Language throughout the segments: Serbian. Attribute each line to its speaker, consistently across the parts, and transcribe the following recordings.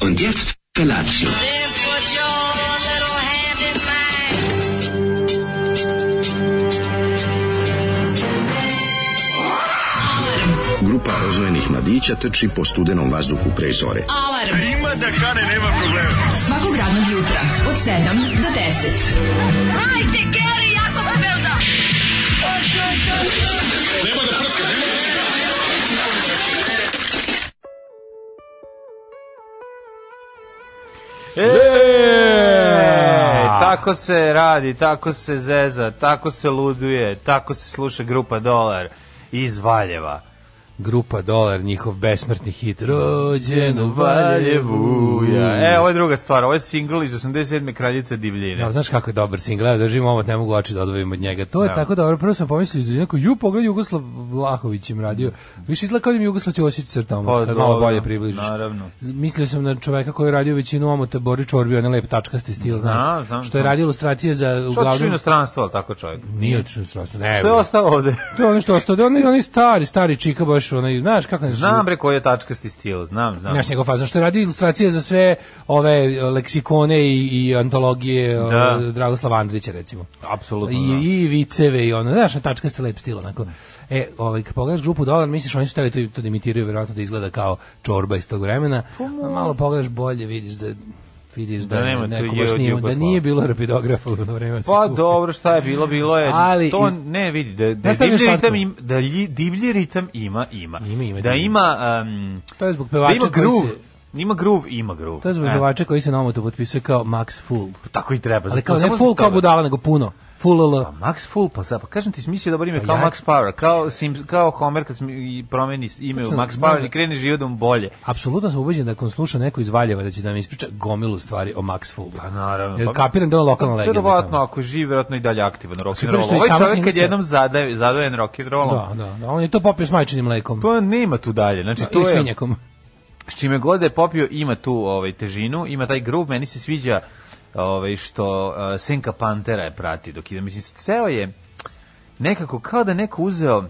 Speaker 1: Und jetzt Felatio.
Speaker 2: Then put your little hand in mine.
Speaker 3: Grupa rozvojenih mladića trči po studenom vazduhu pre zore.
Speaker 4: Alarm. Ima da kane, nema problema. Svakog radnog jutra, od 7 do 10.
Speaker 5: E, tako se radi, tako se zeza, tako se luduje, tako se sluša grupa Dolar iz Valjeva.
Speaker 6: Grupa Dolar, njihov besmrtni hit. Rođen u Valjevu.
Speaker 5: Ja, E, ovo je druga stvar, ovo je single iz 87. Kraljice divljine.
Speaker 6: Ja, znaš kako je dobar single, evo držim ovo, ne mogu oči da odvojim od njega. To je tako dobro, prvo sam pomislio, iz neko, ju, pogled Jugoslav Vlahović im radio. Više izgleda kao da im Jugoslav će osjeći crtama,
Speaker 5: Pa,
Speaker 6: kad malo
Speaker 5: dobro,
Speaker 6: bolje približiš.
Speaker 5: naravno.
Speaker 6: Mislio sam na čoveka koji je radio većinu omota Bori Čorbi, onaj lep tačkasti stil, znaš,
Speaker 5: Znam, znam,
Speaker 6: što je
Speaker 5: znam.
Speaker 6: radio ilustracije za,
Speaker 5: Što otišao u
Speaker 6: uglavnom...
Speaker 5: inostranstvo, ali tako čovjek?
Speaker 6: Nije otišao u inostranstvo, ne.
Speaker 5: Što je
Speaker 6: bre.
Speaker 5: ostao ovde?
Speaker 6: To je ono što ostao, onaj, onaj stari, stari čika baš, onaj, znaš kako ne
Speaker 5: Znam bre koji je tačkasti stil, znam, znam.
Speaker 6: Znaš njegov fazon što je radio ilustracije za sve ove e, leksikone i, i antologije
Speaker 5: Da.
Speaker 6: da. Dragoslava Andrića recimo.
Speaker 5: Apsolutno,
Speaker 6: I,
Speaker 5: da.
Speaker 6: I viceve i ono, znaš, tačka ste lep stil onako. E, ovaj, kad pogledaš grupu Dolar, misliš oni su hteli to, to da imitiraju, verovatno da izgleda kao čorba iz tog vremena, a malo pogledaš bolje, vidiš da vidiš da,
Speaker 5: Pa Da nema
Speaker 6: neko
Speaker 5: tu
Speaker 6: baš
Speaker 5: je-
Speaker 6: nije, da
Speaker 5: Jugoslava.
Speaker 6: nije bilo rapidografa u ono vreme. da se
Speaker 5: Pa
Speaker 6: kupi.
Speaker 5: dobro, šta je bilo, bilo je.
Speaker 6: Ali
Speaker 5: to
Speaker 6: iz-
Speaker 5: ne vidi da, da
Speaker 6: Znaš šta mi je
Speaker 5: divlji
Speaker 6: slatko?
Speaker 5: ritam im, da lji- divlji ritam ima, ima.
Speaker 6: Ima, ima,
Speaker 5: da
Speaker 6: divlji.
Speaker 5: ima um,
Speaker 6: To je zbog
Speaker 5: da
Speaker 6: pevača
Speaker 5: ima
Speaker 6: koji
Speaker 5: groove.
Speaker 6: se...
Speaker 5: Ima groove, ima groove.
Speaker 6: To je zbog
Speaker 5: E,
Speaker 6: pevača koji se na omotu potpisuje kao Max Full.
Speaker 5: tako i treba.
Speaker 6: Ali
Speaker 5: zato-
Speaker 6: kao ne
Speaker 5: Pa samo
Speaker 6: full
Speaker 5: zbog
Speaker 6: kao
Speaker 5: toga.
Speaker 6: budala, nego puno. Full LL.
Speaker 5: Pa Max Full, pa za, pa kažem ti smislio dobar ime,
Speaker 6: Pa
Speaker 5: kao
Speaker 6: ja-
Speaker 5: Max Power, kao, sim, kao Homer kad smi, i promeni ime u
Speaker 6: Tačno,
Speaker 5: Max
Speaker 6: znam
Speaker 5: Power
Speaker 6: da-
Speaker 5: i krene životom bolje.
Speaker 6: Apsolutno sam ubeđen da ako sluša neko iz Valjeva da će da mi ispriča gomilu stvari o Max Fullu. Pa
Speaker 5: naravno.
Speaker 6: Jer
Speaker 5: Pa-
Speaker 6: kapiram da je on lokalna legenda.
Speaker 5: Verovatno,
Speaker 6: tamo.
Speaker 5: ako živi, verovatno i dalje aktivan rock and
Speaker 6: Super što
Speaker 5: roll.
Speaker 6: je
Speaker 5: Ovaj
Speaker 6: sama
Speaker 5: čovjek kad
Speaker 6: snimnica-
Speaker 5: jednom zadaje, zadajen rock and rollom,
Speaker 6: Da, da, da. On je to popio s majčinim mlekom.
Speaker 5: to nema tu dalje. Znači,
Speaker 6: Da, I
Speaker 5: to je,
Speaker 6: svinjakom.
Speaker 5: s čime god da je popio ima tu ovaj težinu, ima taj groove, meni se sviđa ovaj što uh, Senka Pantera je prati dok ide, mislim ceo je nekako kao da je neko uzeo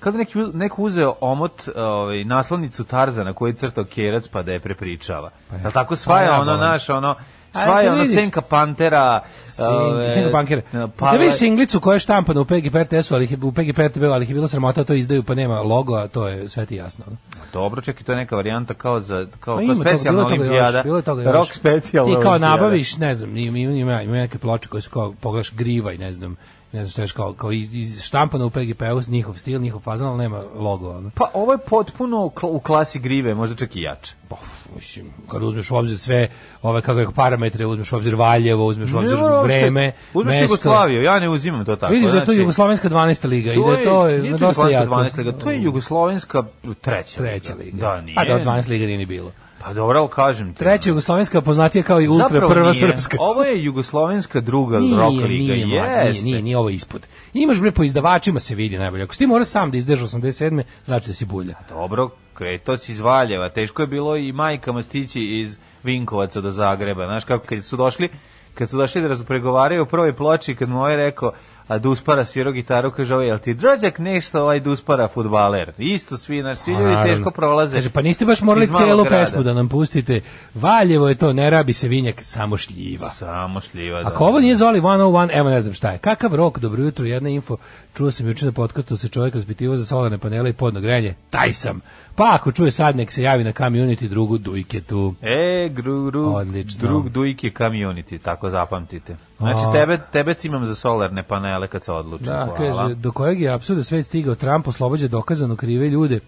Speaker 5: kao da neki, u- neko uzeo omot ovaj, naslovnicu Tarzana koji je crtao kerac pa da je prepričava. Pa
Speaker 6: ja.
Speaker 5: tako svaja
Speaker 6: Pa ja
Speaker 5: ono
Speaker 6: volim.
Speaker 5: naš, ono,
Speaker 6: A,
Speaker 5: svaja
Speaker 6: kad
Speaker 5: ono
Speaker 6: vidiš-
Speaker 5: Senka Pantera.
Speaker 6: Sin-
Speaker 5: ove,
Speaker 6: Single bankere.
Speaker 5: pa-
Speaker 6: Pa, da vidiš singlicu koja je štampana u PGP RTS-u, ali ih je- u PGP RTB-u, ali ih je bilo sramota, to izdaju pa nema logo, a to je sve ti jasno.
Speaker 5: Dobro, čekaj, to je neka varijanta kao za kao, kao
Speaker 6: Pa ima toga,
Speaker 5: specijalna
Speaker 6: bilo je toga
Speaker 5: olimpijada.
Speaker 6: još, bilo je toga još.
Speaker 5: Rock specijalna
Speaker 6: I kao
Speaker 5: olimpijada.
Speaker 6: nabaviš, ne znam, ima, ima, ima, ima neke ploče koje su kao, pogledaš griva i ne znam, ne znam što još kao, kao iz, iz štampano u PGP-u, njihov stil, njihov fazan, ali nema logo. Ono.
Speaker 5: Pa ovo je potpuno u kla- u klasi grive, možda čak i jače.
Speaker 6: Pa, mislim, kad uzmeš u obzir sve ove kako je parametre, uzmeš u obzir Valjevo, Pa, uzmeš u
Speaker 5: Ne
Speaker 6: obzir
Speaker 5: mora uopšte-
Speaker 6: vreme,
Speaker 5: Uzmeš
Speaker 6: mesto.
Speaker 5: Jugoslaviju, ja ne uzimam to tako.
Speaker 6: Vidiš da je to
Speaker 5: znači,
Speaker 6: jugoslovenska 12. liga i da je to
Speaker 5: nije
Speaker 6: je dosta
Speaker 5: jugoslovenska
Speaker 6: jako.
Speaker 5: 12 liga, to je jugoslovenska treća.
Speaker 6: treća liga.
Speaker 5: Da, nije.
Speaker 6: Pa da, 12 liga nije ni bilo.
Speaker 5: Pa dobro, ali kažem ti.
Speaker 6: Treća jugoslovenska poznatija kao i ultra
Speaker 5: Zapravo
Speaker 6: prva
Speaker 5: nije.
Speaker 6: srpska.
Speaker 5: Ovo je jugoslovenska druga
Speaker 6: Nije,
Speaker 5: rock liga.
Speaker 6: nije, mlad, nije,
Speaker 5: jeste.
Speaker 6: nije, nije ovo ispod. Imaš bre po izdavačima se vidi najbolje. Ako si ti mora sam da izdrži 87. znači da si bulja.
Speaker 5: Dobro, kreto si iz Valjeva. Teško je bilo i majkama stići iz Vinkovaca do Zagreba. Znaš kako, kad su došli, kad su došli da razpregovaraju u prvoj ploči, kad mu ovaj rekao, a Duspara svirao gitaru, kaže ovaj, jel ti drođak nešto ovaj Duspara futbaler? Isto svi, znaš, svi ljudi
Speaker 6: Naravno.
Speaker 5: teško prolaze.
Speaker 6: Kaže, pa niste baš morali
Speaker 5: iz malog
Speaker 6: celu
Speaker 5: grada.
Speaker 6: pesmu da nam pustite. Valjevo je to, ne rabi se vinjak, samo šljiva.
Speaker 5: Samo šljiva. da.
Speaker 6: Pa Ako ovo nije Zoli 101, evo ne znam šta je. Kakav rok, dobro jutro, jedna info. Čuo sam juče na podcastu se čovjek raspitivao za solarne panele i podno grejanje. Taj sam. Pa ako čuje sad, nek se javi na community drugu dujketu.
Speaker 5: E, gru, gru,
Speaker 6: Odlično.
Speaker 5: drug dujke community, tako zapamtite. Znači,
Speaker 6: A.
Speaker 5: tebe, tebe imam za solarne panele kad se odlučim.
Speaker 6: Da,
Speaker 5: Hvala.
Speaker 6: kaže, do kojeg je apsurda svet stigao, Trump oslobađa dokazano krive ljude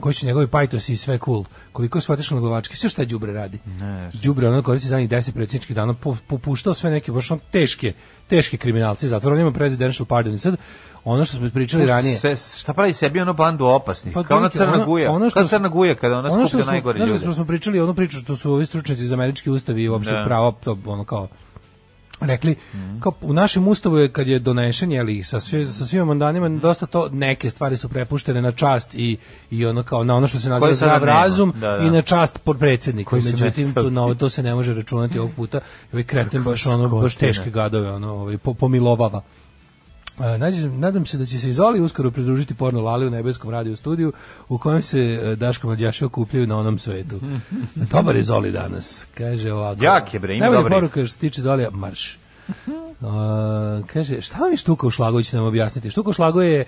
Speaker 6: koji su njegovi pajtosi i sve cool. Koliko je shvatišno na glavački, sve šta đubre radi. Đubre ono koristi zadnjih 10 predsjedničkih dana, po- popuštao sve neke baš on teške, teške kriminalce iz zatvora, on ima presidential pardon i sad ono što smo pričali ranije.
Speaker 5: Se, šta pravi sebi ono bandu opasnih?
Speaker 6: Pa,
Speaker 5: kao ona
Speaker 6: otprilike,
Speaker 5: crna
Speaker 6: ono-
Speaker 5: guja.
Speaker 6: ono što
Speaker 5: kao
Speaker 6: smo-
Speaker 5: crna guja kada ona
Speaker 6: ono što
Speaker 5: skuplja
Speaker 6: smo-
Speaker 5: najgore
Speaker 6: znaš da
Speaker 5: ljude.
Speaker 6: smo, smo pričali onu priču što su ovi stručnjaci iz američki ustavi i uopšte
Speaker 5: Da.
Speaker 6: pravo to ono kao rekli kao u našem ustavu je kad je donešen je li sa sve sa svim amandmanima dosta to neke stvari su prepuštene na čast i i ono kao na ono što se naziva
Speaker 5: Koje sada
Speaker 6: zdrav
Speaker 5: nema.
Speaker 6: razum
Speaker 5: Da, da.
Speaker 6: i na čast podpredsedniku
Speaker 5: Koji su
Speaker 6: međutim
Speaker 5: nestali.
Speaker 6: to novo to se ne može računati ovog puta I ovaj kreten baš ono baš
Speaker 5: Skotina.
Speaker 6: teške gadove ono ovaj po- pomilovava E, nađem- nadam se da će se i Zoli uskoro pridružiti porno Lali u nebeskom radio studiju u kojem se e, Daško Mlađaši okupljaju na onom svetu. Dobar je Zoli danas, kaže ovako.
Speaker 5: Jak je, bre, ima
Speaker 6: Najbolja
Speaker 5: dobrih.
Speaker 6: poruka što se tiče Zolija, marš. Uh, kaže, šta vam je Štukov šlagović nam objasniti? Štukov šlago je,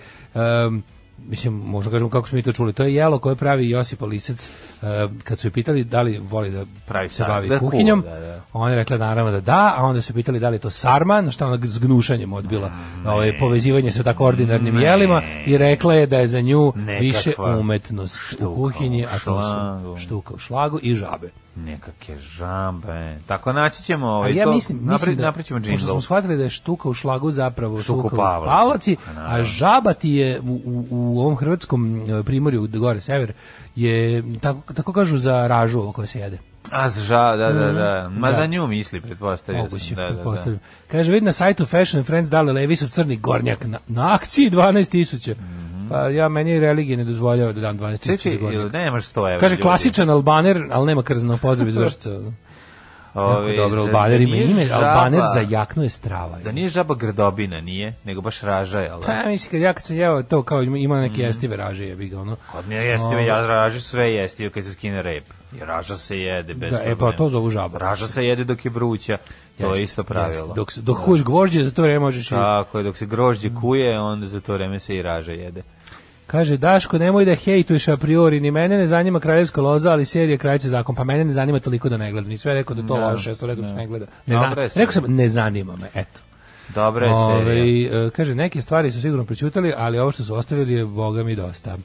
Speaker 6: um, mislim, možda kažemo kako smo mi to čuli, to je jelo koje pravi Josip Lisec. Uh, kad su je pitali da li voli da
Speaker 5: Pravi
Speaker 6: se
Speaker 5: sam,
Speaker 6: bavi
Speaker 5: da kuva,
Speaker 6: kuhinjom,
Speaker 5: da, da.
Speaker 6: ona je rekla naravno da da, a onda su je pitali da li je to sarma, na što ona s gnušanjem odbila ovaj, povezivanje sa tako ordinarnim jelima i rekla je da je za nju
Speaker 5: Nekakva
Speaker 6: više umetnost u
Speaker 5: štuka
Speaker 6: kuhinji, a to
Speaker 5: šlagu.
Speaker 6: su štuka u šlagu i žabe.
Speaker 5: Nekakve žambe. Tako naći ćemo ovaj
Speaker 6: Ali ja
Speaker 5: to.
Speaker 6: mislim, mislim
Speaker 5: napri-
Speaker 6: da,
Speaker 5: naprićemo
Speaker 6: pošto smo
Speaker 5: džingl.
Speaker 6: shvatili da je štuka u šlagu zapravo
Speaker 5: Štuka u
Speaker 6: štuka u
Speaker 5: pavlaci.
Speaker 6: pavlaci,
Speaker 5: Pa naravno.
Speaker 6: a žaba ti je u, u, u ovom hrvatskom e, primorju, gore, sever, je, tako, tako kažu za ražu ovo koja se jede.
Speaker 5: A ža, da, da, da. Ma
Speaker 6: Da.
Speaker 5: da nju misli, pretpostavio sam.
Speaker 6: Moguće,
Speaker 5: da, da, da.
Speaker 6: pretpostavljam. Kaže, vidi na sajtu Fashion Friends da dale Levisov crni gornjak na, na akciji 12.000.
Speaker 5: Mhm.
Speaker 6: Pa ja, meni religija ne dozvoljava da dam 12.000 za
Speaker 5: Čeči,
Speaker 6: gornjak.
Speaker 5: nemaš 100 evra.
Speaker 6: Kaže,
Speaker 5: ljudi.
Speaker 6: klasičan albaner, ali nema krzno, pozdrav iz vršca. Jako
Speaker 5: Ovaj,
Speaker 6: dobro,
Speaker 5: za-
Speaker 6: albaner
Speaker 5: da
Speaker 6: ima
Speaker 5: nije
Speaker 6: ime,
Speaker 5: žaba-
Speaker 6: albaner za jaknu je strava.
Speaker 5: Da nije žaba grdobina, nije, nego baš raža, jel da?
Speaker 6: Pa mislim kad ja kad sam jeo to kao ima- ima neke
Speaker 5: Mhm.
Speaker 6: jestive raže jebi ga ono.
Speaker 5: Kod mene jeste, ja ražu sve jeste kad se skine rep. I raža se jede bez
Speaker 6: Da, e, pa
Speaker 5: problema.
Speaker 6: to zovu žabu.
Speaker 5: Raža se jede dok je vruća. To
Speaker 6: Jeste,
Speaker 5: je isto pravilo. Da.
Speaker 6: jeste. Dok se- dok kuvaš gvožđe za to vreme možeš i
Speaker 5: Tako je, dok se grožđe kuje, onda za to vreme se i raža jede.
Speaker 6: Kaže Daško, nemoj da hejtuješ a priori, ni mene ne zanima kraljevska loza, ali serija krajice zakon, pa mene ne zanima toliko da ne gledam. Ni sve rekao da je to
Speaker 5: Da,
Speaker 6: loše, ja sam rekao da se ne gleda. Ne
Speaker 5: Dobra
Speaker 6: zan-
Speaker 5: je serija.
Speaker 6: Rekao sam ne zanima me, eto.
Speaker 5: Dobra je serija.
Speaker 6: Ovaj, e, kaže, neke stvari su sigurno prećutali, ali ovo što su ostavili je, boga mi, dosta.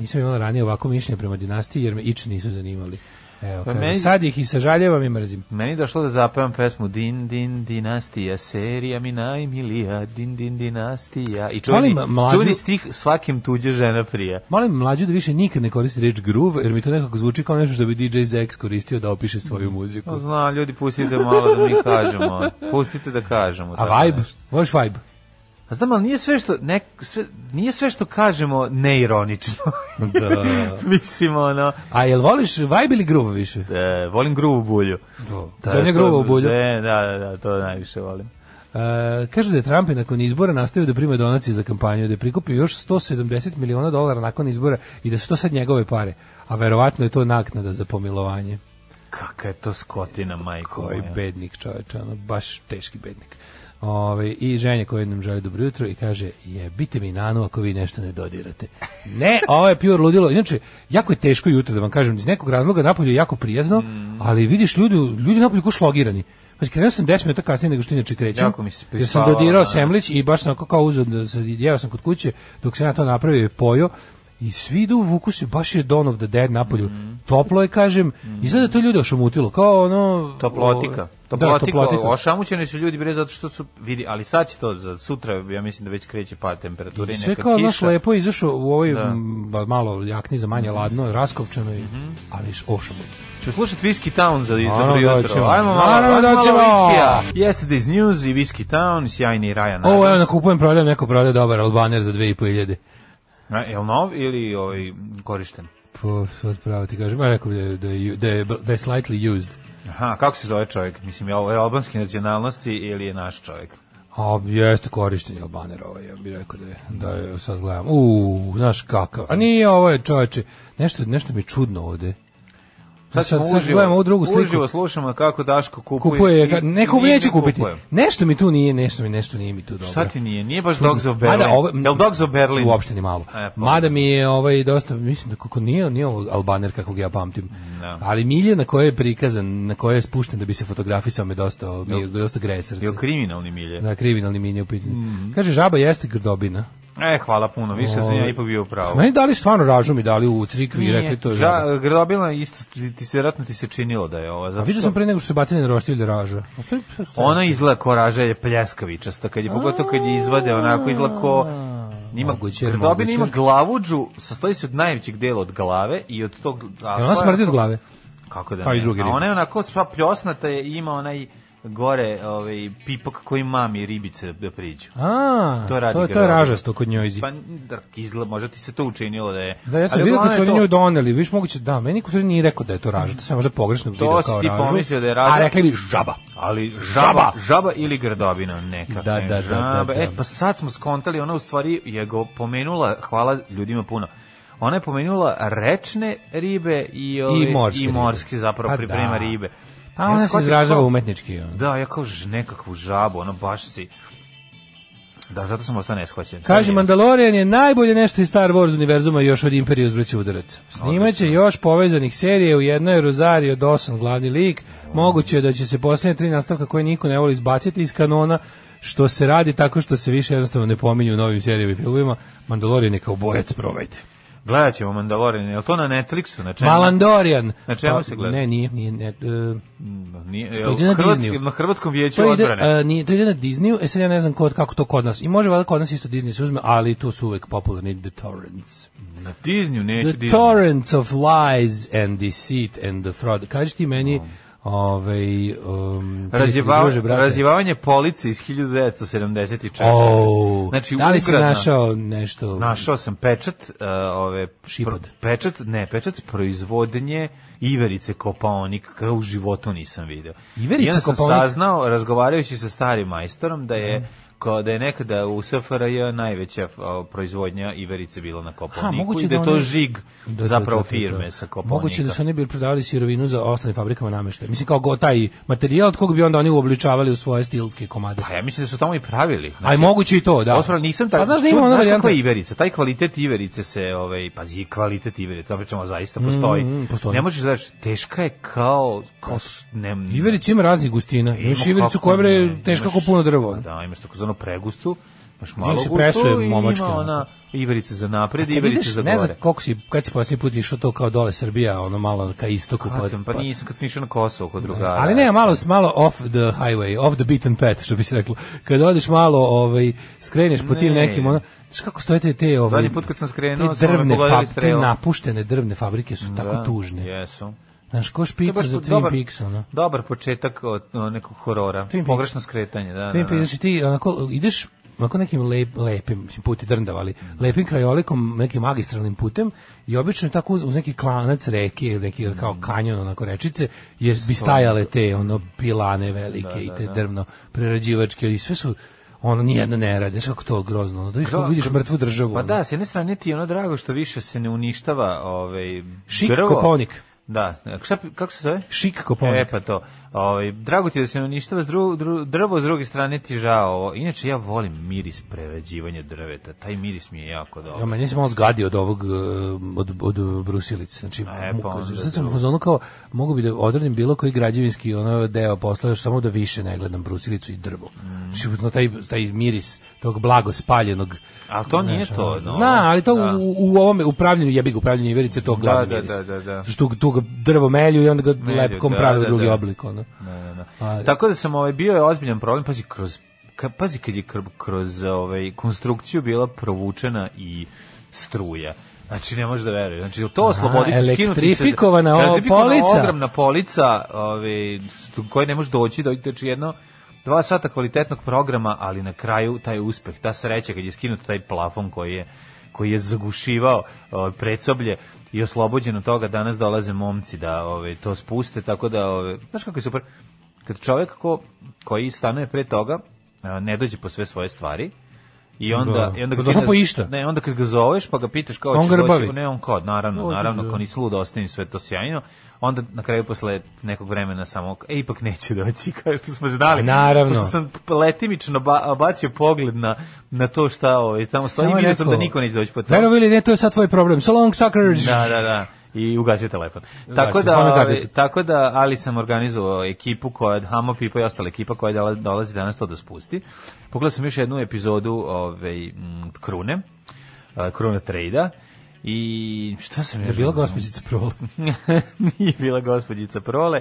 Speaker 6: Nisam imala ranije ovako mišljenje prema dinastiji, jer me ič nisu zanimali. Evo, kaže,
Speaker 5: meni-
Speaker 6: sad ih i sažaljevam i mrzim.
Speaker 5: Meni je došlo da zapevam pesmu Din Din Dinastija, serija mi najmilija, Din Din Dinastija. I čuveni,
Speaker 6: Molim, mlađu-
Speaker 5: čuveni stih svakim tuđe žena prija.
Speaker 6: Molim mlađu da više nikad ne koristi reč groove, jer mi to nekako zvuči kao nešto što bi DJ Zex koristio da opiše svoju muziku.
Speaker 5: Pa Zna, ljudi, pustite malo da mi kažemo. Pustite da kažemo. tako
Speaker 6: A vibe?
Speaker 5: nešto.
Speaker 6: Voliš vibe?
Speaker 5: A znam, ali nije sve što, ne, sve, nije sve što kažemo neironično.
Speaker 6: Da.
Speaker 5: Mislim, ono,
Speaker 6: A jel voliš vibe ili groove više?
Speaker 5: e, volim gruvu bulju.
Speaker 6: Da, Zemlja gruba u bulju.
Speaker 5: E, da, da, da, to najviše volim.
Speaker 6: E, kažu da je Trump i nakon izbora nastavio da prima donacije za kampanju, da je prikupio još 170 miliona dolara nakon izbora i da su to sad njegove pare. A verovatno je to naknada za pomilovanje.
Speaker 5: Kaka je to skotina, majko
Speaker 6: Koji
Speaker 5: moja.
Speaker 6: Ovaj bednik čoveče, ono, baš teški bednik. Ove, I ženje koja nam želi dobro jutro i kaže, jebite mi nanu ako vi nešto ne dodirate. Ne, ovo je pure ludilo. Inače, jako je teško jutro da vam kažem, iz nekog razloga napolju je jako prijazno,
Speaker 5: Mm.
Speaker 6: ali vidiš ljudi, ljudi napolju ko šlogirani. Pa krenuo sam 10 minuta kasnije nego što inače krećem.
Speaker 5: Jako mi se
Speaker 6: jer sam
Speaker 5: prispavao,
Speaker 6: dodirao
Speaker 5: da.
Speaker 6: semlić i baš sam onako kao uzeo, da se- jeo sam kod kuće, dok sam ja to napravio i pojeo. I svi idu vuku se, baš je Dawn of the Dead napolju.
Speaker 5: Mm.
Speaker 6: Toplo je, kažem, i sada to ljude ošumutilo, kao ono,
Speaker 5: Toplotika.
Speaker 6: o-
Speaker 5: Toplotika.
Speaker 6: Da, toplotika.
Speaker 5: Ošamućeni su ljudi bre zato što su vidi, ali sad će to za sutra, ja mislim da već kreće pad temperature i
Speaker 6: Sve
Speaker 5: neka
Speaker 6: kao naš
Speaker 5: kiša. Da. Mhm.
Speaker 6: lepo izašao u ovoj m, ba- malo jakni za manje ladno, raskovčano, i, ali š- ošamut.
Speaker 5: Ću slušati Whiskey Town za, za
Speaker 6: Naravno
Speaker 5: dobro
Speaker 6: da
Speaker 5: jutro.
Speaker 6: ćemo.
Speaker 5: Ajmo malo,
Speaker 6: Naravno
Speaker 5: ajmo
Speaker 6: da
Speaker 5: malo
Speaker 6: ćemo.
Speaker 5: Whiskey-a. Yesterday's News i Whiskey Town, sjajni Ryan
Speaker 6: Ovo evo
Speaker 5: Adams.
Speaker 6: na kupujem, prodajem, neko prodaje dobar albaner za 2500.
Speaker 5: A, jel nov ili ovaj, korišten?
Speaker 6: Po, sad pravo ti kažem, ja rekao bi da je, da je, da je, da je slightly used.
Speaker 5: Aha, kako se zove čovjek? Mislim, je ovo je albanske nacionalnosti ili je naš čovjek?
Speaker 6: A jeste korištenje albaner ovaj, ja bih rekao da je, da je sad gledam. U, znaš kakav. A nije ovo je čoveče, nešto, nešto mi je čudno ovde.
Speaker 5: Sad,
Speaker 6: sad-
Speaker 5: ćemo
Speaker 6: sad gledamo ovu drugu sliku.
Speaker 5: Uživo slušamo kako Daško kupuje.
Speaker 6: Kupuje,
Speaker 5: i-
Speaker 6: ga-
Speaker 5: i
Speaker 6: ne kupuje,
Speaker 5: mi
Speaker 6: neću
Speaker 5: ne
Speaker 6: kupiti.
Speaker 5: kupujemo.
Speaker 6: Nešto mi tu nije, nešto mi, nešto nije mi tu dobro.
Speaker 5: Šta ti nije? Nije baš Dogs of Berlin.
Speaker 6: Mada ovo-
Speaker 5: Jel Dogs of Berlin?
Speaker 6: Uopšte ni malo.
Speaker 5: E, pa.
Speaker 6: Mada mi je ovaj dosta, mislim da kako nije, nije ovo Albaner kakvog ja pamtim.
Speaker 5: Da.
Speaker 6: Ali milje na koje je prikazan, na koje je spušten da bi se fotografisao me dosta, ovaj, mi je dosta greje srce.
Speaker 5: Jel Mhm. kriminalni milje?
Speaker 6: Da, kriminalni milje u pitanju. Kaže, žaba jeste grdobina.
Speaker 5: E, hvala puno, više sam ja ipak bio
Speaker 6: Pa
Speaker 5: pravo.
Speaker 6: Meni dali stvarno ražu mi dali u crikvi i rekli to je žaba.
Speaker 5: Ja, Grdobila isto, ti, ti se vjerojatno ti se činilo da je ova.
Speaker 6: A
Speaker 5: Zato
Speaker 6: vidio
Speaker 5: što
Speaker 6: sam pre nego što se batine roštilje raža. A što je- što je-
Speaker 5: Ona izgleda ko raža je pljeskavičasta, kad je, pogotovo kad je izvade onako izgleda ko... Ima,
Speaker 6: Moguće,
Speaker 5: Grdobina
Speaker 6: moguće.
Speaker 5: ima glavuđu, sastoji se od najvećeg dela od glave i od tog... a
Speaker 6: Jel ona
Speaker 5: stvarno-
Speaker 6: smrdi od glave.
Speaker 5: Kako da
Speaker 6: Kao Pa i
Speaker 5: ne?
Speaker 6: drugi
Speaker 5: A
Speaker 6: ribe.
Speaker 5: ona je onako sva pljosnata je i ima onaj gore ovaj, pipak koji mami ribice da priđu.
Speaker 6: A,
Speaker 5: To
Speaker 6: to,
Speaker 5: radi
Speaker 6: to, to je
Speaker 5: garderoba.
Speaker 6: ražasto kod njojzi.
Speaker 5: Pa, da, izgleda, možda ti se to učinilo da je...
Speaker 6: Da, ja sam
Speaker 5: Ali
Speaker 6: vidio kad su
Speaker 5: uglavnom je
Speaker 6: oni
Speaker 5: to-
Speaker 6: nju doneli, viš moguće, da, meni niko se nije rekao da je to raža, to sam možda pogrešno vidio
Speaker 5: To si
Speaker 6: kao
Speaker 5: ti
Speaker 6: ražu.
Speaker 5: pomislio da je raža.
Speaker 6: A rekli bi žaba.
Speaker 5: Ali žaba,
Speaker 6: Žaba!
Speaker 5: žaba ili grdobina neka.
Speaker 6: Da,
Speaker 5: ne,
Speaker 6: da, da,
Speaker 5: žaba.
Speaker 6: da, da.
Speaker 5: E, pa sad smo skontali, ona u stvari je go pomenula, hvala ljudima puno, ona je pomenula rečne ribe i, ove,
Speaker 6: morske
Speaker 5: i
Speaker 6: ribe.
Speaker 5: morske zapravo
Speaker 6: Pa
Speaker 5: priprema
Speaker 6: da.
Speaker 5: ribe.
Speaker 6: Pa
Speaker 5: Ja
Speaker 6: ona
Speaker 5: sam
Speaker 6: se
Speaker 5: shvatio
Speaker 6: izražava
Speaker 5: kao-
Speaker 6: umetnički. ono.
Speaker 5: Da, ja kao ž- nekakvu žabu, ono baš si... Da, zato sam ostao neshvaćen.
Speaker 6: Kaže,
Speaker 5: Sad je-
Speaker 6: Mandalorian je najbolje nešto iz Star Wars univerzuma još od Imperije uzbraće udarac. Snimaće još povezanih serije, u jednoj je Rosario Dawson glavni lik. Moguće je da će se posljednje tri nastavka koje niko ne voli izbaciti iz kanona, što se radi tako što se više jednostavno ne pominju u novim serijama i filmovima. Mandalorian je kao bojac, probajte.
Speaker 5: Gledat ćemo Mandalorian, je li to na Netflixu? Znači, Na čemu?
Speaker 6: Malandorian!
Speaker 5: Na čemu
Speaker 6: Pa,
Speaker 5: se gleda?
Speaker 6: Ne, nije, nije, ne, e,
Speaker 5: Nije, je
Speaker 6: To
Speaker 5: li
Speaker 6: ide na
Speaker 5: Hrvatski-
Speaker 6: Disneyu.
Speaker 5: na Hrvatskom vijeću
Speaker 6: to ide,
Speaker 5: odbrane.
Speaker 6: e, nije, to ide na Disneyu, e sad ja ne znam kod, kako to kod nas. I može valjda kod nas isto Disney se uzme, ali tu su uvek popularni The Torrents.
Speaker 5: na Disneyu neću
Speaker 6: The
Speaker 5: Disneyu.
Speaker 6: torrents of lies and deceit and the fraud. Kaži ti meni, ovaj, um,
Speaker 5: Razjeva,
Speaker 6: druže, brate.
Speaker 5: razjevavanje police iz 1974.
Speaker 6: Oh,
Speaker 5: Znači,
Speaker 6: da li si
Speaker 5: ukradna-
Speaker 6: našao nešto?
Speaker 5: Našao sam pečat, uh, ove,
Speaker 6: Šipad.
Speaker 5: pro- pečat, ne, pečat proizvodnje iverice kopaonik, kao u životu nisam video.
Speaker 6: Iverica
Speaker 5: I onda sam
Speaker 6: Kopaonik?
Speaker 5: saznao, razgovarajući sa starim majstorom, da je kao da je nekada u SFRJ najveća o, proizvodnja iverice bila na Kopaoniku i da je to
Speaker 6: oni-
Speaker 5: žig
Speaker 6: Da, da,
Speaker 5: zapravo
Speaker 6: da, da, da.
Speaker 5: firme sa Kopaonika.
Speaker 6: Moguće da su oni bili prodavali sirovinu za ostalim fabrikama nameštaja. Mislim kao go, taj materijal od koga bi onda oni uobličavali u svoje stilske komade.
Speaker 5: Pa ja mislim da su tamo i pravili.
Speaker 6: Aj moguće i to, da.
Speaker 5: Da. Ospravo, nisam tako.
Speaker 6: A znaš da ima ona
Speaker 5: znaš
Speaker 6: varijanta?
Speaker 5: kakva je iverica, taj kvalitet iverice se, ovaj, pazi, kvalitet iverice, opet ćemo, zaista postoji.
Speaker 6: mm, postoji. Pa,
Speaker 5: Ne možeš da znaš, teška je kao, kao, s- ne, ne-
Speaker 6: Iverica ima raznih gustina.
Speaker 5: ima
Speaker 6: Imaš ivericu
Speaker 5: kako
Speaker 6: koja
Speaker 5: ne,
Speaker 6: bre teška
Speaker 5: imaš-
Speaker 6: kao puno drvo.
Speaker 5: Da, imaš tako zonu pregustu, imaš malo
Speaker 6: se
Speaker 5: gustu
Speaker 6: presuje
Speaker 5: i
Speaker 6: momački,
Speaker 5: ima
Speaker 6: ono.
Speaker 5: ona iverice za napred i
Speaker 6: Kad
Speaker 5: iverice
Speaker 6: ideš,
Speaker 5: za
Speaker 6: ne znam
Speaker 5: gore.
Speaker 6: koliko si, kad si posljednji put išao to kao dole Srbija, ono malo ka istoku.
Speaker 5: Kad sam, pa nisam, kad sam išao na Kosovo kod drugara.
Speaker 6: Ali ne, malo malo off the highway, off the beaten path, što bi se reklo. Kad odeš malo, ovaj skreneš po tim
Speaker 5: Ne.
Speaker 6: nekim, ono, znaš kako stoje te, te ovaj,
Speaker 5: Zadnji put kad sam skrenuo,
Speaker 6: te
Speaker 5: su me
Speaker 6: drvne
Speaker 5: pogodili
Speaker 6: fab, te
Speaker 5: strelom.
Speaker 6: napuštene drvne fabrike su tako
Speaker 5: Da,
Speaker 6: tužne.
Speaker 5: Jesu.
Speaker 6: Znaš, ko
Speaker 5: To je
Speaker 6: špica
Speaker 5: baš
Speaker 6: za
Speaker 5: su
Speaker 6: Twin
Speaker 5: dobar-
Speaker 6: Peaks, ono.
Speaker 5: Dobar početak od o, nekog horora.
Speaker 6: Peaks.
Speaker 5: Pogrešno skretanje, da.
Speaker 6: Twin
Speaker 5: da, da.
Speaker 6: Peaks, znači ti onako ideš onako nekim lep, lepim, mislim, puti drndav, ali lepim krajolikom, nekim magistralnim putem i obično je tako uz, uz neki klanac reke ili neki kao kanjon, onako rečice, jer bi stajale te ono pilane velike
Speaker 5: Da,
Speaker 6: i te drvno prerađivačke i sve su ono nijedno ne radi, znaš kako to grozno, ono, dođeš kako vidiš mrtvu državu.
Speaker 5: Pa
Speaker 6: ono.
Speaker 5: da, s jedne strane ti je ono drago što više se ne uništava ovaj,
Speaker 6: Šik
Speaker 5: drvo.
Speaker 6: Kopaonik.
Speaker 5: Da, šta, kako se zove?
Speaker 6: Šik koponik.
Speaker 5: E pa to. Ovaj, drago ti je da se ne uništava s dru, dru, drvo, s druge strane ti je žao. ovo. Inače, ja volim miris prerađivanja drveta. Taj miris mi je jako
Speaker 6: Ja,
Speaker 5: dobar.
Speaker 6: meni se malo zgadi od ovog, e, od, od brusilice. Znači,
Speaker 5: E, pa
Speaker 6: muka-
Speaker 5: onda
Speaker 6: sad sam u
Speaker 5: drugo.
Speaker 6: fazonu kao, mogu bi da odradim bilo koji građevinski ono deo posla, još samo da više ne gledam brusilicu i drvo.
Speaker 5: Mm.
Speaker 6: Znači, no, taj, taj miris tog blago spaljenog.
Speaker 5: Ali to nije
Speaker 6: znaš,
Speaker 5: to,
Speaker 6: ono,
Speaker 5: no.
Speaker 6: Zna, ali to
Speaker 5: Da.
Speaker 6: u, u ovome upravljanju, jebi ga upravljanju Iverice, to glavni
Speaker 5: da,
Speaker 6: miris.
Speaker 5: da, da, da.
Speaker 6: Znači, tu, tu ga drvo melju i onda ga
Speaker 5: Melju,
Speaker 6: lepkom
Speaker 5: da,
Speaker 6: pravi u
Speaker 5: da,
Speaker 6: drugi
Speaker 5: da.
Speaker 6: oblik. Ono. A-
Speaker 5: Tako da sam ovaj bio je ozbiljan problem, pazi kroz ka, pazi kad je kroz, kroz ovaj konstrukciju bila provučena i struja. Znači ne možeš da veruješ. Znači jel to osloboditi skinuti se-
Speaker 6: elektrifikovana ova
Speaker 5: Elektrifikovana
Speaker 6: polica.
Speaker 5: ogromna polica, ovaj stu- koje ne možeš doći do znači jedno dva sata kvalitetnog programa, ali na kraju taj uspeh, ta sreća kad je skinut taj plafon koji je koji je zagušivao ovaj, predsoblje i oslobođen od toga danas dolaze momci da ovaj to spuste tako da ovaj znaš kako je super kad čovjek ko, koji stanuje pre toga a, ne dođe po sve svoje stvari i onda
Speaker 6: Da.
Speaker 5: i onda
Speaker 6: Pa došao
Speaker 5: ti-
Speaker 6: po išta.
Speaker 5: ne onda kad ga zoveš pa ga pitaš kao
Speaker 6: On
Speaker 5: hoćeš doći?"
Speaker 6: grbavi.
Speaker 5: ne E, on kao naravno
Speaker 6: Dođe,
Speaker 5: naravno
Speaker 6: da.
Speaker 5: kao ni slud ostavim sve to sjajno onda na kraju posle nekog vremena samo e ipak neće doći kao što smo znali
Speaker 6: A, naravno.
Speaker 5: pošto sam letimično ba, bacio pogled na na to šta ovaj tamo stoji
Speaker 6: Samo
Speaker 5: i vidio sam da
Speaker 6: rekao,
Speaker 5: niko neće doći po to
Speaker 6: Verovali ili ne, to je sad tvoj problem. So long, suckers!
Speaker 5: da, da, da. I ugasio telefon. Tako
Speaker 6: Ugasio,
Speaker 5: da,
Speaker 6: samo na
Speaker 5: ovaj,
Speaker 6: karticu.
Speaker 5: tako da, ali sam organizovao ekipu koja je Hamo Pipa i ostala ekipa koja dola- dolazi danas to da spusti. Pogledao sam još jednu epizodu ovaj, mm, Krune, eh, Krune Trejda. I šta sam
Speaker 6: Da Je
Speaker 5: još...
Speaker 6: bila
Speaker 5: gledao?
Speaker 6: gospođica prole.
Speaker 5: Nije bila gospođica Prole,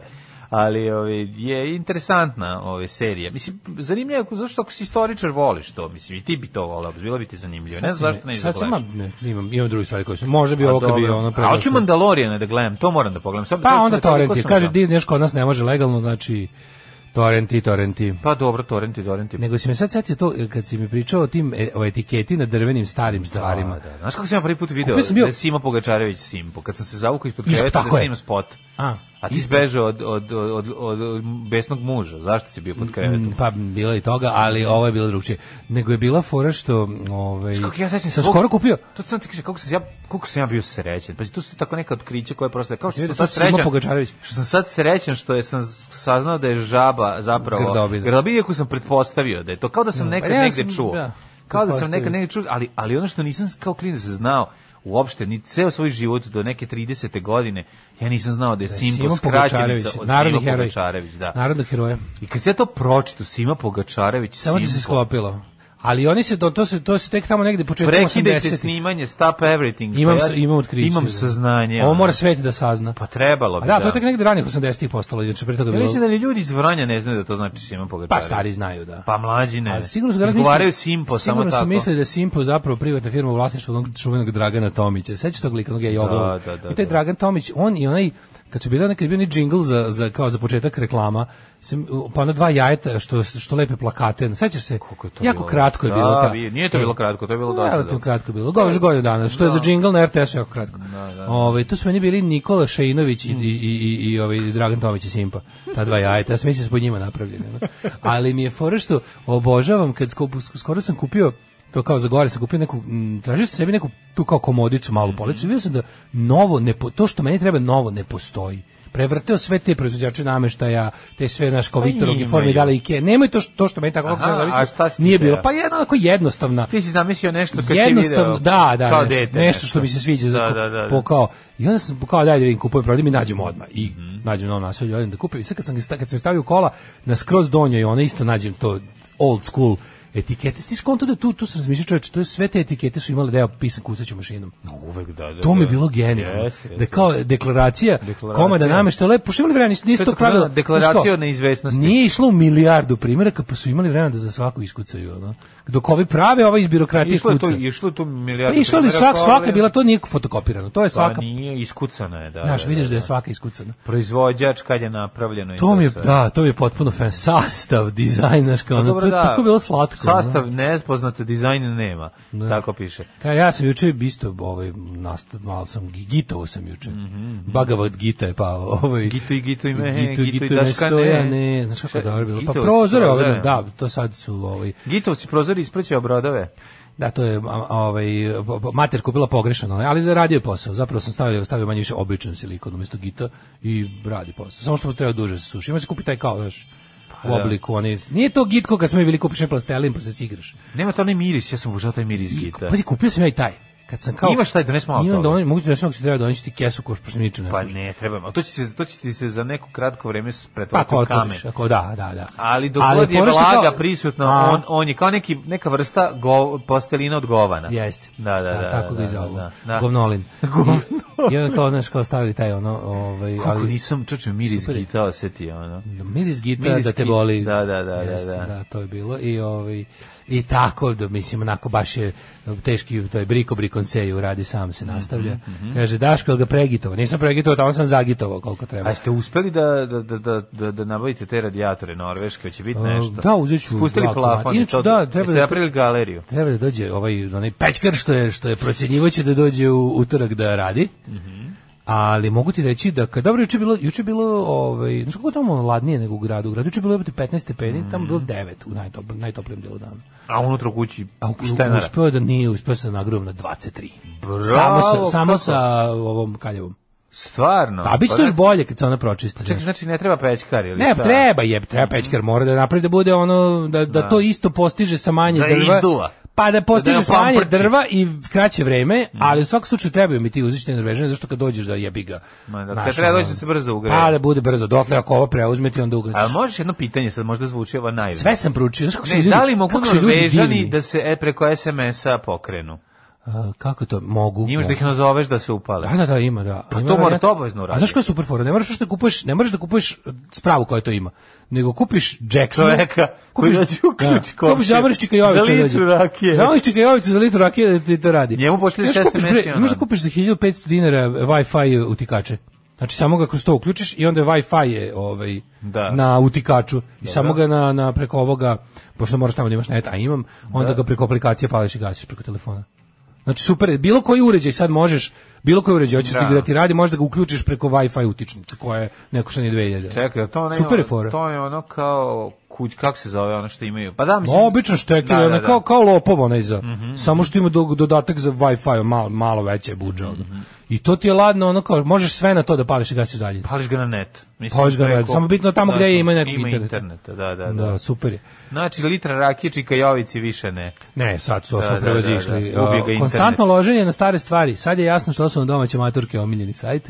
Speaker 5: ali ovaj, je interesantna ove serija. Mislim, zanimljivo je, zašto ako si istoričar voliš to, mislim, i ti bi to volao, bilo bi ti zanimljivo. Ne znam zašto ne
Speaker 6: Sad sam,
Speaker 5: izgledaš.
Speaker 6: ne, imam, imam drugi stvari koje su. Može bi ovo kad bi
Speaker 5: Pa dobro.
Speaker 6: ono
Speaker 5: A hoću
Speaker 6: predošlo.
Speaker 5: Mandalorijana da gledam, to moram da pogledam. Sad-
Speaker 6: Pa
Speaker 5: sad-
Speaker 6: onda
Speaker 5: sad- toliko
Speaker 6: torrent je.
Speaker 5: sam
Speaker 6: Kaže
Speaker 5: da-
Speaker 6: Disney još kod nas ne može legalno, znači Torrenti, torrenti.
Speaker 5: Pa dobro, torrenti, torrenti.
Speaker 6: Nego si me sad setio to e, kad si mi pričao o tim e, o etiketi na drvenim starim stvarima.
Speaker 5: Da, da. Znaš kako sam ja prvi put video
Speaker 6: Kupio sam bio-
Speaker 5: da je Sima Pogačarević Simpo, kad sam se zavukao ispod
Speaker 6: Isto
Speaker 5: kreveta da
Speaker 6: tako je.
Speaker 5: snimam spot.
Speaker 6: A,
Speaker 5: A ti zbeže od, od, od, od, od, od besnog muža, zašto si bio pod krevetom?
Speaker 6: Mm, Pa bilo je i toga, ali ovo je bilo drugčije. Nego je bila fora što, ovaj
Speaker 5: Kako ja sećam
Speaker 6: sam
Speaker 5: svog-
Speaker 6: skoro kupio.
Speaker 5: To sam ti kaže kako sam ja kako sam ja bio srećan. Pa tu su tako neka otkrića koja je prosto kao što
Speaker 6: Vidi,
Speaker 5: sam
Speaker 6: to
Speaker 5: sad
Speaker 6: je Simo
Speaker 5: srećan.
Speaker 6: Pogačarević.
Speaker 5: Što sam sad srećan što je sam saznao da je žaba zapravo
Speaker 6: Grdobina.
Speaker 5: Grdobina, iako sam pretpostavio da je to kao da sam
Speaker 6: No,
Speaker 5: nekad
Speaker 6: pa da. ja
Speaker 5: negde
Speaker 6: sam,
Speaker 5: čuo.
Speaker 6: da,
Speaker 5: kao da sam
Speaker 6: pretpostavio.
Speaker 5: nekad negde čuo, ali ali ono što nisam kao klinac znao uopšte ni ceo svoj život do neke 30. godine ja nisam znao da je Simpo
Speaker 6: Simo
Speaker 5: skraćenica od
Speaker 6: narodni
Speaker 5: Sima
Speaker 6: heroj.
Speaker 5: Pogačarević, da.
Speaker 6: Narodnog heroja.
Speaker 5: I kad se ja to pročito Sima Pogačarević,
Speaker 6: Samo ti se
Speaker 5: Simpo,
Speaker 6: sklopilo. Ali oni se, do, to se, to se tek tamo negde početkom 80.
Speaker 5: Prekidajte snimanje, stop everything.
Speaker 6: Imam,
Speaker 5: Pa ja
Speaker 6: s- imam otkriće. da.
Speaker 5: Imam saznanje.
Speaker 6: Ovo
Speaker 5: ono.
Speaker 6: mora svet da sazna.
Speaker 5: Pa trebalo
Speaker 6: A
Speaker 5: bi,
Speaker 6: da,
Speaker 5: da.
Speaker 6: to je tek negde ranih 80-ih postalo, inače pre toga je
Speaker 5: Ja
Speaker 6: bilo...
Speaker 5: mislim da ni ljudi iz Vranja ne znaju da to znači Sima
Speaker 6: Pa
Speaker 5: Pogačarević.
Speaker 6: stari znaju, da.
Speaker 5: Pa mlađi ne.
Speaker 6: A sigurno su ga razmislili-
Speaker 5: Izgovaraju Simpo, samo
Speaker 6: Sigurno
Speaker 5: tako.
Speaker 6: su mislili da je Simpo zapravo privatna firma u vlasništvu onog čuvenog Dragana Tomića. Sećaš tog lika, onog je jogla.
Speaker 5: da, da,
Speaker 6: I taj
Speaker 5: da.
Speaker 6: Dragan Tomić, on i onaj kad su bili onaj kad je bio onaj džingl za, za kao za početak reklama, sam, pa ona dva jajeta što što lepe plakate. Sećaš se?
Speaker 5: Kako je to
Speaker 6: jako
Speaker 5: bilo?
Speaker 6: kratko je
Speaker 5: Da,
Speaker 6: bilo ta.
Speaker 5: vi- nije to bilo kratko, to je bilo
Speaker 6: Da,
Speaker 5: dosta Da.
Speaker 6: Relativno
Speaker 5: dugo.
Speaker 6: kratko je bilo. Govoriš godinu dana, što je za džingl na RTS-u jako kratko.
Speaker 5: Da,
Speaker 6: Ovaj tu su meni bili Nikola Šejinović
Speaker 5: Mm.
Speaker 6: i, i, i, i, i ovaj Dragan Tomić i Simpa. Ta dva jajeta, ja sam mislio da su pod njima napravljene. no. Ali mi je fora što obožavam kad sko- skoro sam kupio to kao za gore sam kupio neku, mm, tražio sam sebi neku tu kao komodicu,
Speaker 5: Mhm.
Speaker 6: malu policu i vidio sam da novo, ne, po- to što meni treba novo ne postoji. Prevrteo sve te proizvođače nameštaja, te sve, znaš, kao
Speaker 5: Pa
Speaker 6: Viktor
Speaker 5: imaju.
Speaker 6: uniforme, dale Ikea, nemoj to što, to što meni tako kako sam
Speaker 5: Aha,
Speaker 6: zamislio,
Speaker 5: a šta si ti
Speaker 6: nije bilo.
Speaker 5: teo?
Speaker 6: Pa jedna onako jednostavna,
Speaker 5: Ti si zamislio nešto kad si video.
Speaker 6: jednostavno da da
Speaker 5: kao
Speaker 6: nešto,
Speaker 5: dete,
Speaker 6: nešto što mi se sviđa za
Speaker 5: Da, da, da. da.
Speaker 6: pokao i onda sam pokao daj da vidim kupujem prodajem i nađem odmah i
Speaker 5: Mhm.
Speaker 6: nađem novo naselje odem da kupim i sad kad sam ga sta- kad sam ga stavio u kola na skroz donjo i ona isto nađem to old school etikete ti skonto da tu tu sam razmišljao čoveče to je sve te etikete su imale deo pisan kucaćom mašinom
Speaker 5: Uvek da, da.
Speaker 6: to mi je
Speaker 5: da.
Speaker 6: bilo genijalno
Speaker 5: Jeste, jeste.
Speaker 6: da kao deklaracija,
Speaker 5: Deklaracija.
Speaker 6: komada nameštaja lepo što imali vremena nisu,
Speaker 5: To
Speaker 6: nisu to
Speaker 5: je tako
Speaker 6: pravila
Speaker 5: zvana deklaracija
Speaker 6: znaš kao,
Speaker 5: o neizvesnosti.
Speaker 6: nije išlo u milijardu primjeraka pa su imali vremena da za svaku iskucaju ono dok ovi prave ova iz birokratije
Speaker 5: Išlo je to,
Speaker 6: kuca.
Speaker 5: išlo je to
Speaker 6: Pa
Speaker 5: milijardu.
Speaker 6: išlo li
Speaker 5: primjera,
Speaker 6: svak,
Speaker 5: kao,
Speaker 6: svaka
Speaker 5: ali-
Speaker 6: je bila, to nije fotokopirano, to je
Speaker 5: Pa
Speaker 6: svaka,
Speaker 5: nije, iskucana je, da.
Speaker 6: znaš, vidiš da je svaka iskucana.
Speaker 5: Proizvođač kad je napravljeno. i
Speaker 6: To mi je,
Speaker 5: sve.
Speaker 6: da, to mi je potpuno fan, sastav, dizajn, znaš, kao,
Speaker 5: Pa
Speaker 6: ono,
Speaker 5: dobro,
Speaker 6: to je
Speaker 5: da.
Speaker 6: tako bilo slatko. da. ono.
Speaker 5: Sastav nezpoznato, dizajn nema. Tako piše.
Speaker 6: Ka, ja sam juče isto, ovaj, nastav, malo sam, gi- gitovo sam juče. Bagavat gita je pao, ovaj.
Speaker 5: Gito Mhm, i Gito i Mehe,
Speaker 6: Gito,
Speaker 5: Gito i
Speaker 6: Gito i
Speaker 5: Daška
Speaker 6: Nestoja,
Speaker 5: ne.
Speaker 6: ne, znaš kako
Speaker 5: Šta,
Speaker 6: je dobro bilo. Pa
Speaker 5: Gitovo su
Speaker 6: prozore ove,
Speaker 5: prozore.
Speaker 6: da, to sad su, ovaj,
Speaker 5: Gitov si prozor ispraćao brodove.
Speaker 6: Da, to je a, a, ovaj b- b- mater kupila pogrešano, ali zaradio je posao. Zapravo sam stavio stavio manje više običan silikon umesto gita i radi posao. Samo što mu treba duže se suši. Ima se kupi taj kao, znaš,
Speaker 5: Pa
Speaker 6: u
Speaker 5: da.
Speaker 6: obliku oni. Nije to git ko kad smo mi bili kupiš ne plastelin pa se s igraš.
Speaker 5: Nema to onaj miris, ja sam obožao taj miris gita.
Speaker 6: pa Pazi, kupio sam ja i taj. Kad sam kao
Speaker 5: Imaš taj, donesi malo
Speaker 6: Imam
Speaker 5: toga.
Speaker 6: da oni mogu da sam ti treba doneti ti kesu koš pošto mi ničem ne
Speaker 5: Pa
Speaker 6: služi.
Speaker 5: ne, trebamo. A To će, se, to će ti se za neko kratko vreme s-
Speaker 6: Pa
Speaker 5: pretvoriti
Speaker 6: ako
Speaker 5: u kamen.
Speaker 6: otvoriš, ako da, da, da.
Speaker 5: Ali dok
Speaker 6: Ali
Speaker 5: god je
Speaker 6: fora što
Speaker 5: vlaga
Speaker 6: kao-
Speaker 5: prisutna,
Speaker 6: A.
Speaker 5: on, on je kao neki, neka vrsta go, postelina od govana.
Speaker 6: Jeste.
Speaker 5: Da, da, da.
Speaker 6: tako ga
Speaker 5: da,
Speaker 6: i zovu.
Speaker 5: Da, da.
Speaker 6: Govnolin. I, I onda kao, znaš, kao stavili taj ono, ovaj,
Speaker 5: Kako
Speaker 6: ali
Speaker 5: nisam, čoče, miris
Speaker 6: Super je. Mm.
Speaker 5: gita osetio, ono.
Speaker 6: miris gitara
Speaker 5: Miris
Speaker 6: da te
Speaker 5: git-
Speaker 6: boli.
Speaker 5: da, da, da, da,
Speaker 6: Jeste,
Speaker 5: da.
Speaker 6: to je bilo i ovaj i tako da mislim onako baš je teški to je briko brikonseju radi sam se nastavlja.
Speaker 5: Mhm,
Speaker 6: Kaže Daško jel ga pregitovo. Nisam pregitovo, tamo sam zagitovao koliko treba.
Speaker 5: A ste uspeli da, da, da, da, da, da nabavite te radijatore norveške, hoće biti
Speaker 6: E,
Speaker 5: nešto?
Speaker 6: da, uzet ću
Speaker 5: Spustili
Speaker 6: dva komada.
Speaker 5: plafon i
Speaker 6: Inače,
Speaker 5: to.
Speaker 6: da, treba
Speaker 5: Jeste
Speaker 6: da-
Speaker 5: napravili galeriju.
Speaker 6: Treba da dođe ovaj onaj pećkar što je što je procenjivaće da dođe u utorak da radi.
Speaker 5: Mhm.
Speaker 6: Ali mogu ti reći da kad dobro juče bilo juče bilo ovaj znači kako je tamo ladnije nego u gradu. U gradu juče bilo jebote 15 stepeni, tamo bilo 9 u najtop, najtoplijem delu dana.
Speaker 5: A unutra u kući
Speaker 6: A u,
Speaker 5: štenara.
Speaker 6: uspeo je da nije, uspeo sam nagruvao na 23.
Speaker 5: Bravo,
Speaker 6: samo sa, samo
Speaker 5: kako?
Speaker 6: sa ovom kaljevom.
Speaker 5: Stvarno.
Speaker 6: A bit će
Speaker 5: Pa
Speaker 6: to još
Speaker 5: da-
Speaker 6: bolje kad se ona pročisti.
Speaker 5: Čekaj, Mm.
Speaker 6: znaš.
Speaker 5: znači ne treba pećkar ili
Speaker 6: Ne,
Speaker 5: šta?
Speaker 6: treba je, treba pećkar, mora da napravi da bude ono, da, da, to isto postiže sa manje
Speaker 5: Da
Speaker 6: drva.
Speaker 5: izduva.
Speaker 6: Pa da
Speaker 5: Da
Speaker 6: postiže
Speaker 5: nema
Speaker 6: sa manje
Speaker 5: pamprči. Mm.
Speaker 6: drva i kraće vreme, ali u svakom slučaju trebaju mi ti uzični Norvežani, zašto kad dođeš da jebi ga.
Speaker 5: Ma da,
Speaker 6: znaš,
Speaker 5: kad treba
Speaker 6: ono,
Speaker 5: doći da se brzo ugreje.
Speaker 6: Pa da bude brzo, dotle ako ovo preuzme ti onda
Speaker 5: A
Speaker 6: ugasiš.
Speaker 5: možeš jedno pitanje, sad možda zvuči ova naivno.
Speaker 6: Sve sam proučio, znaš kako su
Speaker 5: Ne,
Speaker 6: ljudi,
Speaker 5: da li mogu
Speaker 6: kako su ljudi
Speaker 5: Norvežani
Speaker 6: divni.
Speaker 5: da se e, preko SMS-a pokrenu?
Speaker 6: A, kako to, mogu.
Speaker 5: Imaš da
Speaker 6: mogu.
Speaker 5: ih nazoveš da se upale.
Speaker 6: Da, da, da, ima, da.
Speaker 5: Pa
Speaker 6: Ima
Speaker 5: to
Speaker 6: varijanti.
Speaker 5: moraš to obavezno uraditi.
Speaker 6: A znaš koja je super fora? Ne moraš baš da kupuješ, ne moraš da kupuješ spravu koja to ima, nego kupiš Jacksonu. da.
Speaker 5: Čoveka koji dođe u ključ komšije.
Speaker 6: Kupiš Zamariš Čikajovića.
Speaker 5: Za litru rakije.
Speaker 6: Zamariš Čikajovića ovaj za litru rakije da ti to radi.
Speaker 5: Njemu pošalješ
Speaker 6: Znaš, kupiš,
Speaker 5: SMS i
Speaker 6: bre,
Speaker 5: on
Speaker 6: Znaš da
Speaker 5: radi.
Speaker 6: kupiš za 1500 dinara Wi-Fi utikače. Znači samo ga kroz to uključiš i onda je Wi-Fi je ovaj
Speaker 5: Da.
Speaker 6: na utikaču i samo ga na, na preko ovoga pošto moraš tamo da imaš net, a imam, onda
Speaker 5: Da.
Speaker 6: ga preko aplikacije pališ i gasiš preko telefona. Znači super, je. bilo koji uređaj sad možeš, bilo koji uređaj hoćeš
Speaker 5: Da.
Speaker 6: da. da ti radi, možeš da ga uključiš preko Wi-Fi utičnice koja je neko što nije 2000.
Speaker 5: Čekaj, jel to ne
Speaker 6: Super je fora.
Speaker 5: To je ono kao kuć, kako se zove ono što imaju? Pa da, mislim...
Speaker 6: Ma, obično štekir,
Speaker 5: Da,
Speaker 6: da,
Speaker 5: da, da. Mhm.
Speaker 6: kao, kao lopov onaj za, samo što ima do, dodatak za Wi-Fi, malo, malo veće je budža. ono.
Speaker 5: Mhm.
Speaker 6: I to ti je ladno, ono kao, možeš sve na to da pališ i gasiš dalje.
Speaker 5: Pališ ga na net. Mislim, da,
Speaker 6: Pališ ga na net, samo bitno tamo gde je, ima nekog
Speaker 5: ima
Speaker 6: interneta.
Speaker 5: interneta. Da, da, da.
Speaker 6: Da, super je.
Speaker 5: Znači, litra rakije čika jovici više ne.
Speaker 6: Ne, sad to
Speaker 5: Da,
Speaker 6: smo
Speaker 5: da,
Speaker 6: prevazišli.
Speaker 5: da, da. Ubio ga
Speaker 6: O,
Speaker 5: internet.
Speaker 6: Konstantno loženje na stare stvari. Sad je jasno što su vam domaće maturke omiljeni sajt.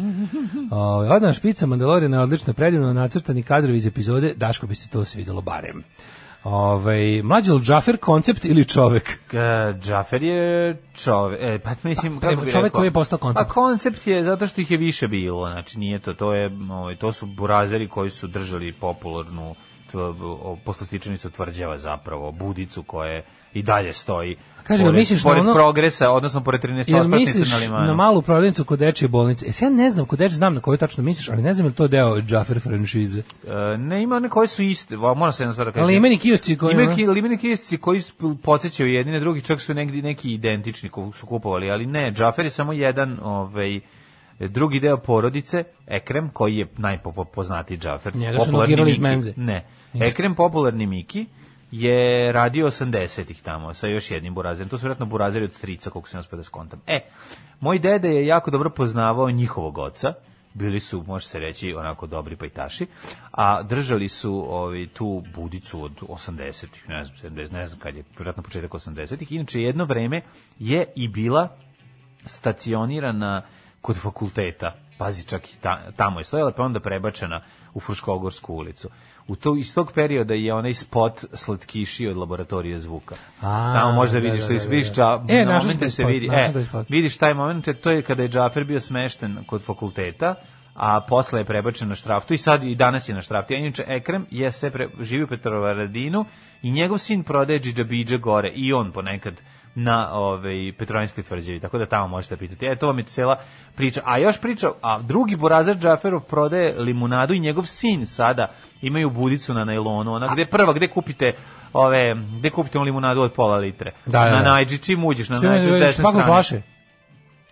Speaker 6: Ovaj odna špica Mandaloriana je odlično predivno nacrtani kadrovi iz epizode. Daško bi se to svidelo barem. Ovaj mlađi Džafer koncept ili čovek?
Speaker 5: G- Džafer je čovek, e, pa mislim kako bi
Speaker 6: čovek
Speaker 5: rekao?
Speaker 6: koji je postao koncept.
Speaker 5: Pa koncept je zato što ih je više bilo, znači nije to, to je, ovaj, to su burazeri koji su držali popularnu tv- o- poslastičnicu tvrđava zapravo, budicu koja je i dalje stoji.
Speaker 6: Kaže, jel
Speaker 5: pored,
Speaker 6: misliš na
Speaker 5: pored
Speaker 6: ono-
Speaker 5: progresa, odnosno pored 13
Speaker 6: Jel
Speaker 5: ospratnice na
Speaker 6: misliš
Speaker 5: limanu.
Speaker 6: na malu prodavnicu kod dečije bolnice? E, sad ja ne znam kod dečije, znam na koju tačno misliš, ali ne znam je li to deo Džafer franšize.
Speaker 5: E, ne, ima one koje su iste, va, mora se jedna stvar da kažem.
Speaker 6: Limeni kiosci koji...
Speaker 5: Ima ki, limeni kijesci koji sp- podsjećaju jedni na drugi, čak su negdje neki identični ko su kupovali, ali ne, Džafer je samo jedan, ovaj, drugi deo porodice, Ekrem, koji je najpoznatiji Džafer.
Speaker 6: Njega su
Speaker 5: popularni
Speaker 6: nogirali iz
Speaker 5: Miki.
Speaker 6: menze.
Speaker 5: Ne, Ekrem, popularni Miki, je radio 80-ih tamo sa još jednim burazerom. To su vjerojatno burazeri od strica, koliko sam uspio da skontam. E, moj dede je jako dobro poznavao njihovog oca, bili su, može se reći, onako dobri pajtaši, a držali su ovaj, tu budicu od 80-ih, ne znam, 70, ne znam kad je, vjerojatno početak 80-ih. Inače, jedno vreme je i bila stacionirana kod fakulteta. Pazi, čak i ta, tamo je stojala, pa onda prebačena u Fruškogorsku ulicu. U to, iz tog perioda je onaj spot slatkiši od laboratorije zvuka.
Speaker 6: A,
Speaker 5: tamo možda
Speaker 6: da,
Speaker 5: vidiš,
Speaker 6: da,
Speaker 5: da,
Speaker 6: da, da.
Speaker 5: vidiš ča,
Speaker 6: E,
Speaker 5: e, na
Speaker 6: našao sam
Speaker 5: momente
Speaker 6: taj
Speaker 5: se
Speaker 6: spot,
Speaker 5: vidi.
Speaker 6: našao
Speaker 5: E,
Speaker 6: sam taj spot.
Speaker 5: vidiš taj moment, jer to je kada je Džafer bio smešten kod fakulteta, a posle je prebačen na štraftu i sad i danas je na štraftu. A inače Ekrem je se pre, živi u Petrovaradinu i njegov sin prodaje džidžabidže gore i on ponekad na ovaj Petrovanjskoj tvrđavi. Tako da tamo možete pitati. E to vam je cela priča. A još priča, a drugi burazer Džaferov prodaje limunadu i njegov sin sada imaju budicu na najlonu, ona gde prva gde kupite ove gde kupite onu limunadu od pola litre.
Speaker 6: Da, da,
Speaker 5: na
Speaker 6: da.
Speaker 5: Najdži čim uđeš na
Speaker 6: Što
Speaker 5: Najdži s
Speaker 6: ima,
Speaker 5: desne
Speaker 6: špakom
Speaker 5: strane
Speaker 6: flaše?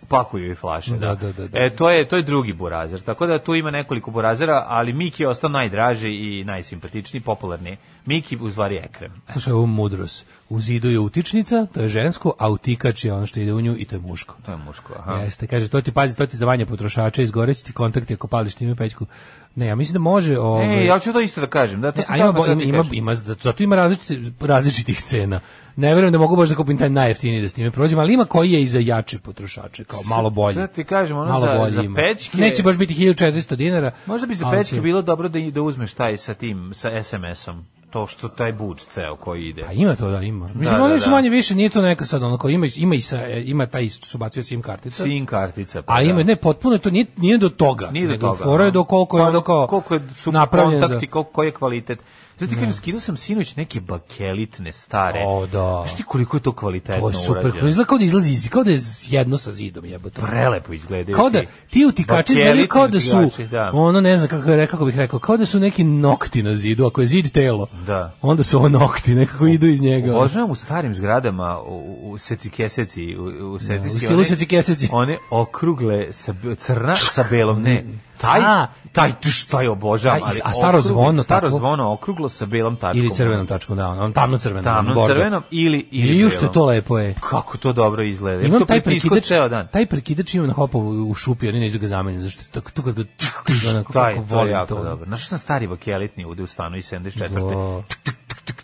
Speaker 5: pakuju i flaše. Da.
Speaker 6: Da, da, da, da.
Speaker 5: E, to je, to je drugi burazer, tako da tu ima nekoliko burazera, ali Miki je ostao najdraži i najsimpatičniji, popularni. Miki u stvari Ekrem.
Speaker 6: Slušaj, ovo je mudrost. U zidu je utičnica, to je žensko, a utikač je ono što ide u nju i to je muško.
Speaker 5: To je muško, aha.
Speaker 6: Jeste, kaže, to ti pazi, to ti za vanje potrošača, izgoreći ti kontakti ako pališ time pećku. Ne, ja mislim da može... Ovaj,
Speaker 5: E, ja ću to isto da kažem. Da, to
Speaker 6: Ne,
Speaker 5: sam
Speaker 6: E, a ima,
Speaker 5: tamo
Speaker 6: bo-
Speaker 5: sad
Speaker 6: ima,
Speaker 5: ti
Speaker 6: ima,
Speaker 5: kažem.
Speaker 6: ima, zato ima različiti, različitih cena. Ne verujem da mogu baš da kupim taj najjeftiniji da s time prođem, ali ima koji je i za jače potrošače, kao malo bolji.
Speaker 5: Sad ti kažem, ono
Speaker 6: malo
Speaker 5: za-
Speaker 6: bolji
Speaker 5: za
Speaker 6: ima.
Speaker 5: pećke-
Speaker 6: Neće baš biti 1400 dinara.
Speaker 5: Možda bi za
Speaker 6: ali
Speaker 5: pečke
Speaker 6: će-
Speaker 5: bilo dobro da, i- da uzmeš taj sa tim, sa SMS-om. To što taj budž ceo koji ide.
Speaker 6: Pa ima to da ima. Mislim
Speaker 5: da,
Speaker 6: oni su
Speaker 5: da.
Speaker 6: manje više, nije to neka sad onako ima ima i sa e, ima taj isto su bacio sim kartica.
Speaker 5: SIM kartica. pa
Speaker 6: A
Speaker 5: da.
Speaker 6: ima ne potpuno je to nije, nije do toga.
Speaker 5: Nije do
Speaker 6: nego
Speaker 5: toga.
Speaker 6: Fora je do koliko je
Speaker 5: Pa
Speaker 6: ono kao
Speaker 5: koliko je su
Speaker 6: napravljen
Speaker 5: kontakti,
Speaker 6: za- Mm.
Speaker 5: koliko koji je kvalitet. Zato ti kažem, skidao sam sinoć neke bakelitne stare.
Speaker 6: O, da.
Speaker 5: Znaš ti koliko je to kvalitetno
Speaker 6: Ovo je super,
Speaker 5: urađeno?
Speaker 6: kao izgleda kao da izlazi, iz- kao da je jedno sa zidom jebote.
Speaker 5: prelepo izgledaju.
Speaker 6: Kao da ti utikači izgledaju kao da su
Speaker 5: Bakelitni utikači, da.
Speaker 6: ono ne znam kako re- kako bih rekao, kao da su neki nokti na zidu, ako je zid telo.
Speaker 5: Da.
Speaker 6: Onda su ovo nokti, nekako idu iz njega.
Speaker 5: Obožavam u starim zgradama u, u- u secikeseci, u, u
Speaker 6: u
Speaker 5: secikesi.
Speaker 6: stilu
Speaker 5: one-
Speaker 6: secikeseci.
Speaker 5: One okrugle, sa, b- crna sa belom, ne. Taj,
Speaker 6: A,
Speaker 5: taj, tš, taj obožavam.
Speaker 6: taj,
Speaker 5: ali
Speaker 6: a staro
Speaker 5: okrugli-
Speaker 6: zvono
Speaker 5: Staro
Speaker 6: tako?
Speaker 5: zvono okruglo sa belom tačkom.
Speaker 6: Ili crvenom tačkom, da, ono tamno crvenom.
Speaker 5: Tamno
Speaker 6: bordo.
Speaker 5: crvenom ili, ili
Speaker 6: I još što je
Speaker 5: belom.
Speaker 6: to lepo je.
Speaker 5: Kako to dobro izgleda.
Speaker 6: Imam
Speaker 5: to
Speaker 6: taj
Speaker 5: pritisko
Speaker 6: prekidač,
Speaker 5: ceo dan.
Speaker 6: taj prekidač imam na hopovu u šupi, oni neću ga zameniti, zašto tako tu kad ga čuk, onako
Speaker 5: Taj,
Speaker 6: kako
Speaker 5: to je
Speaker 6: volim
Speaker 5: jako
Speaker 6: to.
Speaker 5: dobro. Našao sam stari bakelitni ude u stanu iz 74.
Speaker 6: Da.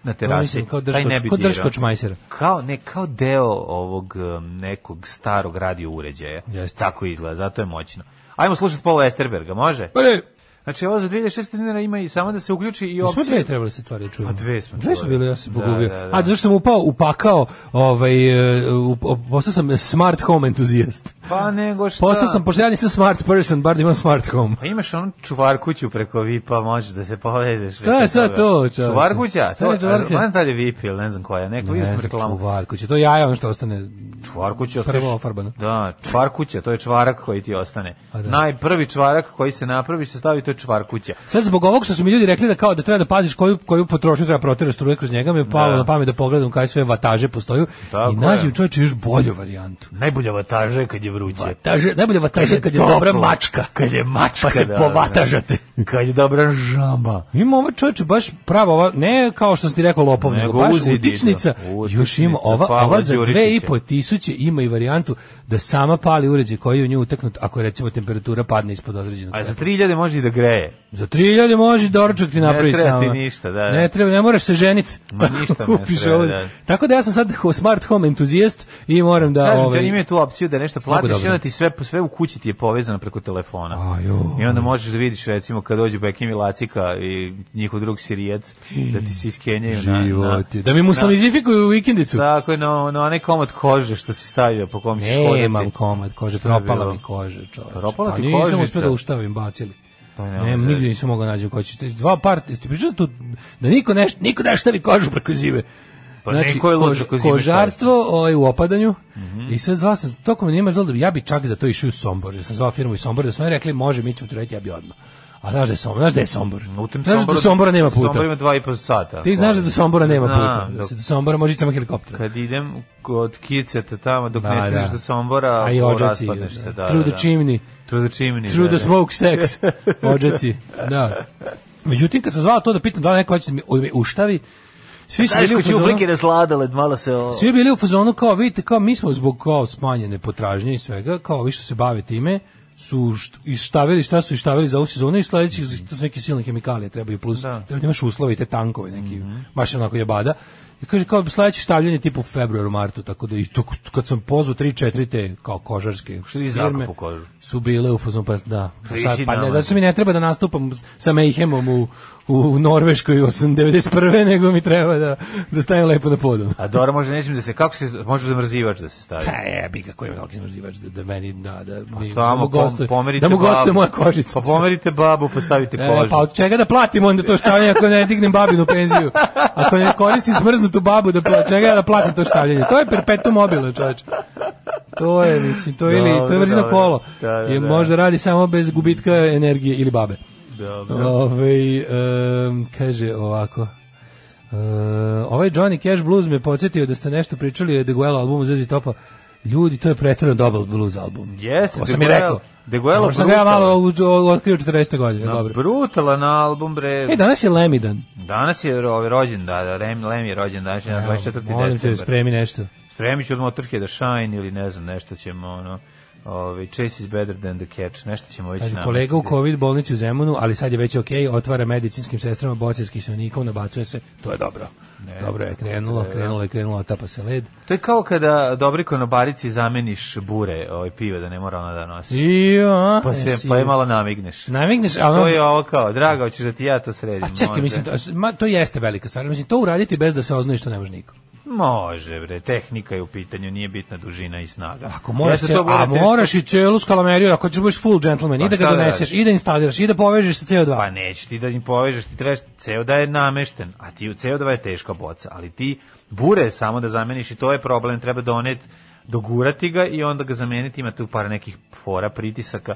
Speaker 5: na
Speaker 6: Ja
Speaker 5: terasi.
Speaker 6: mislim kao
Speaker 5: Taj ne bi
Speaker 6: drškoč, kao
Speaker 5: dirao.
Speaker 6: drškoč majsera.
Speaker 5: Kao, ne, kao deo ovog um, nekog starog radio uređaja.
Speaker 6: Jeste.
Speaker 5: Tako izgleda, zato je moćno. Ajmo slušati Paula Esterberga, može?
Speaker 6: Bre,
Speaker 5: Znači, ovo za 2600 dinara ima i samo da se uključi i
Speaker 6: smo dve
Speaker 5: opcije.
Speaker 6: trebali se stvari da čujemo.
Speaker 5: Pa dve smo
Speaker 6: Dve su
Speaker 5: čuvali.
Speaker 6: bile, ja sam
Speaker 5: Da,
Speaker 6: pogubio.
Speaker 5: da, da.
Speaker 6: A zašto sam upao, upakao, ovaj, e, u- o- postao sam smart home entuzijast.
Speaker 5: Pa nego šta?
Speaker 6: Postao sam, pošto ja nisam smart person, bar da imam smart home.
Speaker 5: Pa imaš onu čuvarkuću preko VIP-a, možeš da se povežeš.
Speaker 6: Šta je sad to, čovječe?
Speaker 5: Čuvarkuća?
Speaker 6: Šta
Speaker 5: To,
Speaker 6: je čuvarkuća?
Speaker 5: Ne znam da li je VIP ili ne znam koja. Neko, vidio sam reklamu.
Speaker 6: E, Čuvarku će, to jaja ono što ostane.
Speaker 5: Čvarkuća
Speaker 6: Prvo
Speaker 5: ostaješ...
Speaker 6: ofarbano.
Speaker 5: Da, čvarkuća, to je čvarak koji ti ostane.
Speaker 6: A da.
Speaker 5: Najprvi čvarak koji se napravi, se stavi, to je čvarkuća.
Speaker 6: Sad zbog ovog što su mi ljudi rekli da kao da treba da paziš koju koju potrošnju treba protera struje kroz njega, mi je palo
Speaker 5: Da.
Speaker 6: na pamet da pogledam kaj sve vataže postoju
Speaker 5: Tako
Speaker 6: i nađem
Speaker 5: je.
Speaker 6: čovječe još bolju varijantu.
Speaker 5: Najbolja vataža je kad je vruće.
Speaker 6: Vataže, najbolje vataže kad je
Speaker 5: toplo,
Speaker 6: dobra mačka.
Speaker 5: Kad je mačka,
Speaker 6: Pa se
Speaker 5: da,
Speaker 6: povatažate.
Speaker 5: da. Kad je dobra žaba.
Speaker 6: Ima ova čovječe baš prava, ova, ne kao što si ti rekao lopov, nego,
Speaker 5: Nego
Speaker 6: baš
Speaker 5: uzi dido.
Speaker 6: utičnica,
Speaker 5: Utičnica
Speaker 6: još ima ova,
Speaker 5: Pavla
Speaker 6: ova za
Speaker 5: Đurišića.
Speaker 6: dve i po tisuće ima i varijantu da sama pali uređaj koji je u nju utaknut ako je recimo temperatura padne ispod određenog.
Speaker 5: A za 3000 može i da greje.
Speaker 6: Za 3000 može doručak ti napravi
Speaker 5: treba
Speaker 6: sama.
Speaker 5: ti ništa, da, da.
Speaker 6: Ne treba, ne moraš se ženiti.
Speaker 5: Ma, ništa ne
Speaker 6: Kupiš
Speaker 5: treba,
Speaker 6: ovo.
Speaker 5: da.
Speaker 6: Tako da ja sam sad ho- smart home entuzijast i moram da...
Speaker 5: Kažem
Speaker 6: ovaj,
Speaker 5: ti, oni imaju tu opciju da nešto
Speaker 6: Mnogo
Speaker 5: platiš i
Speaker 6: dobro.
Speaker 5: onda ti sve, sve u kući ti je povezano preko telefona.
Speaker 6: Ajoj.
Speaker 5: I onda možeš da vidiš, recimo, kad dođu Bekim i Lacika i njihov drug sirijac, da Da. ti se iskenjaju na... na
Speaker 6: Životi. Da mi muslimizifikuju vikendicu.
Speaker 5: Tako je, no, no, onaj komad kože što si stavio po kom ćeš hodati.
Speaker 6: Nemam komad kože,
Speaker 5: je
Speaker 6: propala
Speaker 5: bilo?
Speaker 6: mi kože, čoveče.
Speaker 5: Propala
Speaker 6: Pa
Speaker 5: ti
Speaker 6: Nisam
Speaker 5: kožica?
Speaker 6: uspio da uštavim, bacili.
Speaker 5: Pa ne,
Speaker 6: ne,
Speaker 5: onda-
Speaker 6: nigdje nisam mogao da naći u koči. Dva par, jeste pričali tu da niko ne, niko ne štavi kožu preko zime.
Speaker 5: Pa neko je Mhm. lud preko zime
Speaker 6: kožarstvo ovaj, u opadanju i sve zvao sam, toko mi nije zvalo, ja bi čak za to išao u Sombor, jer sam zvao firmu iz Sombora, da su oni rekli može, mi ćemo ti raditi, ja bi odmah. A znaš da je Sombor, znaš da je Sombor?
Speaker 5: U tem
Speaker 6: znaš da do Sombora nema puta?
Speaker 5: Sombor ima dva i po sata.
Speaker 6: Ti znaš da do Sombora nema puta,
Speaker 5: Znam,
Speaker 6: da
Speaker 5: dok,
Speaker 6: se do Sombora može ići samo helikopter.
Speaker 5: kad idem kod kiceta tamo, dok
Speaker 6: Da,
Speaker 5: ne stigneš
Speaker 6: da.
Speaker 5: do Sombora,
Speaker 6: A i
Speaker 5: o,
Speaker 6: ođaci,
Speaker 5: raspadneš se. Da,
Speaker 6: through
Speaker 5: da,
Speaker 6: the
Speaker 5: da.
Speaker 6: chimney.
Speaker 5: Through the chimney.
Speaker 6: Through
Speaker 5: da,
Speaker 6: the
Speaker 5: da.
Speaker 6: smokestacks. Ođaci, da. Međutim, kad sam zvao to da pitam da li neko hoće da mi me uštavi, svi su
Speaker 5: Znaš
Speaker 6: bili u
Speaker 5: ko će u
Speaker 6: fazonu,
Speaker 5: blike da sladoled, malo se... O...
Speaker 6: svi bili u fazonu kao, vidite, kao mi smo zbog kao smanjene potražnje i svega, kao vi što se bave time, su št- ištavili šta su ištavili za ovu sezonu i sledećih, to su neke silne hemikalije trebaju, plus treba da imaš uslove i te tankove neki,
Speaker 5: Mhm.
Speaker 6: baš onako jebada. I kaže kao sledeće štavljanje tipu u februaru, martu, tako da i to, kad sam pozvao 3-4 te kao kožarske
Speaker 5: Što ti zraka po kožu?
Speaker 6: su bile u fazonu, pa da.
Speaker 5: Pa
Speaker 6: Sad,
Speaker 5: isi
Speaker 6: pa ne,
Speaker 5: nama.
Speaker 6: zato mi ne treba da nastupam sa Mayhemom u, u Norveškoj 891. nego mi treba da, da stavim lepo na podu.
Speaker 5: A Dora može nečim da se, kako se, može zamrzivač da se stavi.
Speaker 6: Pa jebi ga, koji je mnogo izmrzivač da, da meni, da, da, mi, da mu
Speaker 5: Pa Tamo
Speaker 6: gostuje,
Speaker 5: pom, pomerite
Speaker 6: da mu gostuje
Speaker 5: babu.
Speaker 6: moja kožica.
Speaker 5: Pa pomerite babu, postavite
Speaker 6: E,
Speaker 5: kožu.
Speaker 6: pa od čega da platim onda to stavljanje ako ne dignem babinu penziju? Ako ne koristim smrznutu babu, da pla, čega da platim to stavljanje? To je perpetuum mobile, čovječ. To je, mislim, to, je ili, to je
Speaker 5: Dobro,
Speaker 6: vrzino
Speaker 5: dobro.
Speaker 6: kolo.
Speaker 5: Da, da,
Speaker 6: je,
Speaker 5: da.
Speaker 6: možda radi samo bez gubitka energije ili babe.
Speaker 5: Dobro.
Speaker 6: Ove, kaže ovako. E, ovaj Johnny Cash blues me podsjetio da ste nešto pričali o The Guello albumu Zezi Topa. Ljudi, to je pretredno dobar blues album.
Speaker 5: Jeste,
Speaker 6: Ovo
Speaker 5: De
Speaker 6: sam i
Speaker 5: Guello-
Speaker 6: rekao.
Speaker 5: De Guello
Speaker 6: Samo što sam ga ja
Speaker 5: brutalan.
Speaker 6: malo u- u- otkrio 40. godine. Dobro.
Speaker 5: Brutalan album, bre.
Speaker 6: E, danas je Lemidan.
Speaker 5: Danas je ovaj rođen, da, da, Rem, Lem je rođen danas, je na 24.
Speaker 6: Molim te,
Speaker 5: decembar.
Speaker 6: spremi nešto.
Speaker 5: Spremit ću od Motorhead da Shine ili ne znam, nešto ćemo, ono, ovaj, Chase is better than the catch, nešto ćemo već
Speaker 6: Kaže,
Speaker 5: namestiti.
Speaker 6: kolega u COVID bolnici u Zemunu, ali sad je već ok, otvara medicinskim sestrama boce s kiselnikom, nabacuje se, to je dobro. dobro je krenulo,
Speaker 5: E.
Speaker 6: krenulo je krenulo, tapa se led.
Speaker 5: To je kao kada dobri konobarici zameniš bure ovaj, pive, da ne mora ona da nosi.
Speaker 6: I, a,
Speaker 5: Pa, se,
Speaker 6: jesi-
Speaker 5: pa je malo namigneš.
Speaker 6: Namigneš, a ono-
Speaker 5: To je ovo kao, drago, hoćeš da ti ja to sredim.
Speaker 6: A čekaj,
Speaker 5: možda.
Speaker 6: mislim, da- to, ma, to jeste velika stvar. Mislim, to uraditi bez da se oznaje što ne može niko.
Speaker 5: Može, bre, tehnika je u pitanju, nije bitna dužina i snaga.
Speaker 6: Ako moraš,
Speaker 5: se
Speaker 6: cijel- a moraš i celu skalameriju, ako ćeš budeš full gentleman, i da ga
Speaker 5: šta da
Speaker 6: doneseš,
Speaker 5: radiš?
Speaker 6: i da instaliraš, i da povežeš sa CO2.
Speaker 5: Pa nećeš ti da im povežeš, ti trebaš, CO2 je namešten, a ti u CO2 je teška boca, ali ti bure samo da zameniš i to je problem, treba donet, dogurati ga i onda ga zameniti, ima tu par nekih fora, pritisaka,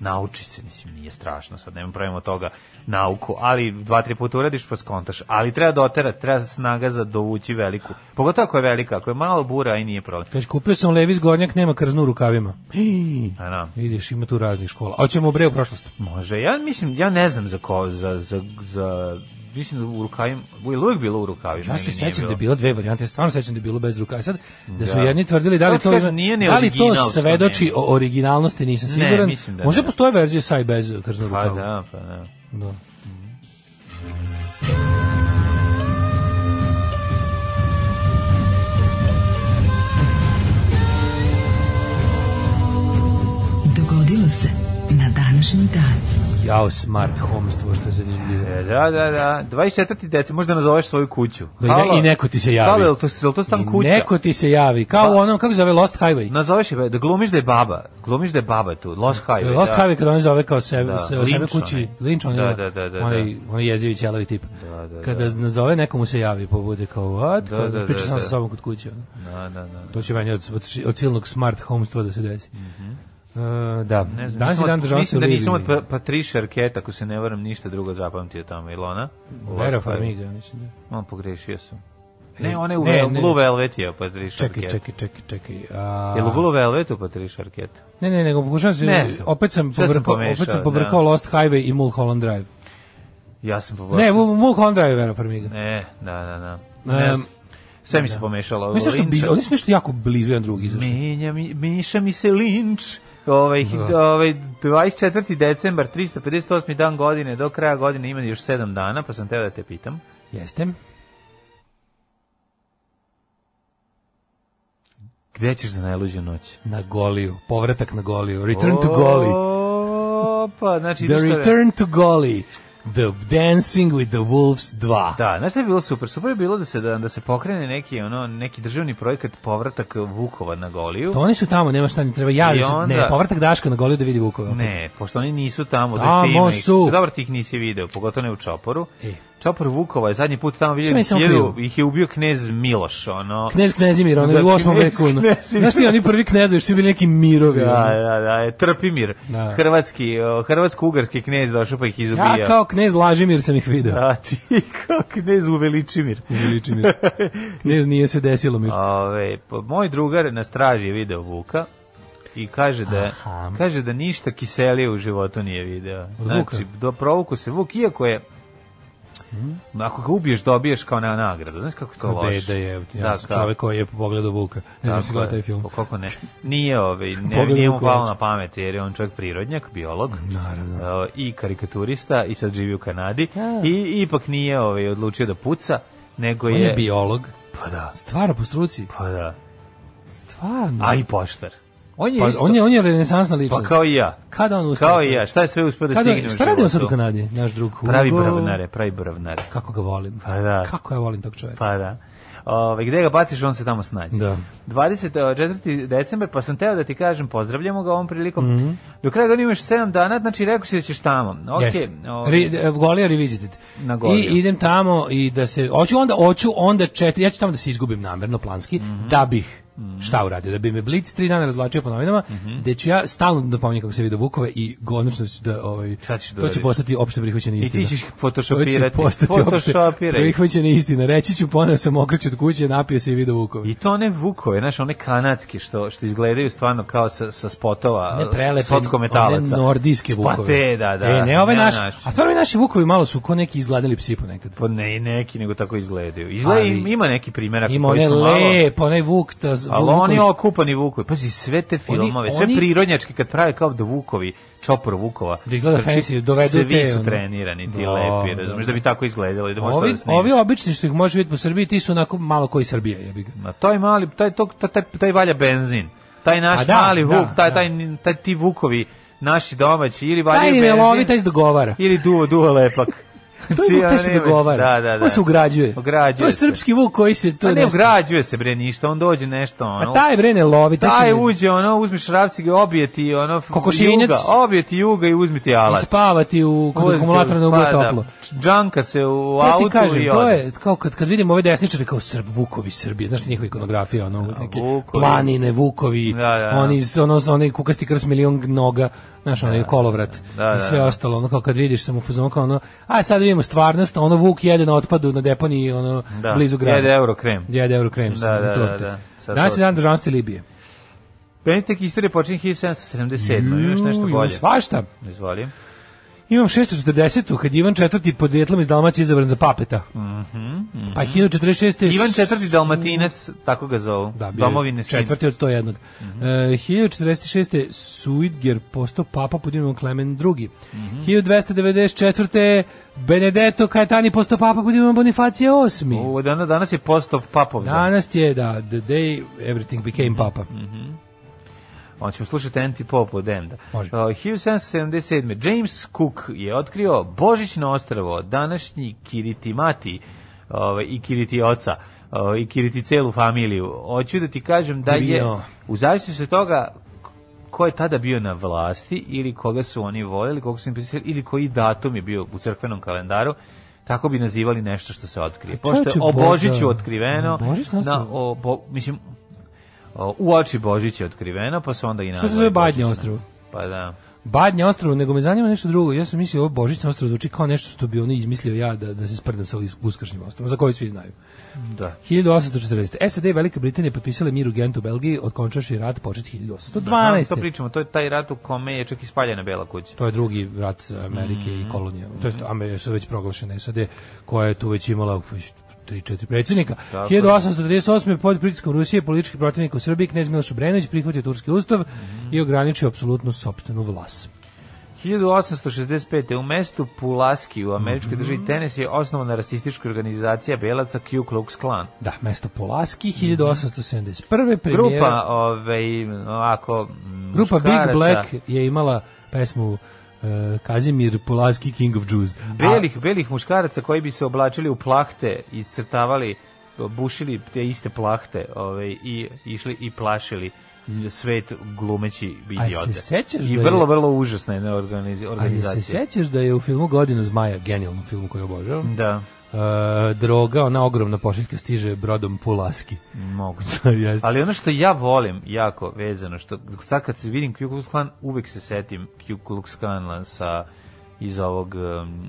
Speaker 5: nauči se, mislim, nije strašno, sad nema pravimo od toga nauku, ali dva, tri puta uradiš pa skontaš, ali treba doterati, treba snaga za dovući veliku, pogotovo ako je velika, ako je malo bura i nije problem.
Speaker 6: Kaže, kupio sam Levis Gornjak, nema krznu u rukavima.
Speaker 5: A, da.
Speaker 6: Vidiš, ima tu raznih škola. A ćemo bre u prošlost.
Speaker 5: Može, ja mislim, ja ne znam za ko, za, za, za mislim da u rukavima, je uvijek bilo u rukavima.
Speaker 6: Ja se
Speaker 5: ili nije
Speaker 6: sećam da
Speaker 5: bilo?
Speaker 6: je bilo dve varijante, ja stvarno sećam da je bilo bez rukava. Sad, da su
Speaker 5: Da.
Speaker 6: jedni tvrdili da li
Speaker 5: Kako ti
Speaker 6: to,
Speaker 5: kažem, nije ni
Speaker 6: da li to
Speaker 5: original, to
Speaker 6: svedoči
Speaker 5: nema.
Speaker 6: o originalnosti, nisam
Speaker 5: Ne,
Speaker 6: siguran.
Speaker 5: mislim da
Speaker 6: Možda
Speaker 5: ne.
Speaker 6: postoje verzija sa i bez krznu
Speaker 5: Pa
Speaker 6: rukava.
Speaker 5: da, pa da.
Speaker 6: Da.
Speaker 4: Dogodilo se na današnji dan.
Speaker 6: Jao, smart homestvo, što je zanimljivo.
Speaker 5: E, Da, da, da. 24. decembra možda nazoveš svoju kuću.
Speaker 6: Da, i ne- i neko ti se javi.
Speaker 5: Da, je li to, je li to stan
Speaker 6: I
Speaker 5: kuća? Pa-
Speaker 6: Neko ti se javi, kao u onom, kako se zove, Lost Highway.
Speaker 5: Nazoveš je, da glumiš da je baba. Glumiš da je baba tu. Lost Highway.
Speaker 6: Lost
Speaker 5: da.
Speaker 6: Highway kada on zove kao sebe,
Speaker 5: Da,
Speaker 6: da, sebe,
Speaker 5: Lynch
Speaker 6: kući,
Speaker 5: onaj.
Speaker 6: Lynch on
Speaker 5: Da,
Speaker 6: je,
Speaker 5: da, da, da,
Speaker 6: onaj, onaj jezivi ćelavi tip.
Speaker 5: Da, da,
Speaker 6: kada nazove, nekomu se javi, pa bude kao, what?
Speaker 5: Da,
Speaker 6: Da,
Speaker 5: da, da,
Speaker 6: da, priča sam
Speaker 5: da.
Speaker 6: sa sobom kod kuće. ono.
Speaker 5: Da, da, da.
Speaker 6: To će manje od, od, od silnog smart homestva da se desi. E, da,
Speaker 5: Mhm. Ne znam,
Speaker 6: danas
Speaker 5: nisam
Speaker 6: je dan
Speaker 5: od-
Speaker 6: državnosti u
Speaker 5: Mislim da nisam od
Speaker 6: Liviji.
Speaker 5: Pa- Patricia Arquette, ako se ne varam, ništa drugo zapamtio tamo. Ilona?
Speaker 6: Vera Farmiga, mislim da.
Speaker 5: On pogrešio sam.
Speaker 6: E,
Speaker 5: Ne, ona je u
Speaker 6: ne,
Speaker 5: Vel-
Speaker 6: ne.
Speaker 5: Blue Velvet je Patricia
Speaker 6: Čekaj,
Speaker 5: Arquette.
Speaker 6: čekaj, čekaj, čekaj. A,
Speaker 5: Je li u Blue Velvetu Patricia Arquette?
Speaker 6: Ne, ne, nego pokušavam se,
Speaker 5: Ne znam.
Speaker 6: opet sam
Speaker 5: Sve sam
Speaker 6: pobrkao,
Speaker 5: pomešao,
Speaker 6: opet sam pobrkao
Speaker 5: da.
Speaker 6: Lost Highway i Mulholland Drive.
Speaker 5: Ja sam poborio.
Speaker 6: Ne, Mul- Mulholland Drive je Vera Farmiga.
Speaker 5: Ne, da, da, da. Ne
Speaker 6: Em,
Speaker 5: znam. sve
Speaker 6: Da.
Speaker 5: mi se pomešalo.
Speaker 6: Oni su nešto
Speaker 5: Linča-
Speaker 6: biz- oni su nešto jako blizu jedan drugi izašli.
Speaker 5: Menja mi, miša mi se linč. Ovaj,
Speaker 6: Da.
Speaker 5: ovaj 24. decembar, 358. dan godine, do kraja godine ima još 7 dana, pa sam teo da te pitam.
Speaker 6: Jeste.
Speaker 5: Gde ćeš za najluđu noć?
Speaker 6: Na Goliju. Povratak na Goliju. Return to Goli.
Speaker 5: Opa, znači...
Speaker 6: The
Speaker 5: ideš to-
Speaker 6: Return to Goli. The Dancing with the Wolves 2.
Speaker 5: Da, znaš šta je bilo super? Super je bilo da se, da, da se pokrene neki, ono, neki državni projekat povratak Vukova na Goliju.
Speaker 6: To Pa oni su tamo, nema šta ni treba. Ja,
Speaker 5: I
Speaker 6: da se-
Speaker 5: onda-
Speaker 6: ne, povratak Daška na Goliju da vidi Vukova. opet.
Speaker 5: Ne, pošto oni nisu tamo.
Speaker 6: Tamo
Speaker 5: Tamo ima ih.
Speaker 6: su.
Speaker 5: Dobro, ti ih nisi video, pogotovo ne u Čoporu.
Speaker 6: E.
Speaker 5: Čopor Vukova je zadnji put tamo
Speaker 6: Šta
Speaker 5: vidio,
Speaker 6: mi samo
Speaker 5: jedu,
Speaker 6: krivo?
Speaker 5: ih je ubio knez Miloš, ono.
Speaker 6: Knez Knezimir, ono
Speaker 5: Da,
Speaker 6: je u osmom
Speaker 5: knez
Speaker 6: veku. ono.
Speaker 5: Knezimir.
Speaker 6: Znaš ti, oni prvi knezovi, svi bili neki mirovi.
Speaker 5: Da,
Speaker 6: ono.
Speaker 5: da, da, je Trpimir,
Speaker 6: Da.
Speaker 5: hrvatski, o, hrvatsko-ugarski knez došao pa ih izubija.
Speaker 6: Ja kao knez Lažimir sam ih video.
Speaker 5: A ti kao knez Uveličimir.
Speaker 6: Uveličimir. Knez nije se desilo mi.
Speaker 5: Ove, pa moj drugar na straži je video Vuka i kaže da
Speaker 6: Aha.
Speaker 5: kaže da ništa kiselije u životu nije video.
Speaker 6: Vuka?
Speaker 5: Znači, do provuku se Vuk, iako je Ako ga ubiješ, dobiješ kao na nagradu. Znaš kako je to loše?
Speaker 6: Hmm? Beda je, ja
Speaker 5: Da,
Speaker 6: sam
Speaker 5: kao-
Speaker 6: čovek koji je pogledao Vuka. Ne znam
Speaker 5: tako
Speaker 6: si gledao taj
Speaker 5: je.
Speaker 6: film.
Speaker 5: Pa Kako ne? Nije, ovaj, ne,
Speaker 6: Pogledaj
Speaker 5: nije mu
Speaker 6: Vuković.
Speaker 5: palo na pamet, jer je on čovjek prirodnjak, biolog.
Speaker 6: Naravno.
Speaker 5: e, I karikaturista, i sad živi u Kanadi.
Speaker 6: Ja.
Speaker 5: I ipak nije ovaj, odlučio da puca, nego
Speaker 6: Da. On
Speaker 5: je...
Speaker 6: je biolog.
Speaker 5: Pa da,
Speaker 6: Stvarno po struci.
Speaker 5: pa da.
Speaker 6: Stvarno.
Speaker 5: A i poštar. On je
Speaker 6: pa,
Speaker 5: isto.
Speaker 6: on je on je renesansna ličnost.
Speaker 5: Pa kao i ja.
Speaker 6: Kada on ustaje?
Speaker 5: Kao i ja. Šta je sve uspio da
Speaker 6: Kada,
Speaker 5: stigne u
Speaker 6: šta radi on sad u
Speaker 5: životu?
Speaker 6: Kanadi? Naš drug Hugo.
Speaker 5: Pravi bravnare, pravi bravnare.
Speaker 6: Kako ga volim.
Speaker 5: Pa da.
Speaker 6: Kako ja volim tog čoveka.
Speaker 5: Pa da. Ove, gde ga baciš, on se tamo snađe.
Speaker 6: Da.
Speaker 5: 24. decembar, pa sam teo da ti kažem, pozdravljamo ga ovom prilikom.
Speaker 6: Mhm.
Speaker 5: Do kraja godine imaš 7 dana, znači rekao si da ćeš tamo.
Speaker 6: Jeste.
Speaker 5: Okay,
Speaker 6: Ri- e, Golija revisited.
Speaker 5: ovaj- Na Goliju.
Speaker 6: I idem tamo i da se hoću onda hoću onda četiri ja ću tamo da se izgubim namerno planski
Speaker 5: Mhm.
Speaker 6: da bih šta uradio da bi me Blic tri dana razvlačio po novinama
Speaker 5: Mhm.
Speaker 6: gde ću ja stalno napominjem kako se vidi Vukove i konačno ću da ovaj
Speaker 5: Šta ćeš da
Speaker 6: to će
Speaker 5: uradiš?
Speaker 6: postati opšte prihvaćena
Speaker 5: ti
Speaker 6: istina
Speaker 5: ćeš ih photoshopirati.
Speaker 6: to će postati opšte
Speaker 5: Photoshopiraj.
Speaker 6: prihvaćena istina reći ću poneo sam okreću od kuće napio se i video Vukove
Speaker 5: I to one vukove, znaš, one kanadske što što izgledaju stvarno kao sa, sa spotova
Speaker 6: ne prelepe,
Speaker 5: sotsko metalaca.
Speaker 6: one nordijske vukove.
Speaker 5: Pa te, da, da.
Speaker 6: E, ne ove naše.
Speaker 5: naš.
Speaker 6: A stvarno i naši vukovi malo su ko neki izgladili psi ponekad.
Speaker 5: Pa ne, i neki, nego tako izgledaju. Izgledaju,
Speaker 6: Ali-
Speaker 5: ima neki primjerak
Speaker 6: Ima
Speaker 5: koji
Speaker 6: one
Speaker 5: su malo...
Speaker 6: lep, onaj vuk. Ta, z-
Speaker 5: Ali
Speaker 6: vukovi
Speaker 5: oni
Speaker 6: su-
Speaker 5: okupani vukovi, pazi, sve te filmove, sve
Speaker 6: oni-
Speaker 5: prirodnjački kad prave kao da vukovi, čopor vukova,
Speaker 6: Da izgleda
Speaker 5: znači,
Speaker 6: fancy, dovedu
Speaker 5: svi
Speaker 6: te,
Speaker 5: su
Speaker 6: ono.
Speaker 5: trenirani, ti
Speaker 6: Da,
Speaker 5: lepi,
Speaker 6: da,
Speaker 5: razumiješ,
Speaker 6: da.
Speaker 5: da bi tako izgledalo i da možeš to
Speaker 6: Ovi,
Speaker 5: da snimaš.
Speaker 6: ovi obični što ih može vidjeti po Srbiji, ti su onako malo koji Srbija, jebi ga.
Speaker 5: Ma, taj mali, taj, tog, taj, taj, taj valja benzin, taj
Speaker 6: A
Speaker 5: naš
Speaker 6: da,
Speaker 5: mali
Speaker 6: da,
Speaker 5: vuk, taj,
Speaker 6: da.
Speaker 5: taj, taj, ti vukovi, naši domaći, ili valja
Speaker 6: Taj
Speaker 5: benzin,
Speaker 6: ne lovi, taj se dogovara.
Speaker 5: ili duo, duo lepak.
Speaker 6: To je
Speaker 5: Znači,
Speaker 6: vuk, taj
Speaker 5: ono,
Speaker 6: se
Speaker 5: nemaš-
Speaker 6: dogovara.
Speaker 5: Da, da, da.
Speaker 6: On se ugrađuje.
Speaker 5: Ugrađuje
Speaker 6: To je
Speaker 5: se.
Speaker 6: srpski vuk koji se tu...
Speaker 5: Pa ne
Speaker 6: nešto-
Speaker 5: ugrađuje se bre ništa, on dođe nešto ono.
Speaker 6: A Pa taj bre ne lovi, taj,
Speaker 5: Taj
Speaker 6: se ne-
Speaker 5: uđe, ono, uzmiš ravci, obije ti, ono, f-
Speaker 6: Kokošinjac.
Speaker 5: juga, obije ti juga i uzmi ti
Speaker 6: i
Speaker 5: alat.
Speaker 6: spavati u kod
Speaker 5: Uzmi ti-
Speaker 6: akumulatora da mu bude
Speaker 5: pa
Speaker 6: toplo.
Speaker 5: Džanka se u
Speaker 6: To ti
Speaker 5: autu
Speaker 6: kažem,
Speaker 5: i
Speaker 6: to
Speaker 5: ode.
Speaker 6: je kao kad kad vidim ove desničare kao Srb Vukovi Srbije, znaš ti njihova ikonografija, ono neke
Speaker 5: Da, Vukovi.
Speaker 6: planine Vukovi,
Speaker 5: Da, da, da.
Speaker 6: oni s- ono oni kukasti krs milion noga, znaš onaj kolovrat
Speaker 5: da,
Speaker 6: i sve
Speaker 5: da.
Speaker 6: ostalo, ono kao kad vidiš sam u fazonu kao ono, aj sad vidimo stvarnost, ono Vuk jede na otpadu na deponiji ono
Speaker 5: Da,
Speaker 6: blizu grada.
Speaker 5: jede euro krem.
Speaker 6: Jede euro krem.
Speaker 5: Da,
Speaker 6: sa-
Speaker 5: da, da,
Speaker 6: torte.
Speaker 5: da, sa
Speaker 6: Danas je
Speaker 5: tortom.
Speaker 6: dan državnosti Libije.
Speaker 5: Penitek istorije počinje 1777. Imaš nešto bolje?
Speaker 6: Ju, Imam svašta.
Speaker 5: Izvoli.
Speaker 6: Imam 640. kad je Ivan IV. podrijetlom iz Dalmacije izabran za papeta. Pa 1046. je
Speaker 5: Mhm, Ivan IV. Dalmatinac, tako ga zovu.
Speaker 6: Da, bio je
Speaker 5: Domovine Mhm. sin.
Speaker 6: Četvrti od 101. Mm 1046. Suidger postao papa pod imenom Klemen II.
Speaker 5: Mhm.
Speaker 6: 1294. Benedetto Caetani postao papa pod imenom Bonifacije VIII.
Speaker 5: U, dana- danas je postov papov. dan.
Speaker 6: da,
Speaker 5: Mhm.
Speaker 6: Danas je, da, the day everything became papa.
Speaker 5: On ćemo slušati Antipop od Enda.
Speaker 6: Može.
Speaker 5: Uh, 1777. James Cook je otkrio Božićno ostravo, današnji Kiritimati ovaj, i Kiriti oca ovaj, i Kiriti celu familiju. Hoću da ti kažem da je,
Speaker 6: Ubijao.
Speaker 5: u zavisnosti od toga ko je tada bio na vlasti ili koga su oni voljeli, koga su im pisali, ili koji datum je bio u crkvenom kalendaru, tako bi nazivali nešto što se otkrije. Pošto je
Speaker 6: čoveče,
Speaker 5: o Božiću
Speaker 6: Pa Boga.
Speaker 5: otkriveno,
Speaker 6: Božić nastavi.
Speaker 5: na, o, bo, mislim, o, u oči Božić je otkriveno, pa su onda i nazvali
Speaker 6: se zove Badnje
Speaker 5: Božićno.
Speaker 6: ostrvo?
Speaker 5: Pa da.
Speaker 6: Badnje ostrvo, nego me zanima nešto drugo. Ja sam mislio ovo Božićno ostrvo zvuči kao nešto što bi oni izmislio ja da, da se sprdam sa ovim uskršnjim ostrovom, za koji svi znaju.
Speaker 5: Da.
Speaker 6: 1840. SAD i Velika Britanija potpisale mir u Gentu u Belgiji, otkončaši rat
Speaker 5: Da,
Speaker 6: počet
Speaker 5: To
Speaker 6: 1812.
Speaker 5: pričamo, to je taj rat u kome je čak i spaljena Bela kuća.
Speaker 6: To je drugi rat Amerike
Speaker 5: Mm.
Speaker 6: i kolonija. To jest Amerike su već proglašene SAD, koja je tu već imala uff, tri, četiri predsjednika.
Speaker 5: Tako je.
Speaker 6: 1838. pod pritiskom Rusije politički protivnik u Srbiji, knez Miloš Obrenović prihvatio turski ustav
Speaker 5: Mhm.
Speaker 6: i ograničio apsolutnu sopstvenu vlast.
Speaker 5: 1865. u mestu Pulaski u
Speaker 6: Mhm.
Speaker 5: američkoj državi Tenes je osnovana rasistička organizacija Belaca Ku Klux Klan.
Speaker 6: Da, mesto Polaski, 1871. Premijera,
Speaker 5: Mhm. Grupa, ovaj, ovako, m,
Speaker 6: grupa
Speaker 5: muškaraca,
Speaker 6: Big Black je imala pesmu e, Kazimir Polaski King of Jews. A-
Speaker 5: Belih, belih muškaraca koji bi se oblačili u plahte, iscrtavali, bušili te iste plahte ovaj, i išli i plašili svet glumeći idiote.
Speaker 6: se sećaš
Speaker 5: I
Speaker 6: da je-
Speaker 5: vrlo, vrlo užasna jedna organiz-
Speaker 6: A jel
Speaker 5: organizacija.
Speaker 6: se sećaš da je u filmu Godina zmaja, genijalnom filmu koji obožavam,
Speaker 5: Da,
Speaker 6: e, droga, ona ogromna pošiljka stiže brodom Pulaski.
Speaker 5: moguće.
Speaker 6: Jeste.
Speaker 5: Ali ono što ja volim jako vezano, što sad kad se vidim Ku Klux Klan, uvek se setim Ku Klux Klana sa, iz ovog, um,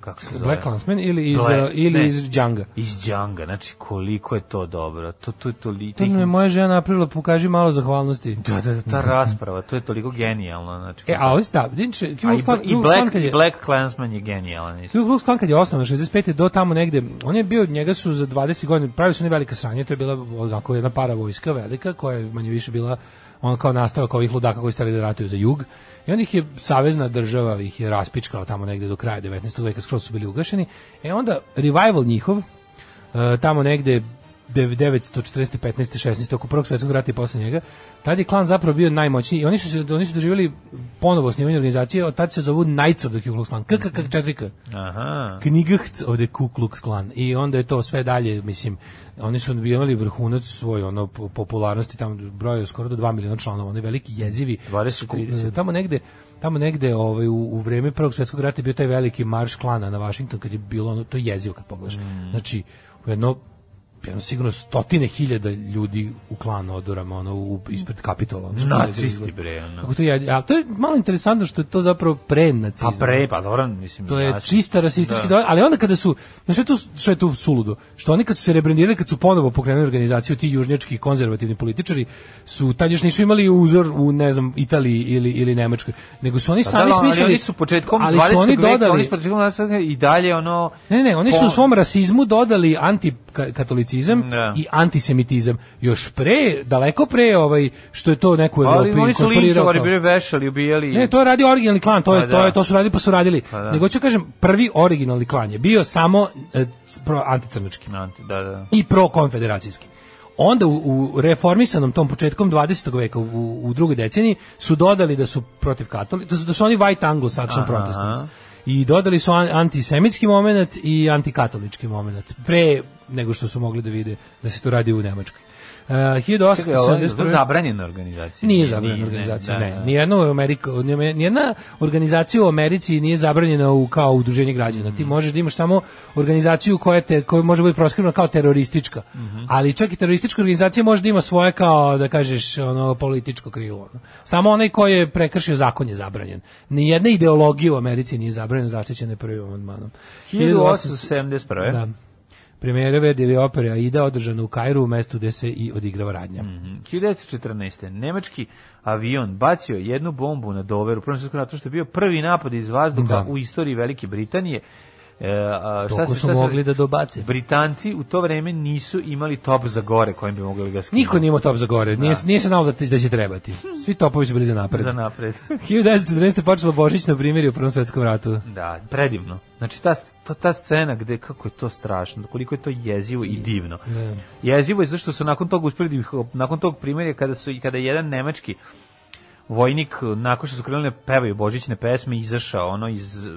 Speaker 5: kako se zove?
Speaker 6: Black Landsman ili iz,
Speaker 5: Black-
Speaker 6: e, ili
Speaker 5: ne.
Speaker 6: iz Djanga.
Speaker 5: Iz Djanga, znači koliko je to dobro. To, to je toliko...
Speaker 6: To mi je moja žena napravila, pokaži malo zahvalnosti.
Speaker 5: Da, da, da, ta rasprava, to je toliko genijalno. Znači,
Speaker 6: E, a ovo je stav. Dinče, Ku
Speaker 5: A i,
Speaker 6: Klux Klan-
Speaker 5: i,
Speaker 6: Ku Klux Klan
Speaker 5: Black,
Speaker 6: kad je-
Speaker 5: i Black Klansman je genijalan. isto.
Speaker 6: Ku Klux Klan kad je osnovan 65. do tamo negde, on je bio, njega su za 20 godina, pravili su ne velika sranje, to je bila onako jedna para vojska velika, koja je manje više bila on kao nastavak ovih ludaka koji su stali da ratuju za jug. I onda ih je savezna država ih je raspičkala tamo negde do kraja 19. veka, skroz su bili ugašeni. E onda revival njihov, e, tamo negde 945. 16. oko prvog svetskog rata i posle njega, tad je klan zapravo bio najmoćniji i oni su, se, oni su doživjeli ponovo osnivanje organizacije, od tad se zovu Knights of the Ku Klux Klan, KKK 4K.
Speaker 5: Aha.
Speaker 6: Knigahc of the Ku Klux Klan i onda je to sve dalje, mislim, oni su imali vrhunac svoj ono po- popularnosti tamo broje skoro do 2 miliona članova, oni veliki jezivi
Speaker 5: 20, 30.
Speaker 6: sku- tamo negde tamo negde ovaj u, u vreme prvog svetskog rata je bio taj veliki marš klana na Washington kad je bilo ono to je jezivo kad pogledaš.
Speaker 5: Mm.
Speaker 6: Znači u jedno jedno sigurno stotine hiljada ljudi u klan odorama ono u, ispred kapitola. Ono, što da je jezivo
Speaker 5: Nacisti,
Speaker 6: izgleda.
Speaker 5: bre, ono.
Speaker 6: Kako to je, ali to je malo interesantno što je to zapravo pre nacizma.
Speaker 5: Pa pre, pa dobro, mislim.
Speaker 6: To je
Speaker 5: jasno.
Speaker 6: čista rasistički da. ali onda kada su, znaš što je tu, što je tu suludo? Što oni kad su se rebrendirali, kad su ponovo pokrenuli organizaciju, ti južnjački konzervativni političari su tad još nisu imali uzor u, ne znam, Italiji ili, ili Nemačkoj, nego su oni
Speaker 5: Pa
Speaker 6: sami
Speaker 5: da, ali
Speaker 6: smislili...
Speaker 5: Oni su početkom
Speaker 6: ali
Speaker 5: 20.
Speaker 6: su oni
Speaker 5: veka,
Speaker 6: dodali...
Speaker 5: oni su početkom 20. veka i dalje ono...
Speaker 6: Ne, ne, oni su
Speaker 5: Po-
Speaker 6: u svom rasizmu dodali antikatolicizam
Speaker 5: Da.
Speaker 6: i antisemitizam. Još pre, daleko pre ovaj, što je to neko u Evropi
Speaker 5: Ali oni su
Speaker 6: inkorporirao
Speaker 5: linčovali,
Speaker 6: kao-
Speaker 5: bili vešali, ubijali.
Speaker 6: Ne, to je radio originalni klan, to je
Speaker 5: Pa
Speaker 6: to
Speaker 5: da.
Speaker 6: je to su radili pa su radili.
Speaker 5: da.
Speaker 6: Nego ću kažem prvi originalni klan je bio samo e, pro anticrnački
Speaker 5: Znate, Da, da.
Speaker 6: i pro konfederacijski. Onda u, u reformisanom tom početkom 20. veka u, u drugoj deceniji su dodali da su protiv katolika, da su, da su oni white anglo-saxon protestants. I dodali su an, antisemitski moment i antikatolički moment. Pre nego što su mogli da vide da se to radi u Nemačkoj. Uh,
Speaker 5: Čekaj, ovo je
Speaker 6: 1871.
Speaker 5: zabranjena organizacija.
Speaker 6: Nije zabranjena organizacija,
Speaker 5: da,
Speaker 6: ne. da, Nijedna, u Amerika, nijedna organizacija u Americi nije zabranjena u, kao udruženje građana.
Speaker 5: Mhm.
Speaker 6: Ti možeš da imaš samo organizaciju koja, te, koja može biti proskrivna kao teroristička.
Speaker 5: Mhm.
Speaker 6: Ali čak i teroristička organizacija može da ima svoje kao, da kažeš, ono, političko krilo. ono. Samo onaj koji je prekršio zakon je zabranjen. Nijedna ideologija u Americi nije zabranjena, zaštićena je prvim amandmanom.
Speaker 5: 1871.
Speaker 6: Da. Premijera Verdijeve opere Aida održana u Kairu u mestu gde se i odigrava radnja.
Speaker 5: Mhm. 1914. Nemački avion bacio jednu bombu na Doveru, prvom svjetskom ratu, što je bio prvi napad iz vazduha
Speaker 6: Da.
Speaker 5: u istoriji Velike Britanije. E, a, šta
Speaker 6: Toliko
Speaker 5: se
Speaker 6: su mogli da dobace.
Speaker 5: Britanci u to vreme nisu imali top za gore kojim bi mogli da ga skinu.
Speaker 6: Niko nije imao top za gore, nije, nije se znalo da, ti- da će trebati. Svi topovi su bili za napred.
Speaker 5: za napred.
Speaker 6: 1914. počelo Božićno primirje u Prvom svetskom ratu.
Speaker 5: Da, predivno. Znači ta, ta, ta scena gde kako je to strašno, koliko je to jezivo i divno. Jezivo je zato što su nakon tog uspeli da ih- nakon tog primjerja kada su i kada je jedan nemački vojnik nakon što su krenuli da pevaju božićne pesme izašao ono iz eh,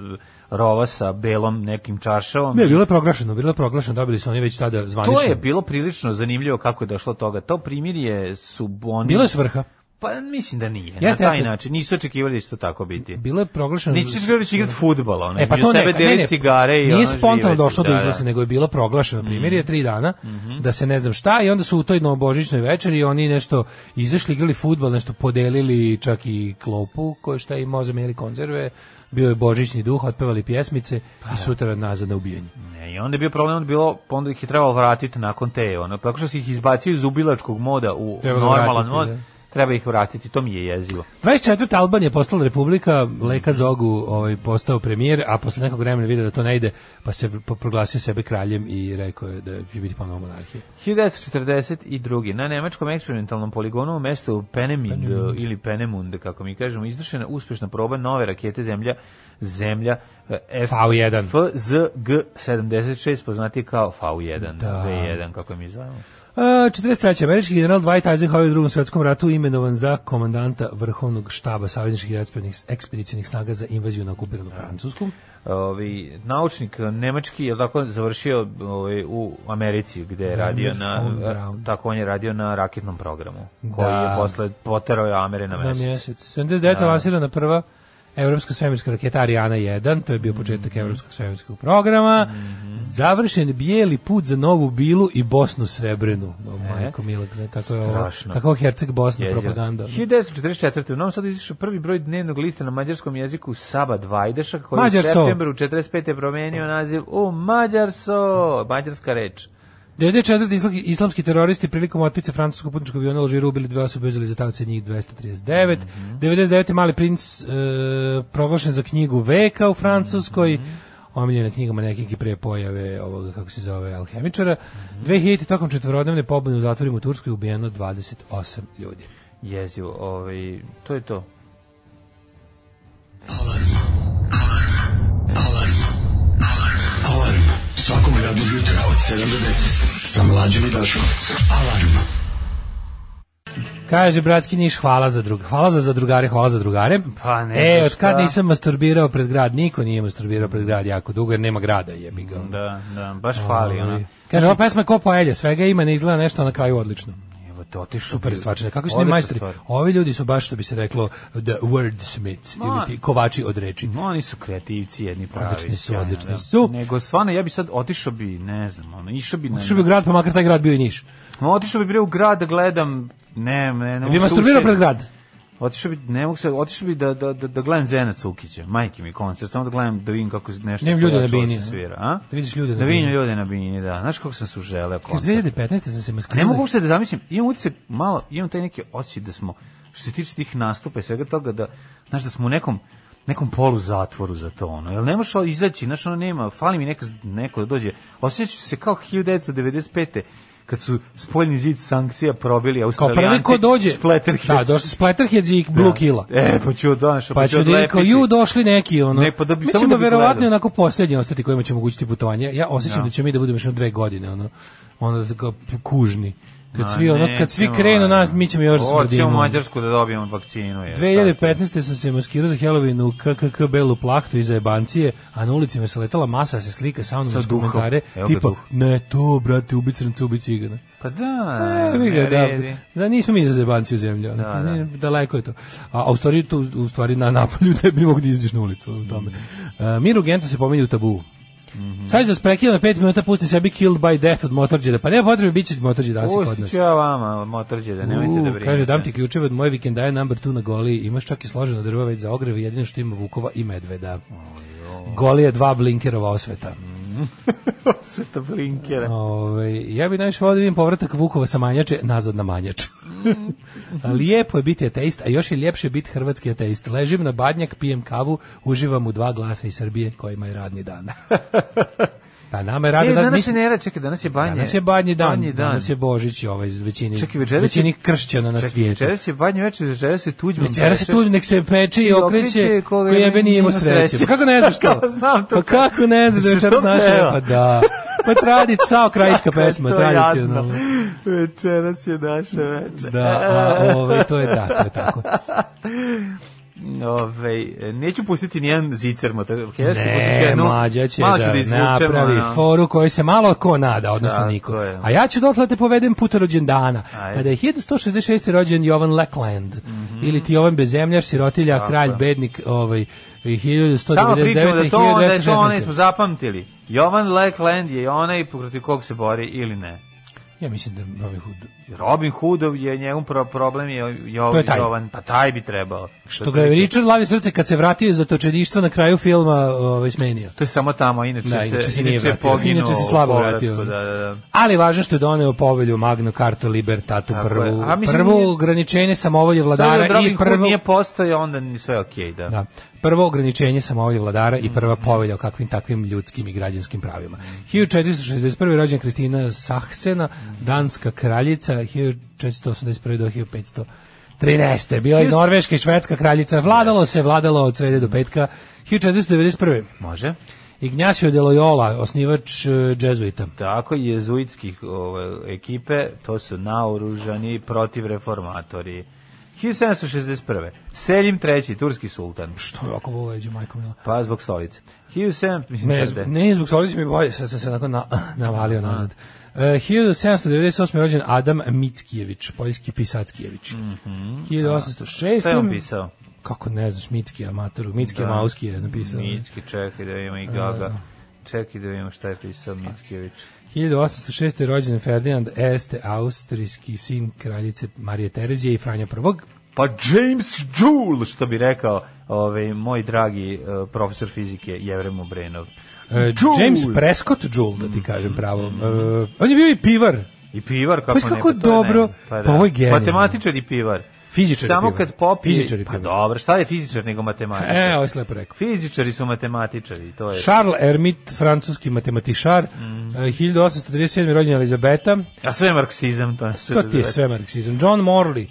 Speaker 5: rova sa belom nekim čaršavom.
Speaker 6: Ne, bilo je proglašeno, bilo je proglašeno, dobili su oni već tada zvanično.
Speaker 5: to je bilo prilično zanimljivo kako je došlo do toga. To primirje su oni
Speaker 6: Bilo je svrha.
Speaker 5: pa mislim da nije.
Speaker 6: Jeste,
Speaker 5: na taj
Speaker 6: jeste.
Speaker 5: način nisu očekivali da će to tako biti.
Speaker 6: Bilo je proglašeno...
Speaker 5: Neće se igrati igrati fudbala, ono.
Speaker 6: E pa to
Speaker 5: između
Speaker 6: ne,
Speaker 5: sebe
Speaker 6: ne,
Speaker 5: deli
Speaker 6: ne,
Speaker 5: cigare i ono
Speaker 6: nije spontano
Speaker 5: živeti.
Speaker 6: došlo do
Speaker 5: Da, Mhm. da.
Speaker 6: izlaska, nego je bilo proglašeno primirje tri dana, da se ne znam šta, i onda su u toj novobožićnoj večeri oni nešto izašli, igrali futbal, nešto podelili čak i klopu, koje šta i moze menjali konzerve, bio je božićni duh, otpevali pjesmice
Speaker 5: Pa
Speaker 6: i
Speaker 5: da.
Speaker 6: sutra nazad na ubijenje.
Speaker 5: Ne, I onda je bio problem, onda je bilo, pa onda ih je trebalo vratiti nakon te, ono, tako što si ih izbacio iz ubilačkog moda u
Speaker 6: Treba ga
Speaker 5: normalan
Speaker 6: vratiti,
Speaker 5: mod,
Speaker 6: da.
Speaker 5: treba ih vratiti, to mi je jezivo.
Speaker 6: 24. Albanija postala republika, Leka Zogu ovaj, postao premijer, a posle nekog vremena vidio da to ne ide, pa se po- proglasio sebe kraljem i rekao je da će biti ponovno monarhija.
Speaker 5: 1942. Na nemačkom eksperimentalnom poligonu u mestu Penemund ili Penemund, kako mi kažemo, izvršena uspešna proba nove rakete zemlja zemlja eh, F
Speaker 6: V1.
Speaker 5: FZG-76, poznati kao V1,
Speaker 6: Da.
Speaker 5: V1, kako mi zovemo.
Speaker 6: E, 43. američki general Dwight Eisenhower u drugom svjetskom ratu imenovan za komandanta vrhovnog štaba savezničkih i ekspedicionih- ekspedicionih snaga za invaziju na
Speaker 5: Da.
Speaker 6: okupiranu Francusku.
Speaker 5: ovi naučnik eh, nemački je tako završio ovaj u Americi gde
Speaker 6: Da,
Speaker 5: je radio
Speaker 6: Werner
Speaker 5: na eh,
Speaker 6: von Braun.
Speaker 5: tako on je radio na raketnom programu koji
Speaker 6: Da.
Speaker 5: je posle poterao je Amere na
Speaker 6: Na
Speaker 5: mesec.
Speaker 6: mjesec.
Speaker 5: Da.
Speaker 6: 79. lansirana prva evropska svemirska raketa Ariana 1, to je bio početak
Speaker 5: Mhm.
Speaker 6: evropskog svemirskog programa. Završen bijeli put za Novu Bilu i Bosnu Srebrenu. O, majko Milak, znaš kako je ovo,
Speaker 5: E. strašno.
Speaker 6: kako je Herceg Bosna
Speaker 5: Jezivo.
Speaker 6: propaganda. Da.
Speaker 5: 1944. U Novom Sadu izišao prvi broj dnevnog lista na mađarskom jeziku Saba Dvajdeša koji je u
Speaker 6: Mađarso.
Speaker 5: septembru 45. promenio naziv u Mađarso, mađarska reč.
Speaker 6: 94. isla- islamski teroristi prilikom otpice francuskog putničkog aviona u Alžiru ubili dve osobe uzeli za tavce njih 239.
Speaker 5: Mhm.
Speaker 6: 99. Mali princ e, proglašen za knjigu veka u Francuskoj.
Speaker 5: Mhm.
Speaker 6: Omiljena knjiga manekinke pre pojave ovoga, kako se zove, alhemičara. 2000. tokom četvorodnevne pobune u zatvorima u Turskoj ubijeno 28 ljudi.
Speaker 5: Jezivo, ovaj to je to.
Speaker 1: Alarm svakog radnog jutra od 7 do 10 sa mlađom i Daškom. Alarm.
Speaker 6: Kaže bratski Niš, hvala za drug, hvala za zadrugare, hvala za drugare.
Speaker 5: Pa, ne
Speaker 6: E,
Speaker 5: znam
Speaker 6: od kad
Speaker 5: šta.
Speaker 6: nisam masturbirao pred grad, niko nije masturbirao pred grad jako dugo, jer nema grada, jebi ga.
Speaker 5: Da, da, baš fali
Speaker 6: Ovaj,
Speaker 5: ona.
Speaker 6: Kaže, ova pesma je ko poelje, svega ima, ne izgleda nešto na kraju odlično.
Speaker 5: Evo to otišao.
Speaker 6: Super stvarčine. Kako su
Speaker 5: Odlična
Speaker 6: njim majstori?
Speaker 5: stvar.
Speaker 6: Ovi ljudi su baš, što bi se reklo, the wordsmiths, ili ti kovači od reči.
Speaker 5: Ma, Oni su kreativci jedni pravi.
Speaker 6: Odlični su,
Speaker 5: sjajno,
Speaker 6: odlični
Speaker 5: da.
Speaker 6: su.
Speaker 5: Nego stvarno ja bi sad otišao bi, ne znam, ono, išao bi na.
Speaker 6: Što bi u grad, pa makar taj grad bio i niš.
Speaker 5: Ma, otišao bi bre u grad da gledam, ne, ne, ne.
Speaker 6: Bi
Speaker 5: mogu se
Speaker 6: masturbirao
Speaker 5: usjedim.
Speaker 6: pred grad.
Speaker 5: Otišao bi, ne mogu se, otišao bi da da da, da gledam Zena Cukića, majke mi koncert, samo da gledam da vidim kako nešto
Speaker 6: Ne, ljude na
Speaker 5: spojačalo se
Speaker 6: bini, ne?
Speaker 5: svira, a?
Speaker 6: Da vidiš ljude na
Speaker 5: Da vidim
Speaker 6: bini.
Speaker 5: ljude na bini, da. Znaš kako sam se uželeo
Speaker 6: Kaže,
Speaker 5: koncert.
Speaker 6: 2015. sam se maskirao.
Speaker 5: Ne
Speaker 6: za-
Speaker 5: mogu uopšte da zamislim, imam utisak malo, imam taj neki osjećaj da smo, što se tiče tih nastupa i svega toga, da, znaš, da smo u nekom, nekom polu zatvoru za to, ono, jel ne možeš o- izaći, znaš, ono nema, fali mi neko, neko da dođe, osjećaću se kao 1995. kad su spoljni zid sankcija probili
Speaker 6: Kao
Speaker 5: Australijanci,
Speaker 6: prvi ko dođe...
Speaker 5: Splatterheads.
Speaker 6: Da, došli Splatterheads i Blue Killa.
Speaker 5: E, pa ću odanaš,
Speaker 6: Pa ću da vidim kao, ju, došli neki, ono.
Speaker 5: Ne, pa da bi-
Speaker 6: mi
Speaker 5: samo
Speaker 6: ćemo
Speaker 5: da bi
Speaker 6: verovatno
Speaker 5: gledao.
Speaker 6: onako posljednji ostati kojima ćemo omogućiti putovanje. Ja osjećam da ćemo mi da budemo još na dve godine, ono, ono tako kužni. Kad svi, ono, kad svi krenu nas, mi ćemo još da
Speaker 5: Hoćemo
Speaker 6: smrdimo.
Speaker 5: Mađarsku da dobijemo vakcinu. Je,
Speaker 6: 2015. sam se maskirao za Halloween u KKK Belu plahtu iza jebancije, a na ulici me se letala masa, se slika sa mnom
Speaker 5: Sa
Speaker 6: uz
Speaker 5: duhom.
Speaker 6: komentare,
Speaker 5: Evo ga
Speaker 6: tipa,
Speaker 5: duh.
Speaker 6: ne to, brate, ubi crnca, ubi cigana.
Speaker 5: Pa da,
Speaker 6: E, vi ga,
Speaker 5: ne
Speaker 6: da,
Speaker 5: vredi.
Speaker 6: da, nismo mi za zebanci u zemlju, ono,
Speaker 5: Da, da.
Speaker 6: nije- daleko je to. A, a u stvari, to, u stvari na napolju tebi ne mogu da izdiš na ulicu. u Tome.
Speaker 5: Mm.
Speaker 6: E, Miru Gento se pominje u tabu.
Speaker 5: Mhm.
Speaker 6: Sad ću da sprekila na 5 minuta, pusti sebi Killed by Death od Motorđeda. Pa nema potrebe, bit će Motorđeda danas i kod
Speaker 5: Pustit
Speaker 6: nas.
Speaker 5: ću ja vama, motorđe, da nemojte da
Speaker 6: U,
Speaker 5: brinete.
Speaker 6: Kaže, dam ti ključeve od moje vikendaje number 2 na goli, imaš čak i složeno drvo već za ogrev, jedino što ima Vukova i Medveda. Goli je dva blinkerova osveta.
Speaker 5: Sve to blinkere.
Speaker 6: Ovaj, Ove, ja bi najviše volio da vidim povratak Vukova sa manjače nazad na manjač.
Speaker 5: Mhm.
Speaker 6: Lijepo je biti ateist, a još je ljepše biti hrvatski ateist. Ležim na badnjak, pijem kavu, uživam u dva glasa iz Srbije kojima je radni dan. Pa nama je radni
Speaker 5: E,
Speaker 6: dan.
Speaker 5: danas je
Speaker 6: mislim-
Speaker 5: ne rad, čekaj, danas je banje.
Speaker 6: Danas je badnji dan,
Speaker 5: Badnji dan.
Speaker 6: danas je Božić ovaj većini,
Speaker 5: Čekaj, večeras je-
Speaker 6: većini kršćana na
Speaker 5: Čekaj,
Speaker 6: svijetu.
Speaker 5: večeras je banje večer, večeras je tuđman.
Speaker 6: Večeras
Speaker 5: peče.
Speaker 6: tu nek se peče i
Speaker 5: I
Speaker 6: okreće,
Speaker 5: okreće ko
Speaker 6: ko
Speaker 5: ga
Speaker 6: jebe nije imao
Speaker 5: ima
Speaker 6: sreće.
Speaker 5: sreće.
Speaker 6: Pa kako ne znaš to?
Speaker 5: Kako znam to?
Speaker 6: Pa kako ne znaš da je
Speaker 5: Se to
Speaker 6: večeras naša?
Speaker 5: peva?
Speaker 6: Pa da. Pa tradic, sao krajiška pesma,
Speaker 5: To je jadno.
Speaker 6: tradicionalno.
Speaker 5: Večeras je naše večer.
Speaker 6: Da, a, ovaj, to je da, to je tako.
Speaker 5: Ove, neću pustiti nijedan zicer motorheški.
Speaker 6: Ne, mlađa će
Speaker 5: malo ću
Speaker 6: da,
Speaker 5: da izvučem.
Speaker 6: napravi
Speaker 5: ono.
Speaker 6: foru koju se malo ko nada, odnosno
Speaker 5: Tako
Speaker 6: niko.
Speaker 5: je.
Speaker 6: A ja ću dotle da te povedem put rođendana.
Speaker 5: Ajde. Mhm.
Speaker 6: Kada je 1166. rođen Jovan Lackland, ili ti Jovan Bezemljaš, sirotilja, kralj,
Speaker 5: je.
Speaker 6: bednik, ovaj, i 1199.
Speaker 5: Samo pričamo da to onda je to onaj
Speaker 6: 1216.
Speaker 5: smo zapamtili. Jovan Lackland je onaj protiv kog se bori ili ne.
Speaker 6: Ja mislim da Robin Hood,
Speaker 5: Robin Hoodov je njegov pro problem je jo,
Speaker 6: To je taj.
Speaker 5: Jovan, pa taj bi trebao.
Speaker 6: što ga je Richard Lavi srce kad se vratio iz zatočeništva na kraju filma ovaj, smenio.
Speaker 5: To je samo tamo, inače,
Speaker 6: Da, inače
Speaker 5: se,
Speaker 6: se nije
Speaker 5: inače je
Speaker 6: vratio.
Speaker 5: poginuo.
Speaker 6: Inače se
Speaker 5: u
Speaker 6: slabo
Speaker 5: povratku,
Speaker 6: vratio.
Speaker 5: Da, da, da.
Speaker 6: Ali važno što je doneo povelju Magno Carta Libertatu
Speaker 5: Tako
Speaker 6: prvu,
Speaker 5: je. A mislim,
Speaker 6: prvo
Speaker 5: nije-
Speaker 6: ograničenje samovolje
Speaker 5: Da,
Speaker 6: vladara i
Speaker 5: Robin Hood
Speaker 6: prvo
Speaker 5: nije postojao, onda ni sve okej, da.
Speaker 6: Da. Prvo ograničenje samovolje vladara i prva povelja o kakvim takvim ljudskim i građanskim pravima. 1461. rođena Kristina Sahsena, danska kraljica, 1481. do 1500 13. Bila je norveška i švedska kraljica. Vladalo se, vladalo od srede do petka. 1491.
Speaker 5: Može?
Speaker 6: Ignacio de Loyola, osnivač eh, džezuita.
Speaker 5: Tako i jezuitskih ove, ekipe, to su naoružani protiv reformatori. 1761. Selim III, turski sultan,
Speaker 6: Što je ovako boveđe, majko mila?
Speaker 5: pa zbog stolice. 1700, mislim,
Speaker 6: Ne,
Speaker 5: da je-
Speaker 6: ne zbog solice mi bolje, sad sam se onako na, navalio nazad. Uh, 1798. je rođen Adam Mickijević, poljski pisackijević. Mm -hmm, 1806.
Speaker 5: Mhm. Šta je on pisao?
Speaker 6: Kako ne znaš, Micki amatoru, Micki da. E. Mauski je napisao.
Speaker 5: Micki, čekaj da ima i Gaga. Čekaj da vidimo šta je pisao
Speaker 6: Pa.
Speaker 5: Mickijević.
Speaker 6: 1806. je rođen Ferdinand Este, austrijski sin kraljice Marije Terezije i Franja I.
Speaker 5: Pa James Joule, što bi rekao ovaj, moj dragi eh, profesor fizike Jevrem Obrenov.
Speaker 6: E,
Speaker 5: Joule!
Speaker 6: James Prescott Joule, da ti
Speaker 5: Mhm,
Speaker 6: kažem pravo. E, on je bio i pivar,
Speaker 5: I pivar, kako
Speaker 6: Pa kako
Speaker 5: ne, to je
Speaker 6: dobro,
Speaker 5: ne,
Speaker 6: pa ovo je genijalno.
Speaker 5: Matematičar i pivar.
Speaker 6: Fizičar i
Speaker 5: Samo
Speaker 6: pivar.
Speaker 5: kad popije...
Speaker 6: Fizičar i
Speaker 5: Pa
Speaker 6: pivar.
Speaker 5: dobro, šta je fizičar nego matematičar?
Speaker 6: e, ovo je slepo rekao.
Speaker 5: Fizičari su matematičari, to je...
Speaker 6: Charles Hermit, francuski matematičar, mm. 1837. rođena Elizabeta,
Speaker 5: A sve je marksizam, to je sve.
Speaker 6: to ti je sve marksizam. John Morley,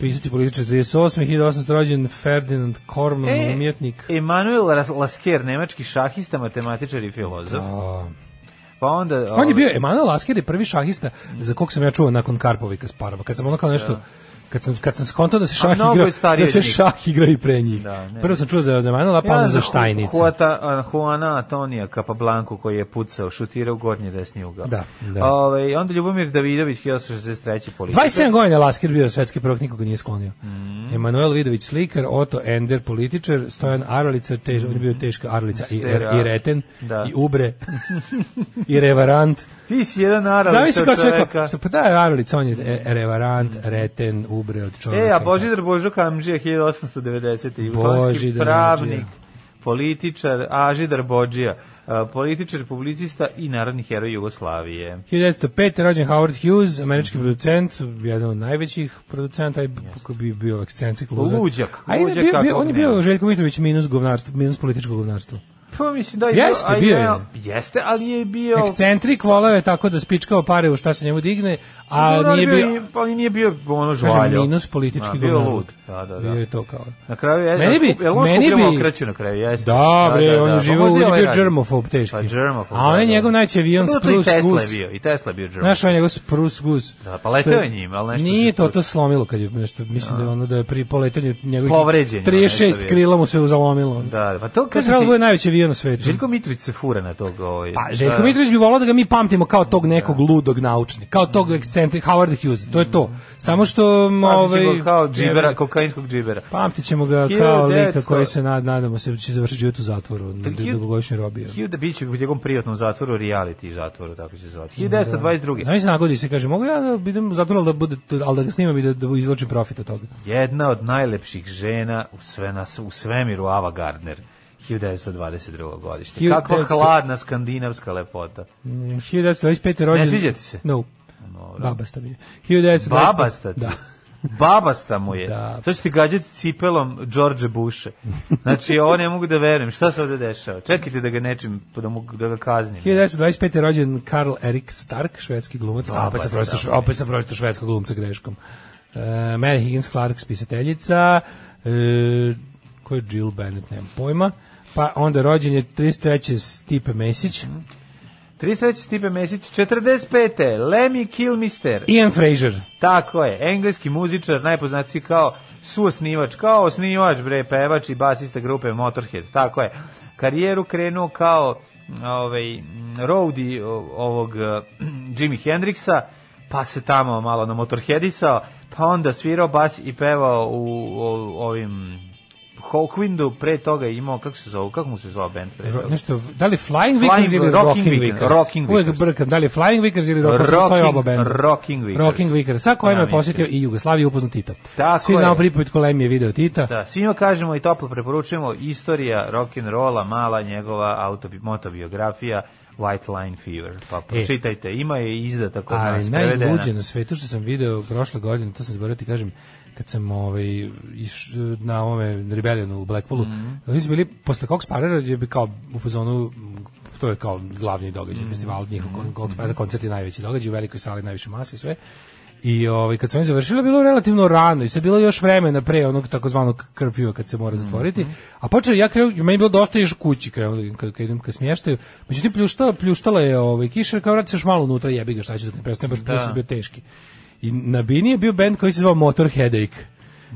Speaker 6: pisac i političar 48. 1800. rođen Ferdinand Korman,
Speaker 5: E,
Speaker 6: umjetnik.
Speaker 5: Emanuel Ras- Lasker, nemački šahista, matematičar i filozof.
Speaker 6: A,
Speaker 5: Pa onda...
Speaker 6: Da. on
Speaker 5: ovaj,
Speaker 6: je bio Emanuel Lasker je prvi šahista za kog sam ja čuo nakon Karpova i Kasparova. Kad sam ono kao nešto kad sam kad sam skontao da se šah
Speaker 5: Da. mnogo
Speaker 6: igra
Speaker 5: je stariji
Speaker 6: da se
Speaker 5: od njih.
Speaker 6: šah igra i pre njih.
Speaker 5: Da, ne.
Speaker 6: Prvo sam čuo za Emanuela, pa onda za Štajnica.
Speaker 5: Huata, Juana Antonija Capablanco koji je pucao, šutirao u gornji desni ugao.
Speaker 6: Da, da.
Speaker 5: Ove, onda Ljubomir Davidović, 1963. politika.
Speaker 6: 27 godina Lasker bio svetski prvak, nikog ga nije sklonio.
Speaker 5: Mm.
Speaker 6: Emanuel Vidović slikar, Oto Ender političar, Stojan Aralica, tež, on je bio teška Aralica i, er,
Speaker 5: Stera.
Speaker 6: i reten,
Speaker 5: Da.
Speaker 6: i ubre, i revarant.
Speaker 5: Ti si jedan naravno
Speaker 6: Zamisli kao sve
Speaker 5: Da, čoveka.
Speaker 6: kao, pa da je Aralica, on je e- revarant, reten, ubre od čovjeka.
Speaker 5: E, a Božidar Božo Kamžija, 1890. Jugoslovenski
Speaker 6: da. Božidar
Speaker 5: pravnik,
Speaker 6: Božija.
Speaker 5: političar, Ažidar Bođija, a, političar, publicista i narodni heroj Jugoslavije.
Speaker 6: 1905. je rođen Howard Hughes, američki producent, jedan od najvećih producenta, i kako bi bio ekscentrik ludak.
Speaker 5: Luđak,
Speaker 6: A on je
Speaker 5: luđak
Speaker 6: bio,
Speaker 5: kakvog
Speaker 6: bio, on je bio
Speaker 5: nema.
Speaker 6: Željko Mitrović minus govnarstvo, minus političko govnarstvo.
Speaker 5: Pa mislim da je
Speaker 6: Jeste,
Speaker 5: a i
Speaker 6: bio
Speaker 5: da
Speaker 6: je.
Speaker 5: Jeste, ali je bio...
Speaker 6: Ekscentrik voleo je tako da spičkao pare u šta se njemu digne, a
Speaker 5: Dobro, Da, ali
Speaker 6: nije
Speaker 5: bio
Speaker 6: bio
Speaker 5: i- Ali nije bio ono
Speaker 6: kažem,
Speaker 5: žvaljo.
Speaker 6: minus politički
Speaker 5: Da, bio
Speaker 6: govnar.
Speaker 5: lud. Da, da, da.
Speaker 6: Bio je to kao.
Speaker 5: Na kraju je,
Speaker 6: Meni bi-
Speaker 5: jel on
Speaker 6: meni
Speaker 5: skupljao
Speaker 6: bi-
Speaker 5: okraću na kraju, jeste.
Speaker 6: Da, bre, on je živeo,
Speaker 5: možda
Speaker 6: on je
Speaker 5: ovaj
Speaker 6: bio
Speaker 5: radi.
Speaker 6: germofob teški.
Speaker 5: Pa germofob.
Speaker 6: A on je
Speaker 5: da, da.
Speaker 6: njegov najčevijan
Speaker 5: Pa dobro, to
Speaker 6: sprus
Speaker 5: I Tesla je
Speaker 6: gus.
Speaker 5: bio, i Tesla je bio germofob.
Speaker 6: Znaš, on je njegov sprus gus.
Speaker 5: Da, pa leteo je njim, ali nešto
Speaker 6: Nije
Speaker 5: se
Speaker 6: to,
Speaker 5: tu-
Speaker 6: to slomilo kad je nešto, mislim da je ono da je pri poletanju njegovih...
Speaker 5: Povređen je, nešto
Speaker 6: 36
Speaker 5: je.
Speaker 6: krila mu se uzalomilo.
Speaker 5: Da, pa to
Speaker 6: To je
Speaker 5: kaže
Speaker 6: trebalo
Speaker 5: ti,
Speaker 6: bude najveći avion na svetu.
Speaker 5: Željko Mitrović se fura na tog ovaj.
Speaker 6: Pa Željko
Speaker 5: da,
Speaker 6: Mitrović bi volao da ga mi pamtimo kao tog nekog ludog naučnika, kao tog
Speaker 5: Mm.
Speaker 6: ekscentrik Howard Hughes, to je to. Samo što m,
Speaker 5: pamtit ćemo
Speaker 6: ovaj
Speaker 5: kao džibera, kokainskog džibera.
Speaker 6: Pamtit ćemo ga kao
Speaker 5: 1900
Speaker 6: lika koji se nad, nadamo se da će završiti život u zatvoru, da na
Speaker 5: Pa hiljadu-
Speaker 6: dugogodišnjoj robiji.
Speaker 5: Hilda Bić u njegovom privatnom zatvoru, reality zatvoru, tako će se zvati. 1922.
Speaker 6: Da. Znaš, nagodi se, kaže, mogu ja da idem u zatvor, ali da, bude, ali da ga snimam i da, da izločim profit od toga.
Speaker 5: Jedna od najlepših žena u, sve, na, u svemiru, Ava Gardner. 1922. godište.
Speaker 6: 1900
Speaker 5: Kakva hladna skandinavska lepota.
Speaker 6: Mm, 1925. rođen...
Speaker 5: sviđa ti se?
Speaker 6: No.
Speaker 5: Dobro.
Speaker 6: Babasta mi je. 1925.
Speaker 5: Babasta ti?
Speaker 6: Da.
Speaker 5: Babasta mu je.
Speaker 6: Da.
Speaker 5: Sad ću ti gađati cipelom George Busha. Znači, ovo ne mogu da verujem. Šta se ovde dešava? Čekajte da ga nečim, da, mu, da ga kaznim.
Speaker 6: 1925. je rođen Karl Erik Stark, švedski glumac.
Speaker 5: Baba
Speaker 6: opet sam
Speaker 5: Stark.
Speaker 6: pročito, šve- opet sam pročito švedskog glumca greškom. Uh, Mary Higgins Clark, spisateljica. Uh, ko je Jill Bennett, nemam pojma. Pa onda rođen je 33. Stipe Mesić.
Speaker 5: 33. Stipe Mesić, 45. Lemmy Kilmister.
Speaker 6: Ian Fraser.
Speaker 5: Tako je, engleski muzičar, najpoznatiji kao suosnivač, kao osnivač, bre, pevač i basista grupe Motorhead, tako je. Karijeru krenuo kao ovaj, m, roadie o- ovog eh, Jimi Hendrixa, pa se tamo malo na Motorheadisao, pa onda svirao bas i pevao u, u ovim Hawkwindu, pre toga je imao, kako se zove, kako mu se zvao band? pre
Speaker 6: Ro-
Speaker 5: toga?
Speaker 6: Nešto, da li Flying Vickers
Speaker 5: Flying-
Speaker 6: ili
Speaker 5: Rocking
Speaker 6: Rocking
Speaker 5: Vickers,
Speaker 6: Vickers?
Speaker 5: Rocking
Speaker 6: Uvijek
Speaker 5: Vickers.
Speaker 6: brkam, da li Flying Vickers ili Rocking Vickers?
Speaker 5: Rocking-
Speaker 6: oba benda.
Speaker 5: Rocking Vickers.
Speaker 6: Rocking Vickers, sa kojima je
Speaker 5: Namještaj.
Speaker 6: posjetio i Jugoslaviju upozno Tita.
Speaker 5: Tako
Speaker 6: Svi znamo
Speaker 5: je.
Speaker 6: pripovit kolem je video Tita.
Speaker 5: Da, svima kažemo i toplo preporučujemo istorija rock and rolla, mala njegova autobi, motobiografija White Line Fever. Pa pročitajte, ima je izdata kod
Speaker 6: E. Ali
Speaker 5: nas prevedena.
Speaker 6: najluđe na svetu što sam video prošle godine, to sam zaboravio da ti kažem, kad sam ovaj, iš, na ovome Rebellionu u Blackpoolu, oni su bili, posle Cox Parera je bi kao u fazonu, to je kao glavni događaj, festival njihov, Cox Parera, koncert je najveći događaj, u velikoj sali najviše mase i sve. I ovaj kad su oni završili bilo je relativno rano i sve bilo je još vremena pre onog takozvanog curfewa kad se mora zatvoriti. A počeo ja kreo meni je bilo dosta još kući kreo da idem- kad, kad idem ka smještaju. Međutim pljuštala pljuštala je ovaj kiša kao vrati se još malo unutra jebi ga šta će da ne prestane baš pljuštao je bio teški. I na bini je bio bend koji se zvao Motorheadache.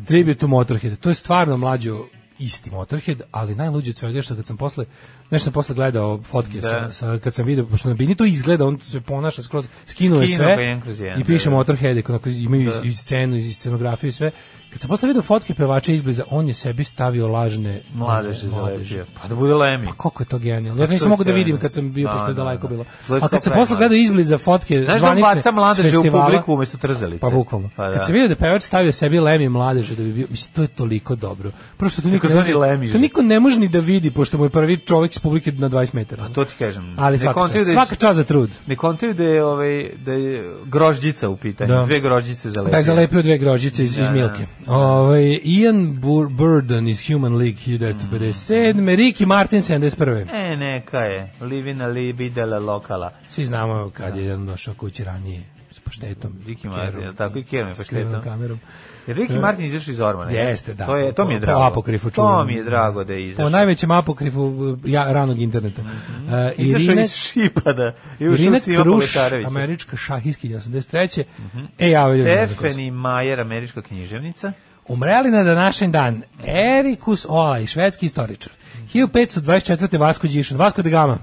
Speaker 6: Tribute to Motorhead. To je stvarno mlađo isti Motorhead, ali najluđe od svega je što kad sam posle nešto sam posle gledao fotke
Speaker 5: Da.
Speaker 6: sa, sa, kad sam video pošto na bini to izgleda on se ponaša skroz skinuo je
Speaker 5: Skinuo ga
Speaker 6: sve
Speaker 5: jedan kroz jedan,
Speaker 6: i piše
Speaker 5: da, da.
Speaker 6: Motorhead, onako imaju i- i scenu, i scenografiju i sve. Kad sam posle video fotke pevača izbliza, on je sebi stavio lažne
Speaker 5: Mladež je
Speaker 6: one, mladeže.
Speaker 5: zalepio. Pa da bude Lemi.
Speaker 6: Pa koliko je to genijalno. Ja
Speaker 5: to
Speaker 6: to nisam
Speaker 5: je
Speaker 6: mogao da
Speaker 5: sjajno.
Speaker 6: vidim kad sam bio,
Speaker 5: Da,
Speaker 6: pošto je
Speaker 5: da,
Speaker 6: daleko
Speaker 5: da.
Speaker 6: bilo.
Speaker 5: To je
Speaker 6: A kad sam
Speaker 5: stvarno.
Speaker 6: posle gledao izbliza fotke
Speaker 5: Znaš da on
Speaker 6: zvanične
Speaker 5: baca mladeže u
Speaker 6: festivala-
Speaker 5: publiku umesto trzalice.
Speaker 6: Pa bukvalno.
Speaker 5: Pa da.
Speaker 6: Kad se vidio da je pevač stavio sebi lemi mladeže da bi bio, mislim, to je toliko dobro. Prvo što to niko,
Speaker 5: Kako
Speaker 6: ne
Speaker 5: zvani
Speaker 6: može,
Speaker 5: Lemi,
Speaker 6: to
Speaker 5: že?
Speaker 6: niko ne može ni da vidi, pošto mu je prvi čovjek iz publike na 20 metara.
Speaker 5: A to ti kažem.
Speaker 6: Ali svaka
Speaker 5: kontaju
Speaker 6: čast,
Speaker 5: da je-
Speaker 6: svaka čast za trud.
Speaker 5: Ne kontaju da je, ovaj, da je grožđica u pitanju.
Speaker 6: Da.
Speaker 5: Dve grožđice zalepio.
Speaker 6: Da je zalepio dve grožice
Speaker 5: Da,
Speaker 6: iz, iz Milke. Ovaj, Ian Bur Burden iz Human League 1957. Ricky Martin 71.
Speaker 5: E, neka je. Livina libidela lokala.
Speaker 6: Svi znamo kad je on došao kući ranije s paštetom.
Speaker 5: Ricky Martin,
Speaker 6: kerom,
Speaker 5: Da. je li tako? I kerom i
Speaker 6: skrivenom
Speaker 5: paštetom.
Speaker 6: kamerom.
Speaker 5: Jer Ricky Martin izašao iz Ormana.
Speaker 6: E. Jeste, da.
Speaker 5: To, je, to mi je
Speaker 6: Po- po
Speaker 5: drago.
Speaker 6: apokrifu
Speaker 5: to
Speaker 6: čuvenom.
Speaker 5: mi je drago da je
Speaker 6: Po
Speaker 5: izašao.
Speaker 6: najvećem apokrifu ja, ranog interneta. E,
Speaker 5: Mhm. Izašao
Speaker 6: Irine,
Speaker 5: iz šipa da i ušao
Speaker 6: Irine
Speaker 5: u Sima
Speaker 6: Kruš,
Speaker 5: Poletarevića.
Speaker 6: američka šahiskinja 83.
Speaker 5: Mhm.
Speaker 6: E, ja vidim. ne znam ko su.
Speaker 5: Stephanie Majer, američka književnica.
Speaker 6: Umreli na današnji dan Erikus Olaj, švedski istoričar.
Speaker 5: Mhm.
Speaker 6: 1524. Vasko Đišan, Vasko de da Gama.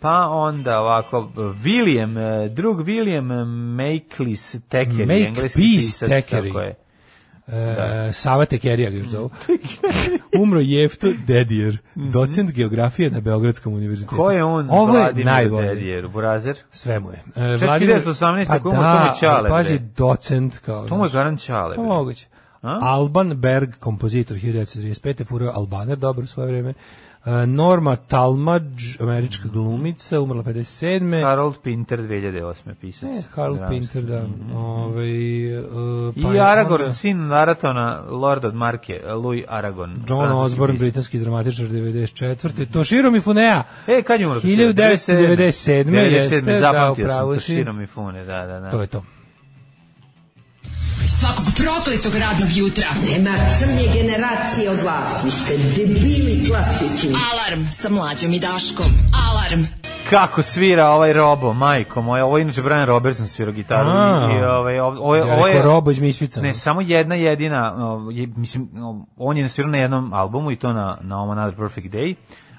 Speaker 5: Pa onda ovako, William, eh, drug William Makelis Tekeri,
Speaker 6: Make
Speaker 5: engleski
Speaker 6: peace
Speaker 5: pisac.
Speaker 6: Thackeray.
Speaker 5: Tako je. Da.
Speaker 6: E, Sava Tekerija ga još zovu. Umro Jefto Dedijer, docent geografije na Beogradskom univerzitetu.
Speaker 5: Mhm. Ko je on?
Speaker 6: Ovo je
Speaker 5: Vladimir
Speaker 6: najbolje.
Speaker 5: Dedijer, Burazer.
Speaker 6: Sve mu je. E,
Speaker 5: 1918
Speaker 6: Pa
Speaker 5: ko mu je Tome
Speaker 6: da,
Speaker 5: Ćale,
Speaker 6: paži,
Speaker 5: bre.
Speaker 6: docent kao.
Speaker 5: To mu je
Speaker 6: znaš,
Speaker 5: Goran Ćale.
Speaker 6: pa
Speaker 5: bre.
Speaker 6: moguće.
Speaker 5: A?
Speaker 6: Alban Berg, kompozitor 1935. Fureo Albaner, dobro svoje vreme. E, Norma Talmadge,
Speaker 5: Mm.
Speaker 6: američka glumica, umrla 57.
Speaker 5: Harold Pinter 2008. pisac.
Speaker 6: E, Harold
Speaker 5: Dramski.
Speaker 6: Pinter, da. Ovaj, e, pa
Speaker 5: Mm. I
Speaker 6: je
Speaker 5: Aragorn,
Speaker 6: onda
Speaker 5: sin Naratona, Lord od Marke, Louis Aragon.
Speaker 6: John
Speaker 5: francuski
Speaker 6: Osborne,
Speaker 5: pisac.
Speaker 6: britanski dramatičar 94. Toshiro Mifunea.
Speaker 5: E, kad je umro?
Speaker 6: 1997.
Speaker 5: 97.
Speaker 6: jeste,
Speaker 5: Zapamtio
Speaker 6: da,
Speaker 5: sam
Speaker 6: upravo si.
Speaker 5: Toshiro Mifune, da, da, da.
Speaker 6: To je to.
Speaker 4: Svakog prokletog radnog jutra.
Speaker 7: Nema crnje generacije od vas. Vi ste debili klasični.
Speaker 4: Alarm sa mlađom i Daškom. Alarm.
Speaker 5: Kako svira ovaj Robo, majko moja. Ovo je inače Brian Robertson svirao gitaru.
Speaker 6: A.
Speaker 5: I, i ovaj, ovo, ovo, je-
Speaker 6: Ja
Speaker 5: ovo
Speaker 6: rekao,
Speaker 5: je...
Speaker 6: Robo iz Misfica.
Speaker 5: Ne, samo jedna jedina, o, je, mislim, o, on je svirao na jednom albumu i to na, na ovom Another Perfect Day,